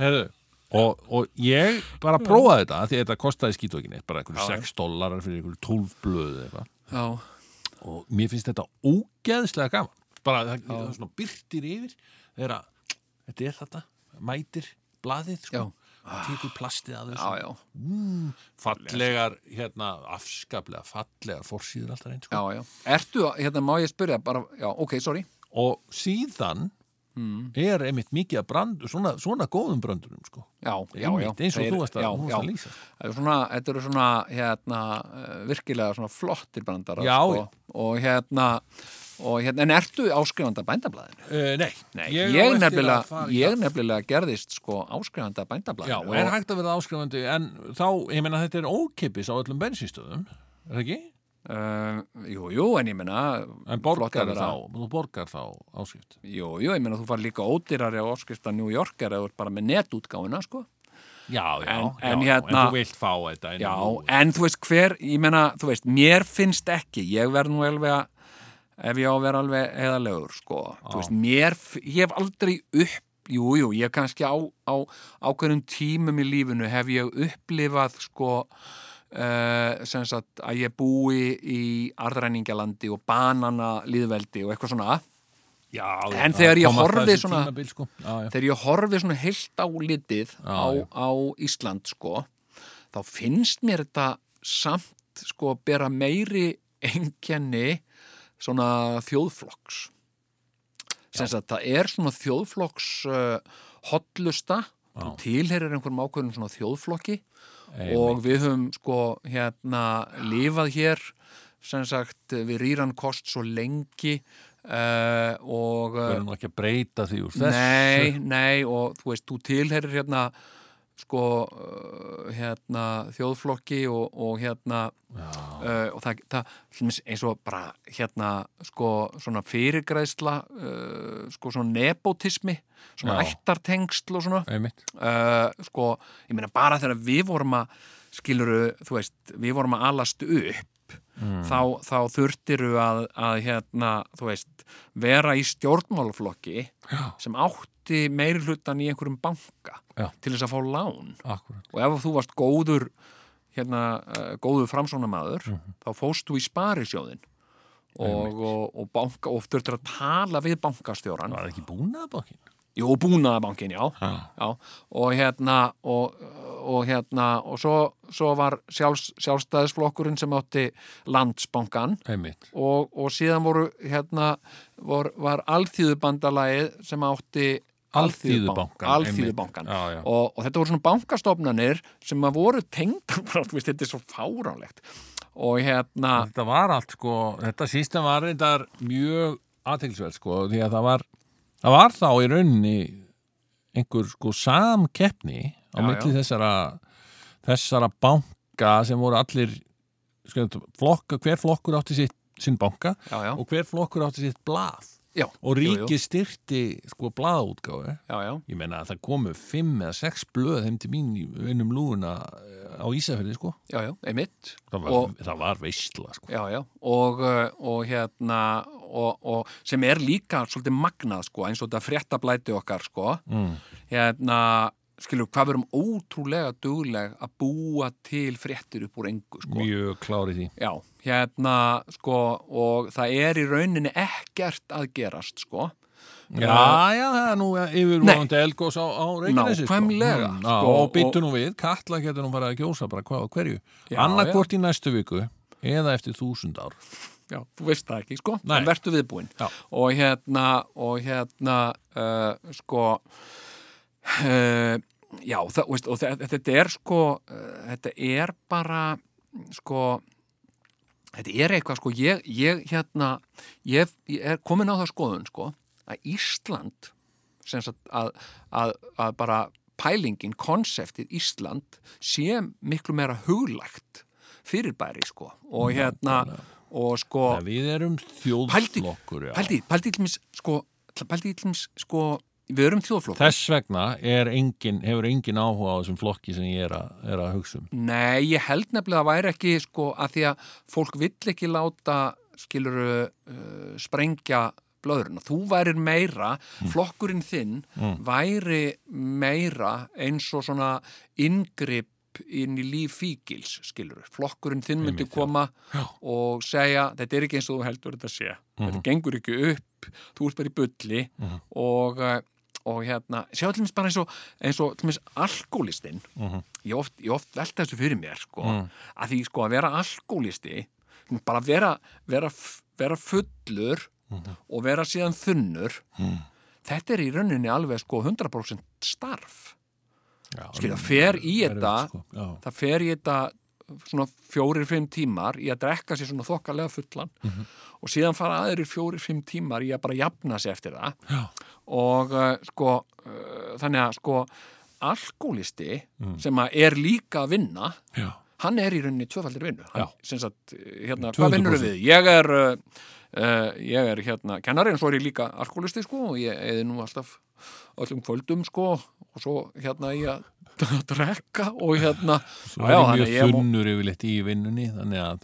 Speaker 1: Heru, og, og ég bara prófaði þetta af því að þetta kostaði skítókin eitt bara einhverju 6 dólarar fyrir einhverju 12 blöð eða eitthvað
Speaker 3: Já,
Speaker 1: og mér finnst þetta ógeðslega gaman bara það, það svona byrtir yfir þegar að þetta er þetta mætir blaðið sko, tekur plastið að
Speaker 3: já,
Speaker 1: þessu
Speaker 3: já,
Speaker 1: fallegar, hérna, afskaplega fallegar forsýður alltaf einn
Speaker 3: já,
Speaker 1: sko.
Speaker 3: já. Ertu, að- hérna má ég spyrja bara, já, Hmm. ok, sorry.
Speaker 1: og síðan er einmitt mikið að brandu svona, svona góðum brandurum sko.
Speaker 3: Já, já, já.
Speaker 1: einmitt, eins og
Speaker 3: Þeir-
Speaker 1: þú varst að,
Speaker 3: já,
Speaker 1: þú varst
Speaker 3: já.
Speaker 1: að lýsa
Speaker 3: Það eru svona, þetta eru svona hérna, eh, virkilega svona flottir brandarar
Speaker 1: Já, já.
Speaker 3: sko. og hérna og hérna, en ertu áskrifanda bændablaðinu?
Speaker 1: uh, Nei, á
Speaker 3: ég,
Speaker 1: eftir að
Speaker 3: nefnilega,
Speaker 1: fara í
Speaker 3: ég
Speaker 1: það.
Speaker 3: nefnilega gerðist sko áskrifanda
Speaker 1: Já,
Speaker 3: bændablaðinu
Speaker 1: er hægt að verða áskrifandi en þá, ég meina þetta er ókipis á öllum bensinstöðum, er það ekki?
Speaker 3: uh, Jú, jú, en ég meina
Speaker 1: En
Speaker 3: flott að
Speaker 1: borgar
Speaker 3: vera-
Speaker 1: þá, þú borgar þá áskrift.
Speaker 3: Jú, jú, ég meina þú far líka ódýrari á áskrifta New Yorker eða þú ert bara með netútgáfuna sko
Speaker 1: Já, já,
Speaker 3: En-
Speaker 1: já,
Speaker 3: en
Speaker 1: já,
Speaker 3: hérna-
Speaker 1: þú vilt fá þetta. en
Speaker 3: Já,
Speaker 1: þú-
Speaker 3: en þú veist hver, ég meina, þú veist, mér finnst ekki, ég verð nú alveg að, ef ég á að vera alveg eðalegur, sko, þú veist, mér, f- ég hef aldrei upp, jú, jú, ég kannski á, á ákveðnum tímum í lífinu hef ég upplifað, sko, Uh, sem sagt að ég búi í arðræningjalandi og banana líðveldi og eitthvað svona
Speaker 1: já,
Speaker 3: en
Speaker 1: já,
Speaker 3: þegar ég
Speaker 1: kom alltaf
Speaker 3: horfði
Speaker 1: þessi
Speaker 3: svona-
Speaker 1: tímabil, sko. já, já.
Speaker 3: þegar ég horfi svona heilt á litið á,
Speaker 1: já.
Speaker 3: á Ísland sko þá finnst mér þetta samt sko bera meiri engenni svona þjóðflokks sem að það er svona þjóðflokks uh, hotlusta þú tilherir einhverjum ákveðum svona þjóðflokki og við höfum sko hérna lifað hér sem sagt við rýran kost svo lengi uh, og
Speaker 1: við
Speaker 3: uh,
Speaker 1: erum nú ekki að breyta því úr þessu
Speaker 3: Nei, nei og þú veist, þú tilherir hérna sko uh, hérna þjóðflokki og, og hérna uh, og það, það til dæmis eins og bara hérna sko svona fyrirgræðsla uh, sko svona nepotismi svona
Speaker 1: Já.
Speaker 3: ættartengsl og svona
Speaker 1: einmitt
Speaker 3: uh, sko, ég meina bara þegar við vorum að skiluru, þú veist, við vorum að alast upp þá, þá þurftiru að, að hérna, þú veist, vera í stjórnmálaflokki Já. sem átti meiri hlutan í einhverjum banka
Speaker 1: Já.
Speaker 3: til þess að fá lán
Speaker 1: Akkurat.
Speaker 3: og ef þú varst góður hérna, uh, góður framsónamaður þá fóst þú í sparisjóðin og, og, og, banka, og þurftir að tala við bankastjóran
Speaker 1: Var það ekki búnaðabankin?
Speaker 3: Jú, búnaðabankin, já. já. Og hérna, og, og hérna, og svo, svo var sjálfs, sjálfstæðisflokkurinn sem átti landsbankan
Speaker 1: Einmitt.
Speaker 3: og, og síðan voru, hérna, vor, var alþýðubandalagið sem átti
Speaker 1: Alþýðubankann,
Speaker 3: Alþýðubankan.
Speaker 1: einmitt. Já, já.
Speaker 3: Og, og þetta voru svona bankastofnanir sem að voru tengdar, bara, þú veist, þetta er svo fáránlegt. Og hérna,
Speaker 1: Þetta var allt sko, þetta sístem var reyndar mjög aðtilsverð sko því að það var, það var þá í rauninni einhver sko samkeppni á
Speaker 3: Já,
Speaker 1: milli
Speaker 3: já.
Speaker 1: þessara þessara banka sem voru allir sko, flokka, hver flokkur átti sitt, sinn banka
Speaker 3: já, já,
Speaker 1: og hver flokkur átti sitt blað
Speaker 3: já,
Speaker 1: og
Speaker 3: jú, jú.
Speaker 1: ríki styrti sko blaðútgáfu
Speaker 3: já, já,
Speaker 1: ég meina að það komu fimm eða sex blöð heim til mín í einum lúuna eh, á Ísafjörði sko
Speaker 3: já, já, einmitt.
Speaker 1: það var,
Speaker 3: Og-
Speaker 1: það var veistla sko
Speaker 3: já, já, og, uh, og hérna og, og sem er líka svolítið magnað sko, eins og þetta fréttablæti okkar sko,
Speaker 1: mm.
Speaker 3: hérna skilur, hvað við erum ótrúlega dugleg að búa til fréttir upp úr engu sko.
Speaker 1: mjög klárið því
Speaker 3: Já, hérna sko, og það er í rauninni ekkert að gerast sko.
Speaker 1: Já, já, það er nú yfirvonandi elgós á, á Reykjanesi sko.
Speaker 3: Nákvæmlega,
Speaker 1: Mm,
Speaker 3: sko,
Speaker 1: já, Og
Speaker 3: og-
Speaker 1: byttu nú við, Katla getur nú farið að gjósa bara hvað og hverju
Speaker 3: Já,
Speaker 1: Annarkvort í næstu viku eða eftir þúsund ár
Speaker 3: Já, þú veist það ekki, sko,
Speaker 1: Nei.
Speaker 3: en vertu viðbúinn.
Speaker 1: Já.
Speaker 3: Og hérna, og hérna, uh, sko, uh, já, það, veist, og þe- þetta er sko, uh, þetta er bara, sko, þetta er eitthvað, sko, ég, ég hérna, ég, ég er komin á það skoðun, sko, að Ísland, sem sagt, að, að, að bara pælingin, konseptið Ísland sé miklu meira huglægt fyrirbæri, sko, og hérna, og sko,
Speaker 1: Nei, Við erum
Speaker 3: Pældi-
Speaker 1: þjóðflokkur já.
Speaker 3: Pældi, pældi til mér, sko, pældi til mér, sko, við erum þjóðflokkur.
Speaker 1: Þess vegna er engin, hefur engin áhuga á þessum flokki sem ég er, a, er að hugsa um
Speaker 3: Nei, ég held nefnilega að væri ekki, sko, að því að fólk vill ekki láta, skiluru, uh, sprengja blöðurinn. Þú værir meira, flokkurinn þinn
Speaker 1: Mm.
Speaker 3: væri meira eins og svona inngrip inn í líf fíkils, skiluru. Flokkurinn þinn myndi
Speaker 1: Einmitt, já. Mhm.
Speaker 3: koma og segja, þetta er ekki eins og þú heldur þetta sé. Þetta gengur ekki upp, þú ert bara í bulli og, eh, og hérna, sjá til mér bara eins og, eins og til mér alkoholistinn,
Speaker 1: Mhm.
Speaker 3: ég oft, ég oft velta þessu fyrir mér sko,
Speaker 1: Mm.
Speaker 3: að því sko að vera alkoholisti bara vera, vera, f- vera fullur og vera síðan þunnur þetta er í rauninni alveg sko 100% starf
Speaker 1: já,
Speaker 3: Skilja, Sko, fer í
Speaker 1: erfitt,
Speaker 3: þetta
Speaker 1: sko. Já.
Speaker 3: það fer í þetta svona fjórir-fimm tímar í að drekka sér svona þokkalega fullan og síðan fara aðrir fjórir-fimm tímar í að bara jafna sér eftir það
Speaker 1: Já.
Speaker 3: og uh, sko uh, þannig að sko alkoholisti sem að er líka að vinna
Speaker 1: Já.
Speaker 3: hann er í rauninni tvöfaldir vinnu hann,
Speaker 1: Já.
Speaker 3: sem sagt, hérna, hvað vinnur við? Ég er, uh, uh, ég er hérna, kennari en svo er ég líka alkoholisti sko, og ég eði nú alltaf öllum kvöldum sko, og svo hérna ég að drekka og hérna
Speaker 1: Svo er ég
Speaker 3: þannig að
Speaker 1: mjög
Speaker 3: ég mú-
Speaker 1: þunnur yfirleitt í vinnunni þannig að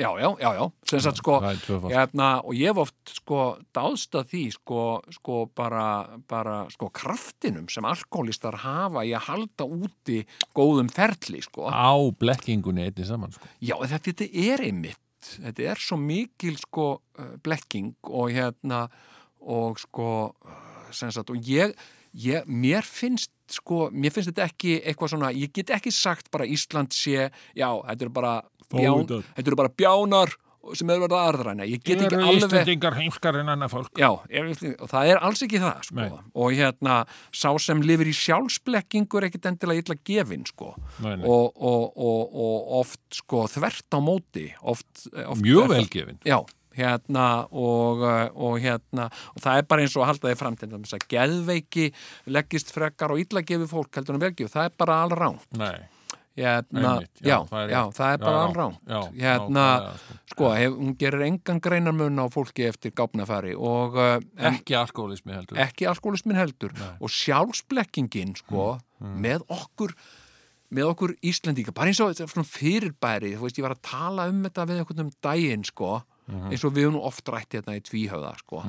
Speaker 3: já, já, já, já, sem sagt sko
Speaker 1: það er tvöfald
Speaker 3: hérna, og ég hef oft sko dáðst að því sko, sko bara, bara sko kraftinum sem alkoholistar hafa í að halda úti góðum ferli sko
Speaker 1: á blekkingunni einni saman sko.
Speaker 3: Já, en þetta, þetta er einmitt, þetta er svo mikil sko eh, blekking og hérna og sko eh, sem sagt og ég, ég mér finnst finnst sko, mér finnst þetta ekki eitthvað svona, ég get ekki sagt bara Ísland sé, já, þetta eru bara bján,
Speaker 1: Fávitar.
Speaker 3: þetta eru bara bjánar sem eru verið að aðræna, ég get ekki alveg
Speaker 1: Íslandingar heimskar en annað fólk
Speaker 3: Já, ef- og það er alls ekki það sko.
Speaker 1: Nei.
Speaker 3: og hérna, sá sem lifir í sjálfsblekkingu er ekkit endilega illa gefin sko.
Speaker 1: Nei, nei.
Speaker 3: og, og, og, og oft sko, þvert á móti oft, eh, oft
Speaker 1: Mjög velgefin
Speaker 3: Já, hérna og, eh, og hérna og það er bara eins og að halda þið fram til þess að geðveiki leggist frekar og illa gefi fólk heldur en velgjöf, það er bara alrán
Speaker 1: Nei,
Speaker 3: hérna,
Speaker 1: Einmitt, já,
Speaker 3: já,
Speaker 1: það er
Speaker 3: já,
Speaker 1: rétt.
Speaker 3: það er
Speaker 1: Já,
Speaker 3: bara
Speaker 1: já, já,
Speaker 3: alrán hérna,
Speaker 1: nákvæmlega, sko.
Speaker 3: sko, hef, hún gerir engan greinarmun á fólki eftir gáfnafæri og eh, en,
Speaker 1: ekki alkoholismi heldur
Speaker 3: ekki alkoholismin heldur og sjálfsblekkingin sko, með okkur með okkur Íslendinga, bara eins og þetta er svona fyrirbæri, þú veist, ég var að tala um þetta við einhvern um daginn, sko eins og við höfum nú oft rætt hérna í tvíhöfða, sko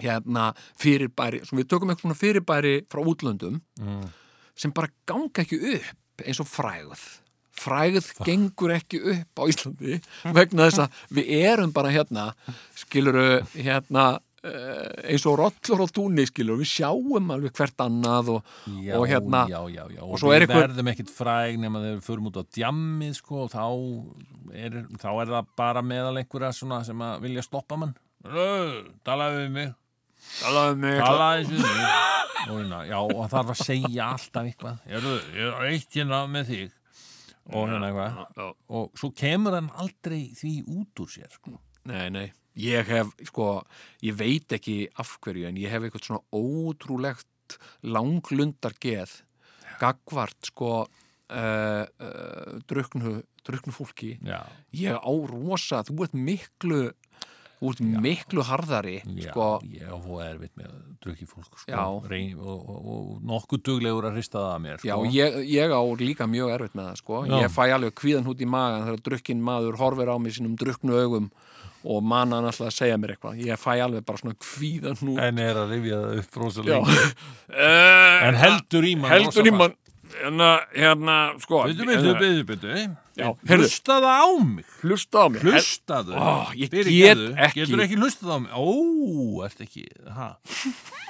Speaker 3: hérna fyrirbæri, svo við tökum eitthvað svona fyrirbæri frá útlöndum
Speaker 1: Mm.
Speaker 3: sem bara ganga ekki upp eins og frægð frægð gengur ekki upp á Íslandi vegna þess að við erum bara hérna, skiluru hérna eh, eins og rollur á túnni skilur, við sjáum alveg hvert annað og,
Speaker 1: já,
Speaker 3: og hérna
Speaker 1: já, já, já.
Speaker 3: og
Speaker 1: og
Speaker 3: svo er
Speaker 1: við
Speaker 3: eitthvað-
Speaker 1: verðum ekkit fræg nema þegar við förum út á djammið sko, og þá er, þá er það bara meðal einhverja svona sem að vilja stoppa mann Ö, talaðu við mig
Speaker 3: talaðu mig
Speaker 1: talaðu við mig og, hérna, já, og það þarf að segja alltaf eitthvað Heyrðu, ég er eitt hérna með þig og hérna eitthvað og svo kemur hann aldrei því út úr sér sko.
Speaker 3: Nei, nei, ég hef, sko, ég veit ekki af hverju en ég hef eitthvað svona ótrúlegt langlundar geð gagvart, sko, uh, uh, druknu, druknu fólki.
Speaker 1: já,
Speaker 3: Ég á rosa, þú ert miklu, þú ert miklu harðari,
Speaker 1: já,
Speaker 3: sko,
Speaker 1: ég er fóð erfitt með að drukki fólk
Speaker 3: Já.
Speaker 1: sko, reyn, og, og, og nokkuð duglegur að hrista það að mér
Speaker 3: Já,
Speaker 1: sko.
Speaker 3: ég, ég á líka mjög erfitt með það, sko.
Speaker 1: Já.
Speaker 3: Ég fæ alveg kvíðan hút í magan þegar drukkin maður horfir á mig sínum druknu augum og mann hann alltaf að segja mér eitthvað. Ég fæ alveg bara svona kvíðan hút.
Speaker 1: En er að rifja það upp rosa
Speaker 3: Já.
Speaker 1: lengi En heldur í mann
Speaker 3: heldur í mann hérna, hérna, sko
Speaker 1: Byrju, byrju, byrju, byrju
Speaker 3: Já, heyrðu.
Speaker 1: Hlustaðu á mig
Speaker 3: hlusta á mig
Speaker 1: Hlustaðu
Speaker 3: Ó, ég
Speaker 1: Fyrirgefðu.
Speaker 3: get ekki.
Speaker 1: Getur ekki hlustað á mig Ó, ert ekki ha.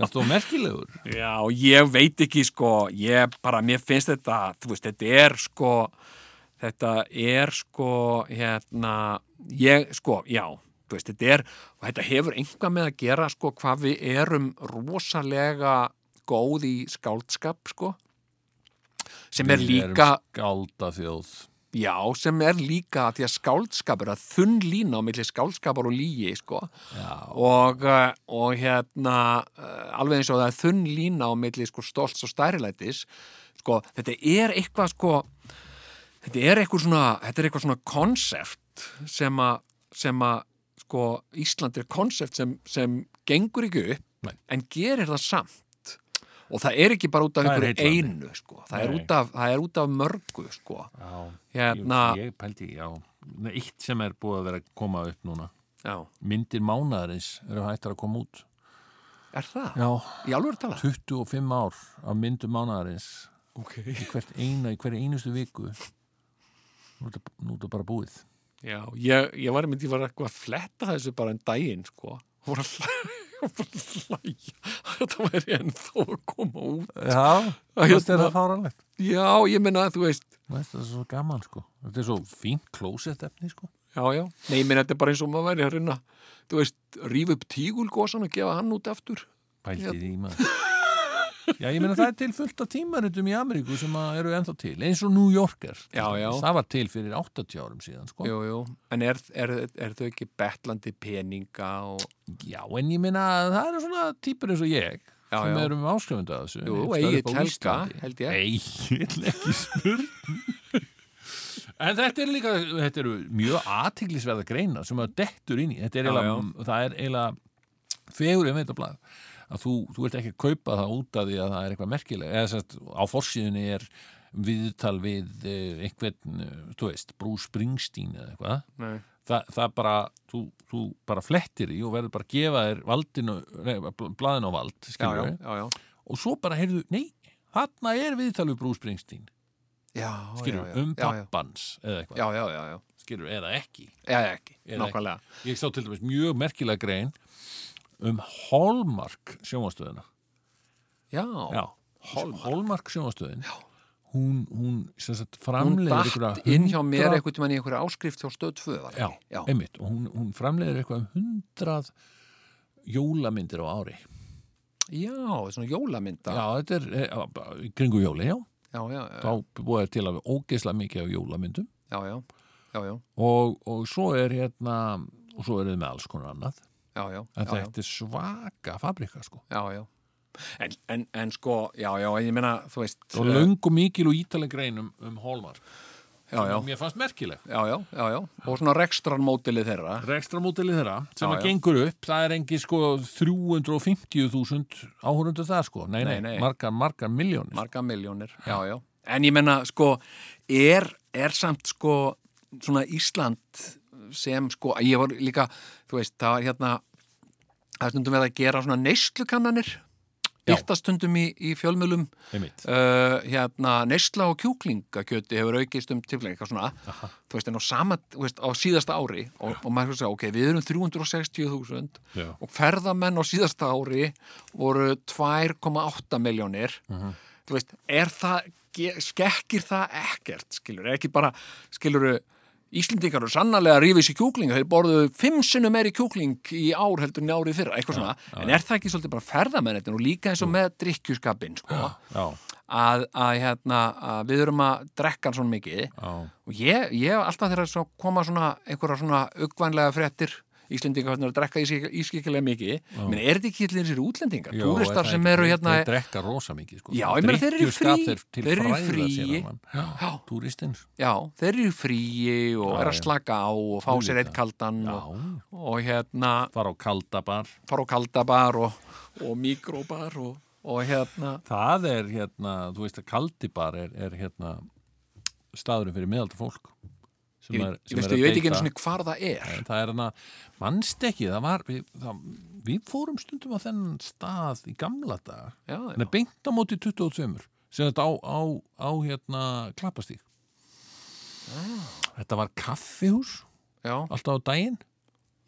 Speaker 1: Ert þú merkilegur
Speaker 3: Hel- já, ég veit ekki, sko ég bara, mér finnst þetta þú veist, þetta er, sko þetta er, sko hérna, ég, sko, já þú veist, þetta er, og þetta hefur einhvað með að gera, sko, hvað við erum rosalega góð í skáldskap, sko sem er líka
Speaker 1: Skálda þjóð
Speaker 3: Já, sem er líka því að skáldskapur að þunn lína á milli skáldskapar og lígi, sko.
Speaker 1: Já.
Speaker 3: Og, eh, og hérna, eh, alveg eins og það er þunn lína á milli sko stolts og stærilætis, sko, þetta er eitthvað, sko, þetta er eitthvað svona, þetta er eitthvað svona konsept sem að, sem að, sko, Ísland er konsept sem, sem gengur ekki upp,
Speaker 1: Nei.
Speaker 3: en gerir það samt. Og það er ekki bara út
Speaker 1: Það
Speaker 3: af
Speaker 1: er
Speaker 3: einhverju
Speaker 1: heillandi.
Speaker 3: einu, sko. Það er,
Speaker 1: Nei.
Speaker 3: út af, það er út af mörgu, sko.
Speaker 1: Já,
Speaker 3: Hérna-
Speaker 1: ég, ég pældi, já Nei, Eitt sem er búið að vera að koma upp núna
Speaker 3: Já.
Speaker 1: Myndir mánaðarins eru hættar að koma út
Speaker 3: Er það?
Speaker 1: Já,
Speaker 3: Í alveg tala?
Speaker 1: 25 ár af myndum mánaðarins
Speaker 3: Ok.
Speaker 1: í hvert eina, í hverju einustu viku nú er þetta- nú er þetta bara búið
Speaker 3: Já, ég, ég var einmitt, ég var eitthvað að fletta þessu bara en daginn, sko. Hún var að hlæja, hún var að hlæja. Þetta væri ennþá að koma út.
Speaker 1: Já,
Speaker 3: fannst þér það
Speaker 1: fáralegt
Speaker 3: Já, ég minna að þú veist,
Speaker 1: Þetta er svo gaman sko Þetta er svo fínt klósett efni sko
Speaker 3: já, já. Nei, ég minna þetta er bara eins og maður væri að reyna, þú veist, rífa upp tígulgósan og gefa hann út aftur.
Speaker 1: Pældi því maður Já, ég meina það er til fullt af tímaritum í Ameríku sem að eru ennþá til, eins og New Yorker
Speaker 3: Já, já.
Speaker 1: Það var til fyrir 80 árum síðan sko
Speaker 3: Jú, jú. En er, er, er þau ekki betlandi peninga og...
Speaker 1: Já, en ég meina að það eru svona típur eins og ég
Speaker 3: Já,
Speaker 1: sem
Speaker 3: já.
Speaker 1: erum áskrifandi að þessu
Speaker 3: Jú,
Speaker 1: Einhvers staðar
Speaker 3: Egill
Speaker 1: upp á
Speaker 3: Helga,
Speaker 1: Íslandi.
Speaker 3: held ég.
Speaker 1: Egill, ekki spurn En þetta er líka þetta eru mjög athyglisverða greina sem að dettur inn í þetta er
Speaker 3: Já,
Speaker 1: eiginlega, það er eiginlega fegur um þetta blað að þú, þú ert ekki að kaupa það út af því að það er eitthvað merkileg eða sérst á forsíðunni er viðtal við eh, einhvern, eh, þú veist, Brú Springsteen eða eitthvað
Speaker 3: Nei.
Speaker 1: Þa, það bara, þú, þú bara flettir í og verður bara að gefa þér valdinu, nei, bl- blaðinu á vald
Speaker 3: Já, já,
Speaker 1: skilur við,
Speaker 3: já, já.
Speaker 1: og svo bara heyrðu, nei, þarna er viðtalið Brú Springsteen,
Speaker 3: Já,
Speaker 1: skilur
Speaker 3: já,
Speaker 1: við,
Speaker 3: já.
Speaker 1: um
Speaker 3: Já, já.
Speaker 1: pappans eða eitthvað,
Speaker 3: Já, já, já, já.
Speaker 1: skilur við, eða ekki
Speaker 3: Já, já, ekki.
Speaker 1: Eða ekki.
Speaker 3: Nákvæmlega.
Speaker 1: ég sá til dæmis mjög merkilega grein um Hallmark sjónvastöðuna
Speaker 3: já,
Speaker 1: Já,
Speaker 3: Hallmark.
Speaker 1: Hallmark sjónastöðin hún, hún sem sagt
Speaker 3: hún
Speaker 1: framleiðir
Speaker 3: dætt inn hjá mér einhvern tímann í einhverja áskrift hjá stöð 2 var
Speaker 1: já,
Speaker 3: það ekki? já.
Speaker 1: einmitt, og hún, hún framleiðir eitthvað um hundrað jólamyndir á ári
Speaker 3: já, svona jólamynda já,
Speaker 1: Já, þetta er eh, bara í kringu jóli, já
Speaker 3: já, já, já,
Speaker 1: þá búið er til að við ógeisla mikið af jólamyndum
Speaker 3: já, já, já, já,
Speaker 1: og, og svo er hérna og svo eru þið með alls konar annað
Speaker 3: já, já,
Speaker 1: en
Speaker 3: já, já.
Speaker 1: þetta er svaka fabrika sko
Speaker 3: já, já. En, en, en sko, já, já, en ég meina, þú veist
Speaker 1: og
Speaker 3: eh,
Speaker 1: löngu mikil og ítaleg grein um, um Hallmark
Speaker 3: já, já,
Speaker 1: og mér fannst merkileg
Speaker 3: já, já, já, já og svona rekstrarmótilið þeirra
Speaker 1: rekstramótilið þeirra sem
Speaker 3: Já,
Speaker 1: að
Speaker 3: já.
Speaker 1: gengur upp, það er engi sko 350.000 áhörundu það sko nei, nei,
Speaker 3: Nei, nei.
Speaker 1: margar, margar miljónir
Speaker 3: marga miljónir, já, já en ég meina, sko, er, er samt sko, svona Ísland sem sko, ég var líka þú veist, það var hérna það er stundum við að gera svona neyslukannanir
Speaker 1: Já.
Speaker 3: byrtast stundum í, í fjölmjölum
Speaker 1: einmitt,
Speaker 3: uh, hérna, neysla og kjúklingakjöti hefur aukist um tilfæðin eitthvað svona, þú veist, en á sama þú veist, á síðasta ári, og, og maður svo að segja, ok, við erum 360.000
Speaker 1: Já.
Speaker 3: og ferðamenn á síðasta ári voru 2,8 miljónir þú veist, er það ge- skekkir það ekkert, skilur, er ekki bara skilur, Íslendingar eru sannarlega að rífa í sig kjúklinga, þeir borðuðu fimm sinnum meiri kjúkling í ár heldur en í árið fyrra, eitthvað svona, en er það ekki svolítið bara ferðamennetin og líka eins og með drikkjuskapin, sko,
Speaker 1: já,
Speaker 3: að, að, hérna, að við erum að drekka hann svona mikið
Speaker 1: já
Speaker 3: og ég, ég hef alltaf þegar svo koma svona einhverja svona augvænlega fréttir Íslendingar hvernig að drekka ískik- ískikilega mikið menn er þetta ekki allir þessir útlendingar
Speaker 1: Jó, er
Speaker 3: túristar
Speaker 1: það
Speaker 3: sem
Speaker 1: ekki?
Speaker 3: eru
Speaker 1: Þeir-
Speaker 3: hérna
Speaker 1: þeir drekka rosa mikið sko
Speaker 3: Já, ég meina, þeir eru í
Speaker 1: Drykkjuskap
Speaker 3: fríi.
Speaker 1: þeir til
Speaker 3: Þeir eru í
Speaker 1: fræða sér
Speaker 3: fríi.
Speaker 1: allan.
Speaker 3: Já.
Speaker 1: já, túristinn
Speaker 3: já, þeir eru í fríi og
Speaker 1: Já,
Speaker 3: er að
Speaker 1: já.
Speaker 3: slaka á og fá sér eitt kaldan
Speaker 1: já,
Speaker 3: og, og hérna
Speaker 1: fara á kaldabar
Speaker 3: fara á kaldabar og, og mikrobar og, og hérna
Speaker 1: það er hérna, þú veist að kaldibar er, er hérna staðurinn fyrir miðalda fólk sem
Speaker 3: ég,
Speaker 1: er,
Speaker 3: ég,
Speaker 1: sem
Speaker 3: veistu,
Speaker 1: er að
Speaker 3: ég veit ekki
Speaker 1: deyta.
Speaker 3: einu svona hvar það er
Speaker 1: En það er hana, mannst ekki það var, við, það, við fórum stundum á þennan stað í gamla dag
Speaker 3: já,
Speaker 1: hann
Speaker 3: já,
Speaker 1: er beint á móti 22 sem þetta á, á, á hérna klappastík
Speaker 3: Ah.
Speaker 1: þetta var kaffihús
Speaker 3: já,
Speaker 1: alltaf á daginn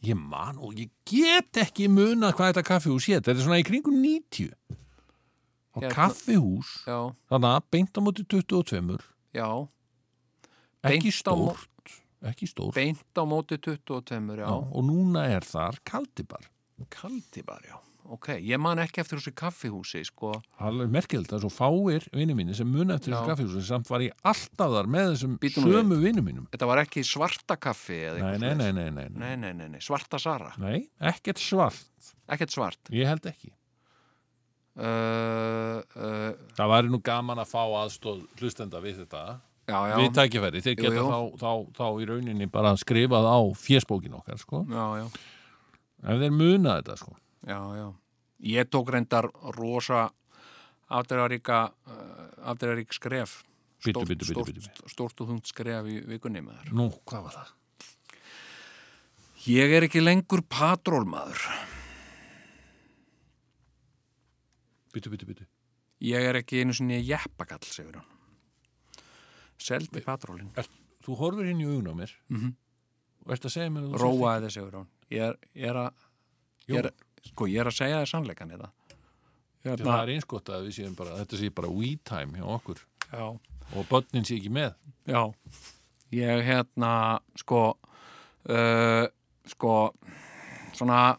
Speaker 1: ég man og ég get ekki muna hvað þetta kaffihús hétt, þetta er svona í kringum 90 og
Speaker 3: Hérna.
Speaker 1: kaffihús
Speaker 3: já,
Speaker 1: þannig að beint á móti 22
Speaker 3: já
Speaker 1: ekki
Speaker 3: Beint á mó-
Speaker 1: stórt ekki stórt
Speaker 3: beint á móti 22 já,
Speaker 1: Já, og núna er þar kaldibar
Speaker 3: Kaldibar, já. Ok, ég man ekki eftir þessu kaffihúsi, sko.
Speaker 1: það er merkilegt, það er svo fáir vinnu mínir sem muna eftir þessu
Speaker 3: Já.
Speaker 1: kaffihús en samt var ég alltaf þar með þessum
Speaker 3: Bíddu nú
Speaker 1: sömu vinnu mínum
Speaker 3: Þetta var ekki svarta kaffi eða
Speaker 1: nei, nei, nei, nei, nei, nei.
Speaker 3: Nei, nei, nei, nei, svarta Sara.
Speaker 1: nei ekkert svart,
Speaker 3: Ekkert svart.
Speaker 1: ég held ekki
Speaker 3: Uh, uh,
Speaker 1: það væri nú gaman að fá aðstóð hlustenda við þetta
Speaker 3: já, já.
Speaker 1: við tækifæri, þeir
Speaker 3: Jú,
Speaker 1: geta
Speaker 3: jú.
Speaker 1: Þá, þá, þá í rauninni bara skrifað á fjesbókin okkar, sko
Speaker 3: Já, já,
Speaker 1: ef þeir muna þetta, sko
Speaker 3: já, já. Ég tók reyndar rosa afdreifaríka, uh, afdreifarík skref.
Speaker 1: Bíddu,
Speaker 3: Stórt-
Speaker 1: bíddu, bíddu,
Speaker 3: stórt-
Speaker 1: bíddu,
Speaker 3: Stórt og þungt skref í vikunni með þar.
Speaker 1: Nú, hvað var það?
Speaker 3: Ég er ekki lengur patrólmaður.
Speaker 1: Byttu, byttu, byttu
Speaker 3: Ég er ekki einu sinni jeppakall, segir hann. Seldi patrólin.
Speaker 1: Þú horfir hinn í augun á mér
Speaker 3: Mhm.
Speaker 1: og ert að segja mér að þú sért
Speaker 3: Róaði þessi Sigrún ég er, ég er að ég er,
Speaker 1: Jón.
Speaker 3: sko ég er að segja þér hérna. sannleikan þetta
Speaker 1: ekki-
Speaker 3: hérna.
Speaker 1: Það er eins gott að við séum bara þetta sé bara we time hjá okkur
Speaker 3: já,
Speaker 1: og börnin sé ekki með
Speaker 3: já ég hérna sko uh, sko svona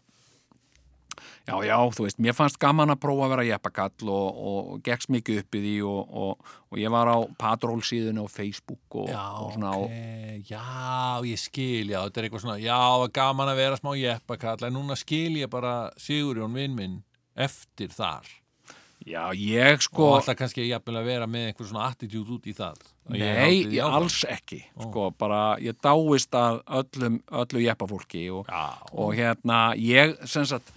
Speaker 3: já já þú veist, mér fannst gaman að prófa að vera jeppakall og, og gegst mikið upp í því og, og, og ég var á patrólsíðinu á Facebook og, og svona á
Speaker 1: ok, já, ég skil, já, þetta er eitthvað svona já, það var gaman að vera smá jeppakall en núna skil ég bara Sigurjón vinn minn eftir þar
Speaker 3: já ég sko
Speaker 1: og alltaf kannski jafnvel að vera með einhver svona attitude út í það Að ég haldi
Speaker 3: Nei,
Speaker 1: því
Speaker 3: ég
Speaker 1: áfram.
Speaker 3: alls ekki sko, bara ég dáist að öllum, öllu jeppafólki og,
Speaker 1: Já.
Speaker 3: og hérna, ég sem sagt,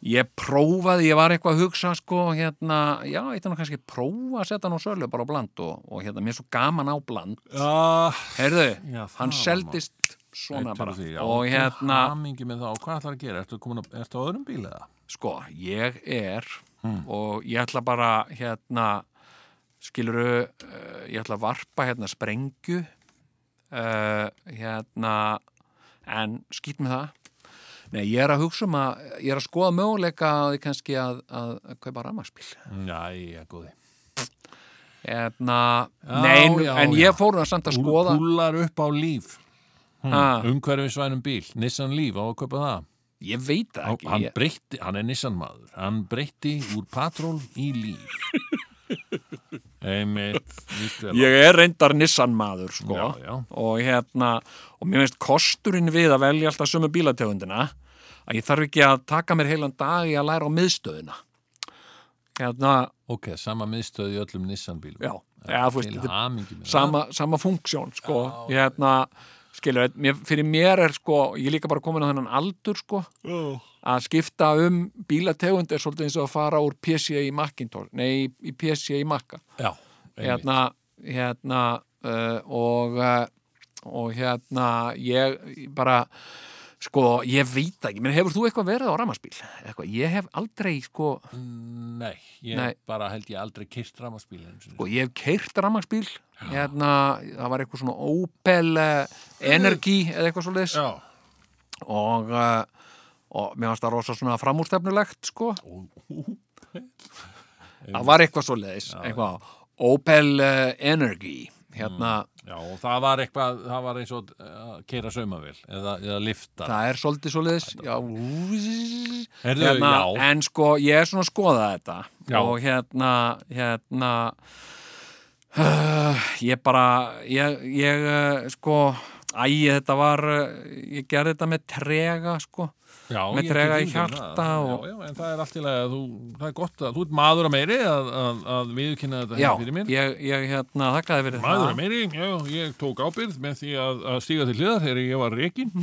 Speaker 3: ég prófaði, ég var eitthvað að hugsa sko, hérna, já, ég þannig kannski prófa að setja hann á sölu bara á bland og, og hérna, mér er svo gaman á bland
Speaker 1: Já,
Speaker 3: heyrðu,
Speaker 1: Já, það
Speaker 3: hann
Speaker 1: var
Speaker 3: seldist svona bara
Speaker 1: því, já,
Speaker 3: og hérna,
Speaker 1: hamingi með það og hvað ætlar að gera, ertu, komin, á- ertu á öðrum bíl eða?
Speaker 3: sko, ég er
Speaker 1: Hmm.
Speaker 3: og ég ætla bara hérna, skiluru uh, ég ætla að varpa hérna sprengju eh, uh, hérna en skýt með það Nei, ég er að hugsa um að, ég er að skoða möguleika að því kannski að, að, að kaupa rafmagnspíl.
Speaker 1: Jæja, góði.
Speaker 3: Hérna,
Speaker 1: Já,
Speaker 3: nei, nú-
Speaker 1: já,
Speaker 3: en
Speaker 1: já.
Speaker 3: ég fór nú samt að skoða.
Speaker 1: Púlar upp á líf.
Speaker 3: Ha,
Speaker 1: Umhverfisvænum bíl. Nissan Líf á að kaupa það.
Speaker 3: ég veit það
Speaker 1: Á,
Speaker 3: ekki.
Speaker 1: hann
Speaker 3: ég-
Speaker 1: breytti, hann er Nissan maður hann breytti úr patról í líf einmitt nýtt vel á.
Speaker 3: Ég er reyndar Nissan maður, sko.
Speaker 1: Já, já.
Speaker 3: Og hérna, og mér finnst kosturinn við að velja alltaf sömu bílategundina að ég þarf ekki að taka mér heilan dag í að læra á miðstöðuna. Hérna,
Speaker 1: ok, sama miðstöð í öllum Nissan bílum
Speaker 3: já, eða, þú veist,
Speaker 1: til
Speaker 3: þetta er
Speaker 1: hamingi með
Speaker 3: sama, sama funksjón, sko. Ég hérna, skilur, mér, fyrir mér er, sko, ég er líka bara komin á þennan aldur, sko, að skipta um bílategund er svolítið eins og að fara úr PCA í Macintosh, nei, í PCA í Macca.
Speaker 1: það. já, einmitt.
Speaker 3: hérna, hérna uh, og uh, og hérna ég bara sko, ég veit það ekki, menn hefur þú eitthvað verið á ramaspíl? Eitthvað, ég hef aldrei sko,
Speaker 1: nei, ég
Speaker 3: Nei.
Speaker 1: bara held ég aldrei kyrst ramaspíl
Speaker 3: sko ég hef keirt ramaspíl hérna, það var eitthvað svona Opel uh, Energy eða eitthvað svo leis
Speaker 1: já,
Speaker 3: og uh, og mér fannst það rosa svona framúrstefnulegt sko það var eitthvað svo leis eitthvað, Opel uh, Energy hérna,
Speaker 1: já, og það var eitthvað það var eins og að keira saumavél eða, eða lifta
Speaker 3: Það er svolítið svoleiðis já, ú-
Speaker 1: Heyrðu,
Speaker 3: hérna,
Speaker 1: já.
Speaker 3: En sko, ég er svona að skoða þetta
Speaker 1: Já.
Speaker 3: og hérna, hérna uh, ég bara ég, ég uh, sko æ, þetta var uh, ég gerði þetta með trega sko
Speaker 1: já,
Speaker 3: með
Speaker 1: ég get
Speaker 3: trega í
Speaker 1: ímyndað mér
Speaker 3: hjarta
Speaker 1: það.
Speaker 3: og-
Speaker 1: já, já, en það er allt í lagi að þú það er gott að þú ert maður að meiri að, að, að viðkynna þetta
Speaker 3: Já,
Speaker 1: hérna fyrir mér
Speaker 3: ég, ég hérna þakkaði fyrir
Speaker 1: Maður er
Speaker 3: það
Speaker 1: meiri, já, ég tók ábyrð með því að, að stíga til hliðar þegar ég var reikin.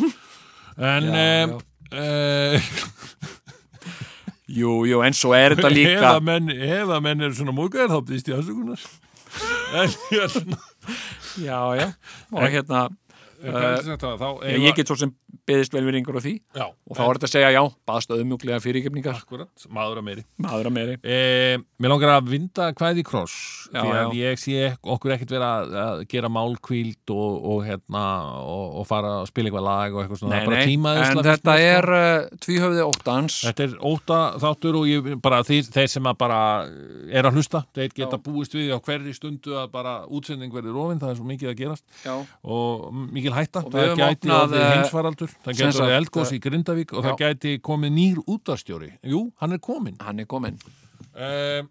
Speaker 1: En, eh,
Speaker 3: Já,
Speaker 1: já, já.
Speaker 3: Jú, jú, en svo er þetta líka
Speaker 1: Eða, menn, eða menn eru svona múkaðir, þá býst ég aðsökunar. En hérna,
Speaker 3: Já, já, og hérna
Speaker 1: hvað er þetta, þá
Speaker 3: ég, ég get svo sem beðist velveringur á því
Speaker 1: já,
Speaker 3: og þá er þetta að segja já, baðst öðmjúklega fyrirgefningar
Speaker 1: akkurat, maður að meiri.
Speaker 3: maður að meiri
Speaker 1: Eh, mér langar að vinda kvæði kross
Speaker 3: Já,
Speaker 1: því að
Speaker 3: já.
Speaker 1: ég sé okkur ekkert vera að- að gera málkvíld og, og hérna og, og fara að spila eitthvað lag og eitthvað svona
Speaker 3: Nei,
Speaker 1: Það er bara
Speaker 3: nei,
Speaker 1: tímaðisla
Speaker 3: en
Speaker 1: finnst
Speaker 3: þetta
Speaker 1: mér, sko.
Speaker 3: er uh, tvíhöfði óttans
Speaker 1: Þetta er óta þáttur og ég bara þeir, þeir sem að bara er að hlusta, þeir geta
Speaker 3: Já.
Speaker 1: búist við á hverri stundu að bara útsending verður ofinn, það er svo mikið að gerast
Speaker 3: Já.
Speaker 1: og mikil hætta,
Speaker 3: Og við
Speaker 1: það
Speaker 3: höfum
Speaker 1: gæti
Speaker 3: opnað,
Speaker 1: orðið
Speaker 3: eh,
Speaker 1: heimsfaraldur, það
Speaker 3: sem
Speaker 1: gæti orðið
Speaker 3: sagt, eh,
Speaker 1: eldgós í Grindavík og
Speaker 3: já.
Speaker 1: það gæti komið nýr útastjóri. Jú, hann er komin.
Speaker 3: hann er kominn
Speaker 1: Eh,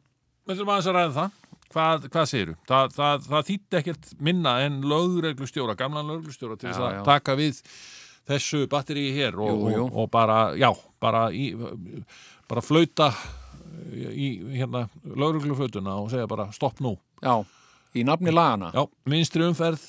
Speaker 1: Við þurfum aðeins að ræða um það. Hvað, hvað segirðu? Það, það, það þýtti ekkert minna en lögreglustjóra, gamlan lögreglustjóra til þess
Speaker 3: Já,
Speaker 1: að
Speaker 3: já.
Speaker 1: taka við þessu batteríi hér og,
Speaker 3: Jú, jú.
Speaker 1: Og, og bara, já, bara, í, bara flauta í hérna, lögregluflautuna og segja bara stopp nú.
Speaker 3: Já, í nafni lagana
Speaker 1: Já, vinstri umferð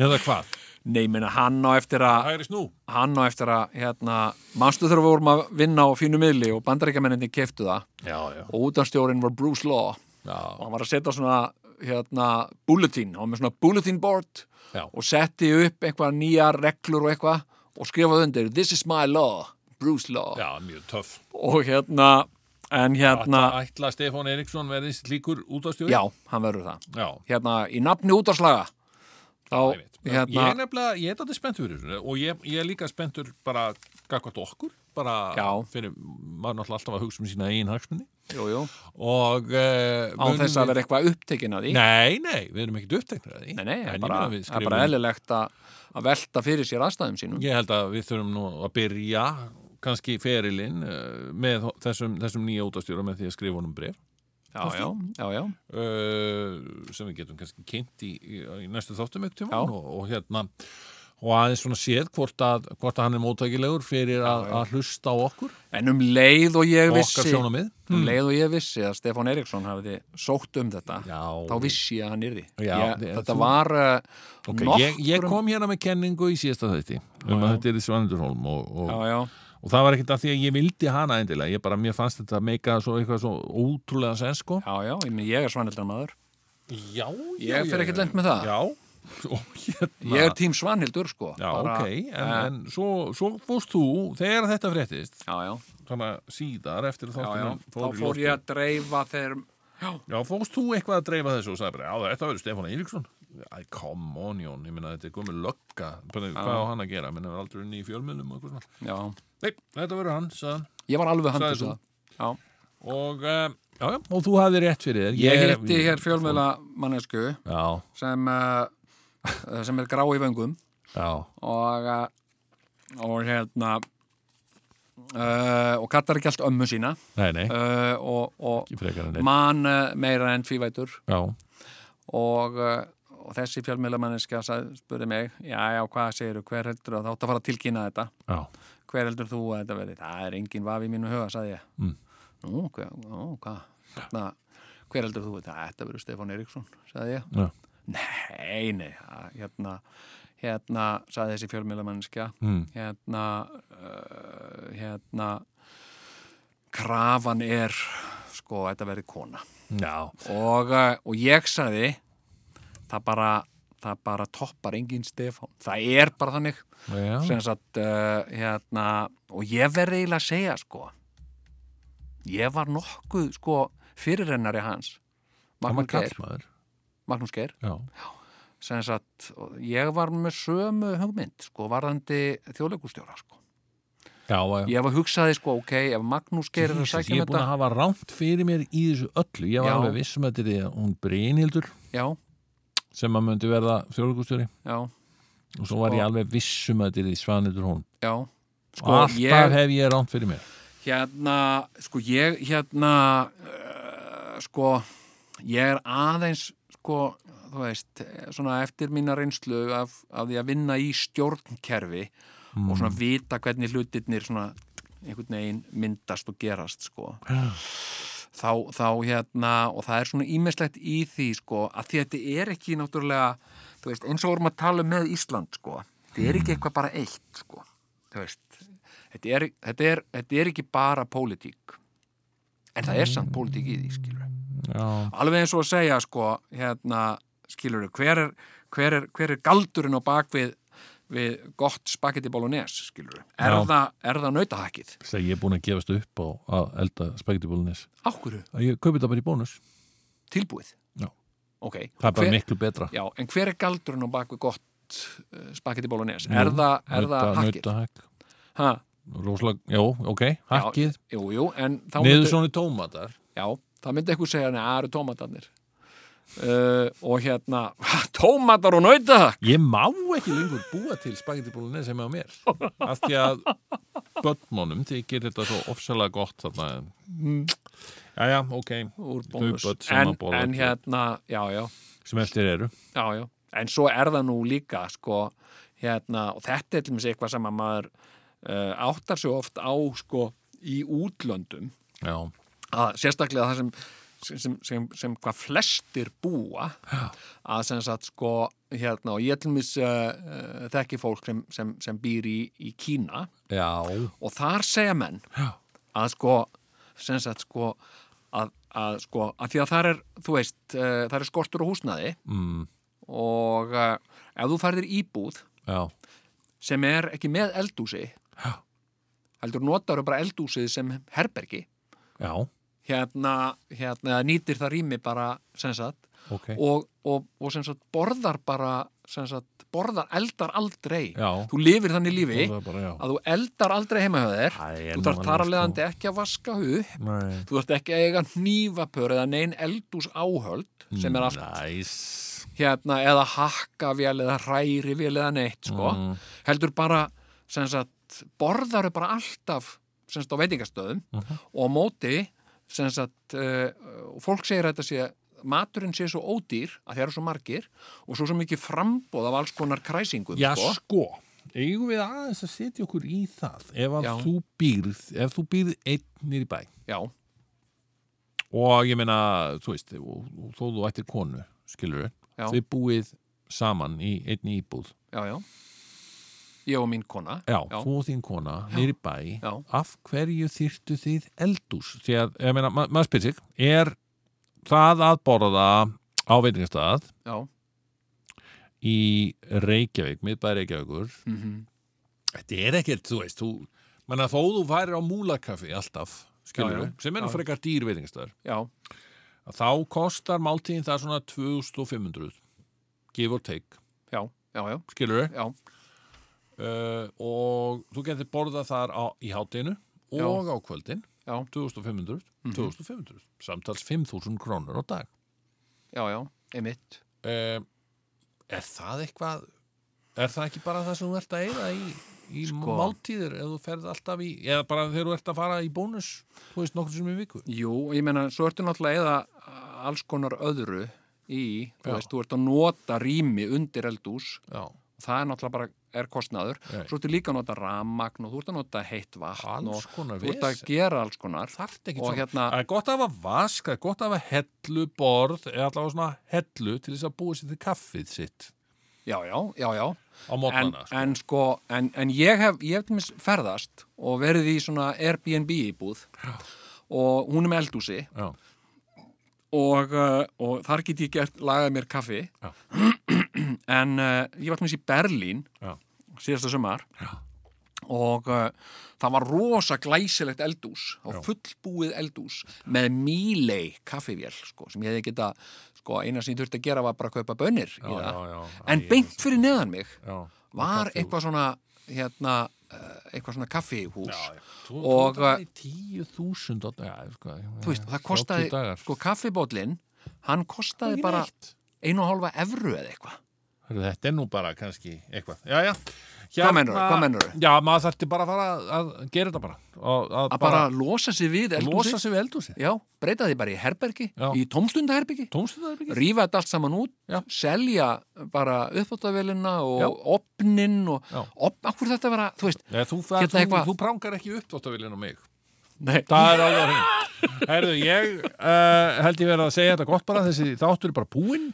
Speaker 1: eða hvað?
Speaker 3: Nei, minna, hann á eftir að
Speaker 1: Hægri snú?
Speaker 3: hann á eftir að, hérna, manstu þegar við vorum að vinna á fínu miðli og bandaríkjamenninni keftu það
Speaker 1: Já, já.
Speaker 3: og útanstjórin var Bruce Law og
Speaker 1: Já,
Speaker 3: hann var að setja svona, hérna, bulletin, hann var með svona bulletin board
Speaker 1: já.
Speaker 3: og setti upp eitthvað nýjar reglur og eitthvað og skrifaði undir This is my law, Bruce Law
Speaker 1: Já, mjög töff.
Speaker 3: og hérna, en hérna
Speaker 1: Ætla, ætla Stefán Eriksson verðist líkur útastjóri?
Speaker 3: Já, hann verður það
Speaker 1: Já.
Speaker 3: hérna, í nafni útarslaga þá,
Speaker 1: Einmitt.
Speaker 3: hérna,
Speaker 1: ég er nefnilega, ég er þetta spenntur fyrir þessu og ég, ég er líka spenntur bara gagvart okkur, bara
Speaker 3: Já.
Speaker 1: fyrir maður náttúrulega alltaf að hugsa um sína eigin hagsmunni
Speaker 3: jú, jú
Speaker 1: og uh,
Speaker 3: á þess að vera eitthvað upptekinn að því
Speaker 1: Nei, nei, við erum ekkert uppteknaði
Speaker 3: nei, nei, það er
Speaker 1: en
Speaker 3: bara,
Speaker 1: ég, meina við
Speaker 3: það er bara
Speaker 1: skrifum- um-
Speaker 3: eðlilegt að, að velta fyrir sér aðstæðum sínum
Speaker 1: ég held að við þurfum nú að byrja kannski ferilinn uh, með þessum, þessum nýja útastjóra með því að skrifa honum bref
Speaker 3: já, já, já, já,
Speaker 1: uh, sem við getum kannski kynnt í, í, í næstu þáttum ekkert tíma
Speaker 3: Já.
Speaker 1: og, og hérna og aðeins svona séð hvort að, hvort að hann er móttækilegur fyrir að, að hlusta á okkur
Speaker 3: en um leið og ég
Speaker 1: og okkar Hmm. Mm.
Speaker 3: vissi
Speaker 1: sjónamið
Speaker 3: um leið og ég vissi að Stefán Eriksson hafiði sótt um þetta
Speaker 1: Já.
Speaker 3: þá vissi ég að hann yrði
Speaker 1: Já,
Speaker 3: ég,
Speaker 1: þið-
Speaker 3: þetta
Speaker 1: þú-
Speaker 3: var uh,
Speaker 1: okay, ég,
Speaker 3: um-
Speaker 1: ég kom hérna með kenningu í síðasta þætti um að þetta er í Svanundurholm og,
Speaker 3: já,
Speaker 1: og,
Speaker 3: já,
Speaker 1: og það var ekkert að því að ég vildi hana endilega, ég bara, mér fannst þetta meika svo eitthvað svo ótrúlega sen sko
Speaker 3: já, já, ég, meina, ég er svanhildar maður
Speaker 1: Já,
Speaker 3: Ég fer ekkert lent með það.
Speaker 1: Já, og hérna
Speaker 3: ég er tím svanhildur sko
Speaker 1: Já,
Speaker 3: bara, eh,
Speaker 1: ok, en, en svo, svo fórst þú, þegar þetta fréttist,
Speaker 3: já, já,
Speaker 1: svona síðar eftir að
Speaker 3: já, já,
Speaker 1: þáttunum
Speaker 3: þá
Speaker 1: í
Speaker 3: fór
Speaker 1: loftið.
Speaker 3: ég að dreifa þeir
Speaker 1: Já, fórst þú eitthvað að dreifa þessu og sagði bara, já, þetta verður Stefán Eiríksson Æ, come on Jón, ég meina þetta er komið lögga Bara, Hvað á hann að gera, minna var aldrei unni í fjölmiðlum og eitthvað svona
Speaker 3: já.
Speaker 1: Nei, þetta verður hann, sagðan
Speaker 3: Ég var alveg handið
Speaker 1: Sagði þú.
Speaker 3: það. Já.
Speaker 1: Og, uh, já, já, og þú hafði rétt fyrir þér
Speaker 3: Ég hitti hér fjölmeðla mannesku
Speaker 1: Já,
Speaker 3: sem, uh, sem er grá í vöngum
Speaker 1: já,
Speaker 3: og, uh, og hérna uh, og kattar ekki allt ömmu sína
Speaker 1: nei, nei,
Speaker 3: uh, og, og
Speaker 1: ekki frekar en neitt
Speaker 3: man uh, meira enn tvívætur
Speaker 1: Já,
Speaker 3: og, uh, og þessi fjölmiðlamanniska spurði mig, já, já, hvað segirðu, hver heldur að þú átt að fara að tilkynna þetta
Speaker 1: já,
Speaker 3: hver heldur þú að þetta verði, það er engin vafi í mínu huga, sagði ég
Speaker 1: Mm.
Speaker 3: nú, hver, nú, hvað Na, hver heldur þú þetta, þetta verður Stefán Eriksson sagði ég,
Speaker 1: já,
Speaker 3: nei, nei það- hérna, hérna sagði þessi fjölmiðlamanniska
Speaker 1: mm,
Speaker 3: hérna uh, hérna krafan er sko, þetta verði kona
Speaker 1: já,
Speaker 3: og, eh, og ég sagði það bara, það bara toppar engin Stefán, það er bara þannig
Speaker 1: já,
Speaker 3: sem sagt uh, hérna, og ég verði eiginlega að segja sko ég var nokkuð sko fyrirrennari hans
Speaker 1: hann var
Speaker 3: Magnús Geir,
Speaker 1: kallmaður
Speaker 3: Magnús Geir
Speaker 1: Já,
Speaker 3: sem sagt, og ég var með sömu hugmynd sko, varðandi þjóðleikustjóra sko.
Speaker 1: já, já
Speaker 3: ég var hugsaði sko, ok, ef Magnús Geir er að
Speaker 1: Jesus,
Speaker 3: sækja
Speaker 1: ég
Speaker 3: um
Speaker 1: er búin að
Speaker 3: þetta
Speaker 1: hafa rámt fyrir mér í þessu öllu ég var
Speaker 3: Já.
Speaker 1: alveg viss um að þetta er hún Brynhildur
Speaker 3: já,
Speaker 1: sem að myndi verða fjólugustjóri
Speaker 3: já,
Speaker 1: og svo
Speaker 3: Sko.
Speaker 1: var ég alveg viss um að þetta er Svanhildur hún
Speaker 3: já
Speaker 1: sko, alltaf
Speaker 3: ég-
Speaker 1: hef ég rámt fyrir mér
Speaker 3: Hérna, sko, ég, hérna, uh, sko, ég er aðeins, sko, þú veist, eh, svona eftir mína reynslu af, af því að vinna í stjórnkerfi
Speaker 1: Mm,
Speaker 3: og svona vita hvernig hlutirnir svona einhvern veginn myndast og gerast, sko. Þá, þá, hérna, og það er svona ímestlegt í því, sko, að því að þetta er ekki náttúrulega, þú veist, eins og vorum að tala um með Ísland, sko, þetta er ekki eitthvað bara eitt, sko, þú veist, þetta er, þetta er, þetta er ekki bara pólitík en það er samt pólitík í því skilur
Speaker 1: já,
Speaker 3: alveg eins og að segja sko hérna, skilur hver er, hver er, hver er galdurinn á bak við, við gott spagetti bolognese skilur er,
Speaker 1: Já.
Speaker 3: það, er það nautahakkið?
Speaker 1: þegar ég er búin að gefast upp og að elda spagettibólunis
Speaker 3: Ákvöru?
Speaker 1: ég kaupi þetta bara í bónus
Speaker 3: Tilbúið?
Speaker 1: Já.
Speaker 3: Ok,
Speaker 1: það er bara
Speaker 3: hver,
Speaker 1: miklu betra
Speaker 3: já, en hver er galdurinn á bak við gott uh, spagetti bolognese? Er það, er það hakkið?
Speaker 1: Nautahakk.
Speaker 3: Ha,
Speaker 1: Róslega, jú, ok, hakkið
Speaker 3: jú, jú, en þá
Speaker 1: niður svona tómatar
Speaker 3: Já, það myndi eitthvað segja, neða, það eru tómatarnir. Uh, og hérna, ha, tómatar og nautahakk,
Speaker 1: Ég má ekki lengur búa til spagettibólunni sem er á mér af því að börnmónum þykir þetta svo ofsalega gott þarna
Speaker 3: Mm.
Speaker 1: Jæja, ok
Speaker 3: úr
Speaker 1: Þau
Speaker 3: bónus.
Speaker 1: börn sem
Speaker 3: En,
Speaker 1: að borða
Speaker 3: en
Speaker 1: ekki.
Speaker 3: hérna, já, já,
Speaker 1: sem eftir eru
Speaker 3: já, já. En svo er það nú líka, sko, hérna, og þetta er til mér eitthvað sem að maður uh, áttar sig oft á, sko, í útlöndum.
Speaker 1: Já,
Speaker 3: að sérstaklega það sem sem, sem, sem, sem hvað flestir búa að sem sagt sko hérna og ég til mis uh, uh, þekki fólk sem, sem, sem býr í, í Kína
Speaker 1: já,
Speaker 3: og þar segja menn
Speaker 1: Já.
Speaker 3: að sko sem sagt sko að, að sko að því að þar er þú veist, uh, þar er skortur og húsnaði
Speaker 1: mm,
Speaker 3: og uh, ef þú færðir íbúð
Speaker 1: já,
Speaker 3: sem er ekki með eldúsi
Speaker 1: Já.
Speaker 3: heldur notaru bara eldúsið sem herbergi
Speaker 1: já,
Speaker 3: hérna, hérna nýtir það rými bara sem sagt
Speaker 1: ok
Speaker 3: og, og, og sem sagt borðar bara sem sagt, borðar eldar aldrei
Speaker 1: Já.
Speaker 3: þú lifir þannig lífi
Speaker 1: Það er bara, já.
Speaker 3: að þú eldar aldrei heima hjá þér
Speaker 1: Það er
Speaker 3: þú
Speaker 1: nú
Speaker 3: þarf
Speaker 1: alveg,
Speaker 3: þar
Speaker 1: sko.
Speaker 3: að leiðandi ekki að vaska upp
Speaker 1: Nei.
Speaker 3: þú þarf ekki að eiga hnífapör eða nein eldús áhöld sem er allt
Speaker 1: Næs
Speaker 3: hérna eða hakka vel eða hræri vel eða neitt sko.
Speaker 1: Mm.
Speaker 3: heldur bara sem sagt, borðaru bara alltaf sem sagt á veitingastöðum
Speaker 1: Mhm.
Speaker 3: og á móti sem sagt, uh, og fólk segir að þetta sé maturinn sé svo ódýr að þeir eru svo margir og svo svo mikið frambóð af alls konar kræsingum
Speaker 1: Já,
Speaker 3: sko.
Speaker 1: sko, eigum við aðeins að setja okkur í það ef að
Speaker 3: Já.
Speaker 1: þú býrð, ef þú býrð einn nýr í bæ
Speaker 3: já,
Speaker 1: og ég meina, þú veist og, og þó þú ættir konu, skilur
Speaker 3: Já.
Speaker 1: þau búið saman í einni íbúð
Speaker 3: já, já ég og mín kona
Speaker 1: Já,
Speaker 3: já,
Speaker 1: þú og þín kona, nýri bæ
Speaker 3: Já.
Speaker 1: af hverju þyrtu þið eldús því að, ég meina, ma maður spyr sig er það að borða á veitingastað
Speaker 3: já,
Speaker 1: í Reykjavík, miðbæði Reykjavíkur
Speaker 3: Mhm.
Speaker 1: þetta er ekkert, þú veist þú, menna þó þú værir á múlakaffi alltaf, skilur
Speaker 3: Já, já.
Speaker 1: sem er nú
Speaker 3: Já.
Speaker 1: frekar dýr veitingastaðar
Speaker 3: já,
Speaker 1: þá kostar máltíðin það svona 2500 give or take,
Speaker 3: já, já, já,
Speaker 1: skilur þau?
Speaker 3: já,
Speaker 1: Eh, og þú getur borðað þar á, í hátinu og á kvöldin,
Speaker 3: Já. Mhm.
Speaker 1: 2500, 2500, samtals 5000 krónur á dag.
Speaker 3: já, já, einmitt.
Speaker 1: Uh, er það eitthvað, er það ekki bara það sem þú ert að eigða í, í
Speaker 3: Sko.
Speaker 1: máltíðir ef þú ferð alltaf í, eða bara þegar þú ert að fara í bónus, þú veist, nokkur sem í viku?
Speaker 3: Jú, ég meina, svo ertu náttúrulega eða alls konar öðru í, þú
Speaker 1: Já.
Speaker 3: veist, þú ert að nota rými undir eldús,
Speaker 1: Já,
Speaker 3: það er náttúrulega bara er kostnaður,
Speaker 1: Nei.
Speaker 3: svo ertu líka að nota rammagn og þú ert að nota heitt vatn
Speaker 1: alls
Speaker 3: og
Speaker 1: konar
Speaker 3: þú ert að
Speaker 1: vesen.
Speaker 3: gera alls konar
Speaker 1: þarft ekki
Speaker 3: Og
Speaker 1: svona,
Speaker 3: hérna-
Speaker 1: það er gott að hafa vask það er gott að hafa hellu borð eða allavega svona hellu til þess að búa sér til kaffið sitt
Speaker 3: Já, já, já,
Speaker 1: á
Speaker 3: já en,
Speaker 1: mótnana sko.
Speaker 3: en sko, en, en ég hef, ég hef til dæmis ferðast og verið í svona Airbnb íbúð og hún er með eldúsi
Speaker 1: Já.
Speaker 3: og, uh, og þar get ég gert, lagað mér kaffi
Speaker 1: Já.
Speaker 3: en uh, ég var til dæmis í Berlín
Speaker 1: Já.
Speaker 3: síðasta sumar og uh, það var rosa glæsilegt eldús og
Speaker 1: Já.
Speaker 3: fullbúið eldús með Mílei kaffivél sko, sem ég hefði geta, sko, eina sem ég þurfti að gera var bara að kaupa bönir í
Speaker 1: já,
Speaker 3: það
Speaker 1: já, já, Æ,
Speaker 3: en beint fyrir neðan mig
Speaker 1: já,
Speaker 3: var eitthvað svona hérna, eh, eitthvað svona kaffihús
Speaker 1: Þú- þú
Speaker 3: Og-
Speaker 1: ert að fara í 10.000 á dag, já, sko,
Speaker 3: þú veist, og það kostaði, sko kaffibótlinn hann kostaði bara einu og hálfa evru eða eitthvað
Speaker 1: Hörðu, þetta er nú bara kannski eitthvað já, já
Speaker 3: Hvað meinarðu? Hvað meinarðu?
Speaker 1: Já, maður þarfti bara að fara að- að gera þetta bara og að,
Speaker 3: að bara losa sig við
Speaker 1: losa
Speaker 3: eldhúsi
Speaker 1: sig við eldhúsið
Speaker 3: já, breyta því bara í herbergi
Speaker 1: Já.
Speaker 3: í tómstundaherbergi,
Speaker 1: Tómstu það ekki?
Speaker 3: rífa þetta allt saman út
Speaker 1: Já.
Speaker 3: selja bara uppáttavélina og
Speaker 1: Já.
Speaker 3: opnin og
Speaker 1: Já.
Speaker 3: opn, akkur þetta vera, þú veist
Speaker 1: Nei, þú, fer,
Speaker 3: Hérna
Speaker 1: þú,
Speaker 3: eitthvað-
Speaker 1: þú prangar ekki upp þóttavílinn á mig
Speaker 3: nei,
Speaker 1: Það er alveg hrein. Herðu, ég uh, held ég verið að segja þetta gott bara, þessi þáttur er bara búinn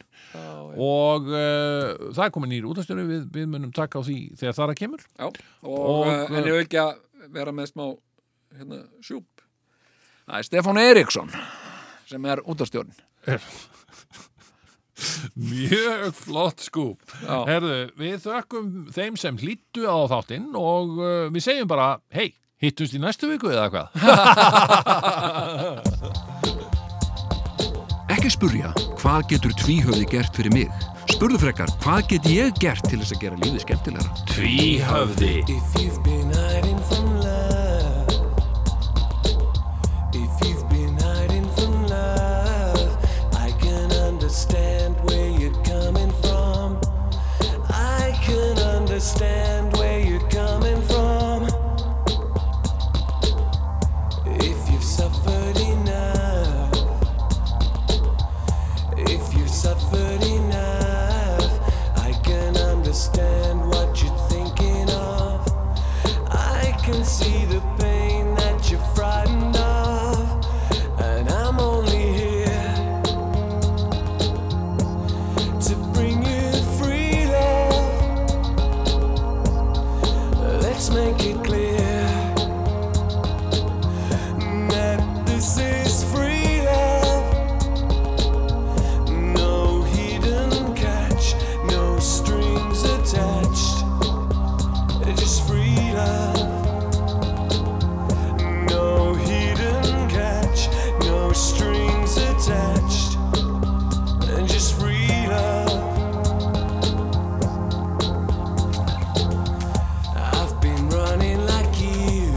Speaker 1: og uh, það er komin nýr útastöru, við, við munum taka á því þegar þar að kemur.
Speaker 3: já, og,
Speaker 1: Og,
Speaker 3: og en
Speaker 1: eh,
Speaker 3: ég vil ekki að vera með smá hérna, sjúp það er Stefán Eriksson sem er útastjórn
Speaker 1: Mjög flott skúp.
Speaker 3: Já.
Speaker 1: Herðu, við þökkum þeim sem hlýttu á þáttinn og uh, við segjum bara, hei, hittumst í næstu viku eða hvað?
Speaker 2: Ekki spurja, hvað getur tvíhöfði gert fyrir mig? Spurðu frekar, hvað get ég gert til þess að gera lífið skemmtilegra?
Speaker 7: If you've been hiding from love, if you've been hiding from love, I can understand where you're coming from. I can understand where you're coming from. If you've suffered enough, if you've suffered enough, I can understand what you're thinking of. I can see the pain that you're frightened of, and I'm only here to bring you free love. Let's make it clear that this is free love. No hidden catch, no strings attached. Just free love. No hidden catch, no strings attached. Just free love. I've been running like you.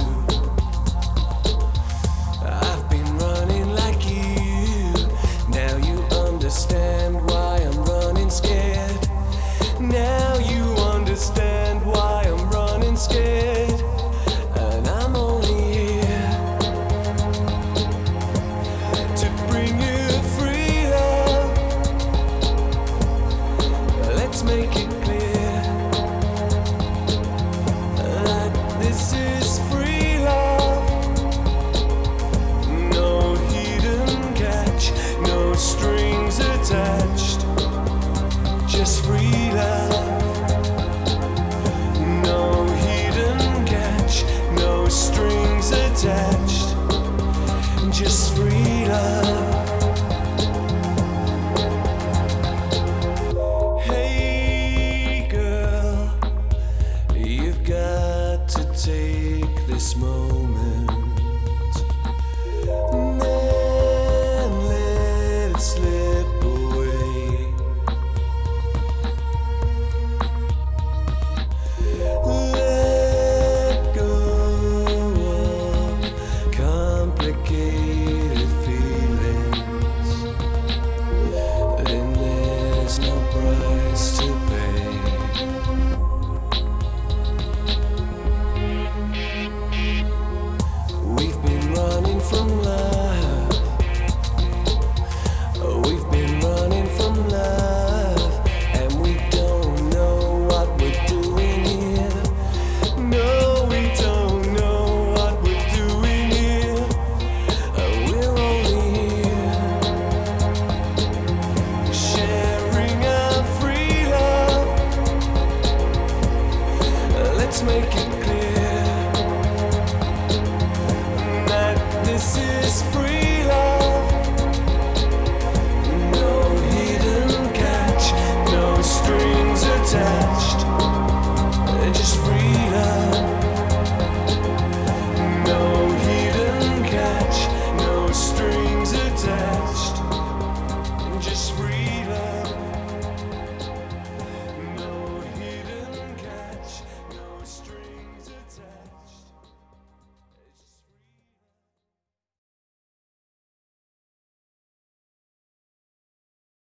Speaker 7: I've been running like you. Now you understand why I'm running scared. Now you understand why I'm running scared. And I'm only here to bring you free love. Let's make it clear that this is free love. No hidden catch, no strings attached. Just free love. No hidden catch, no strings attached. Just free love. Hey. make it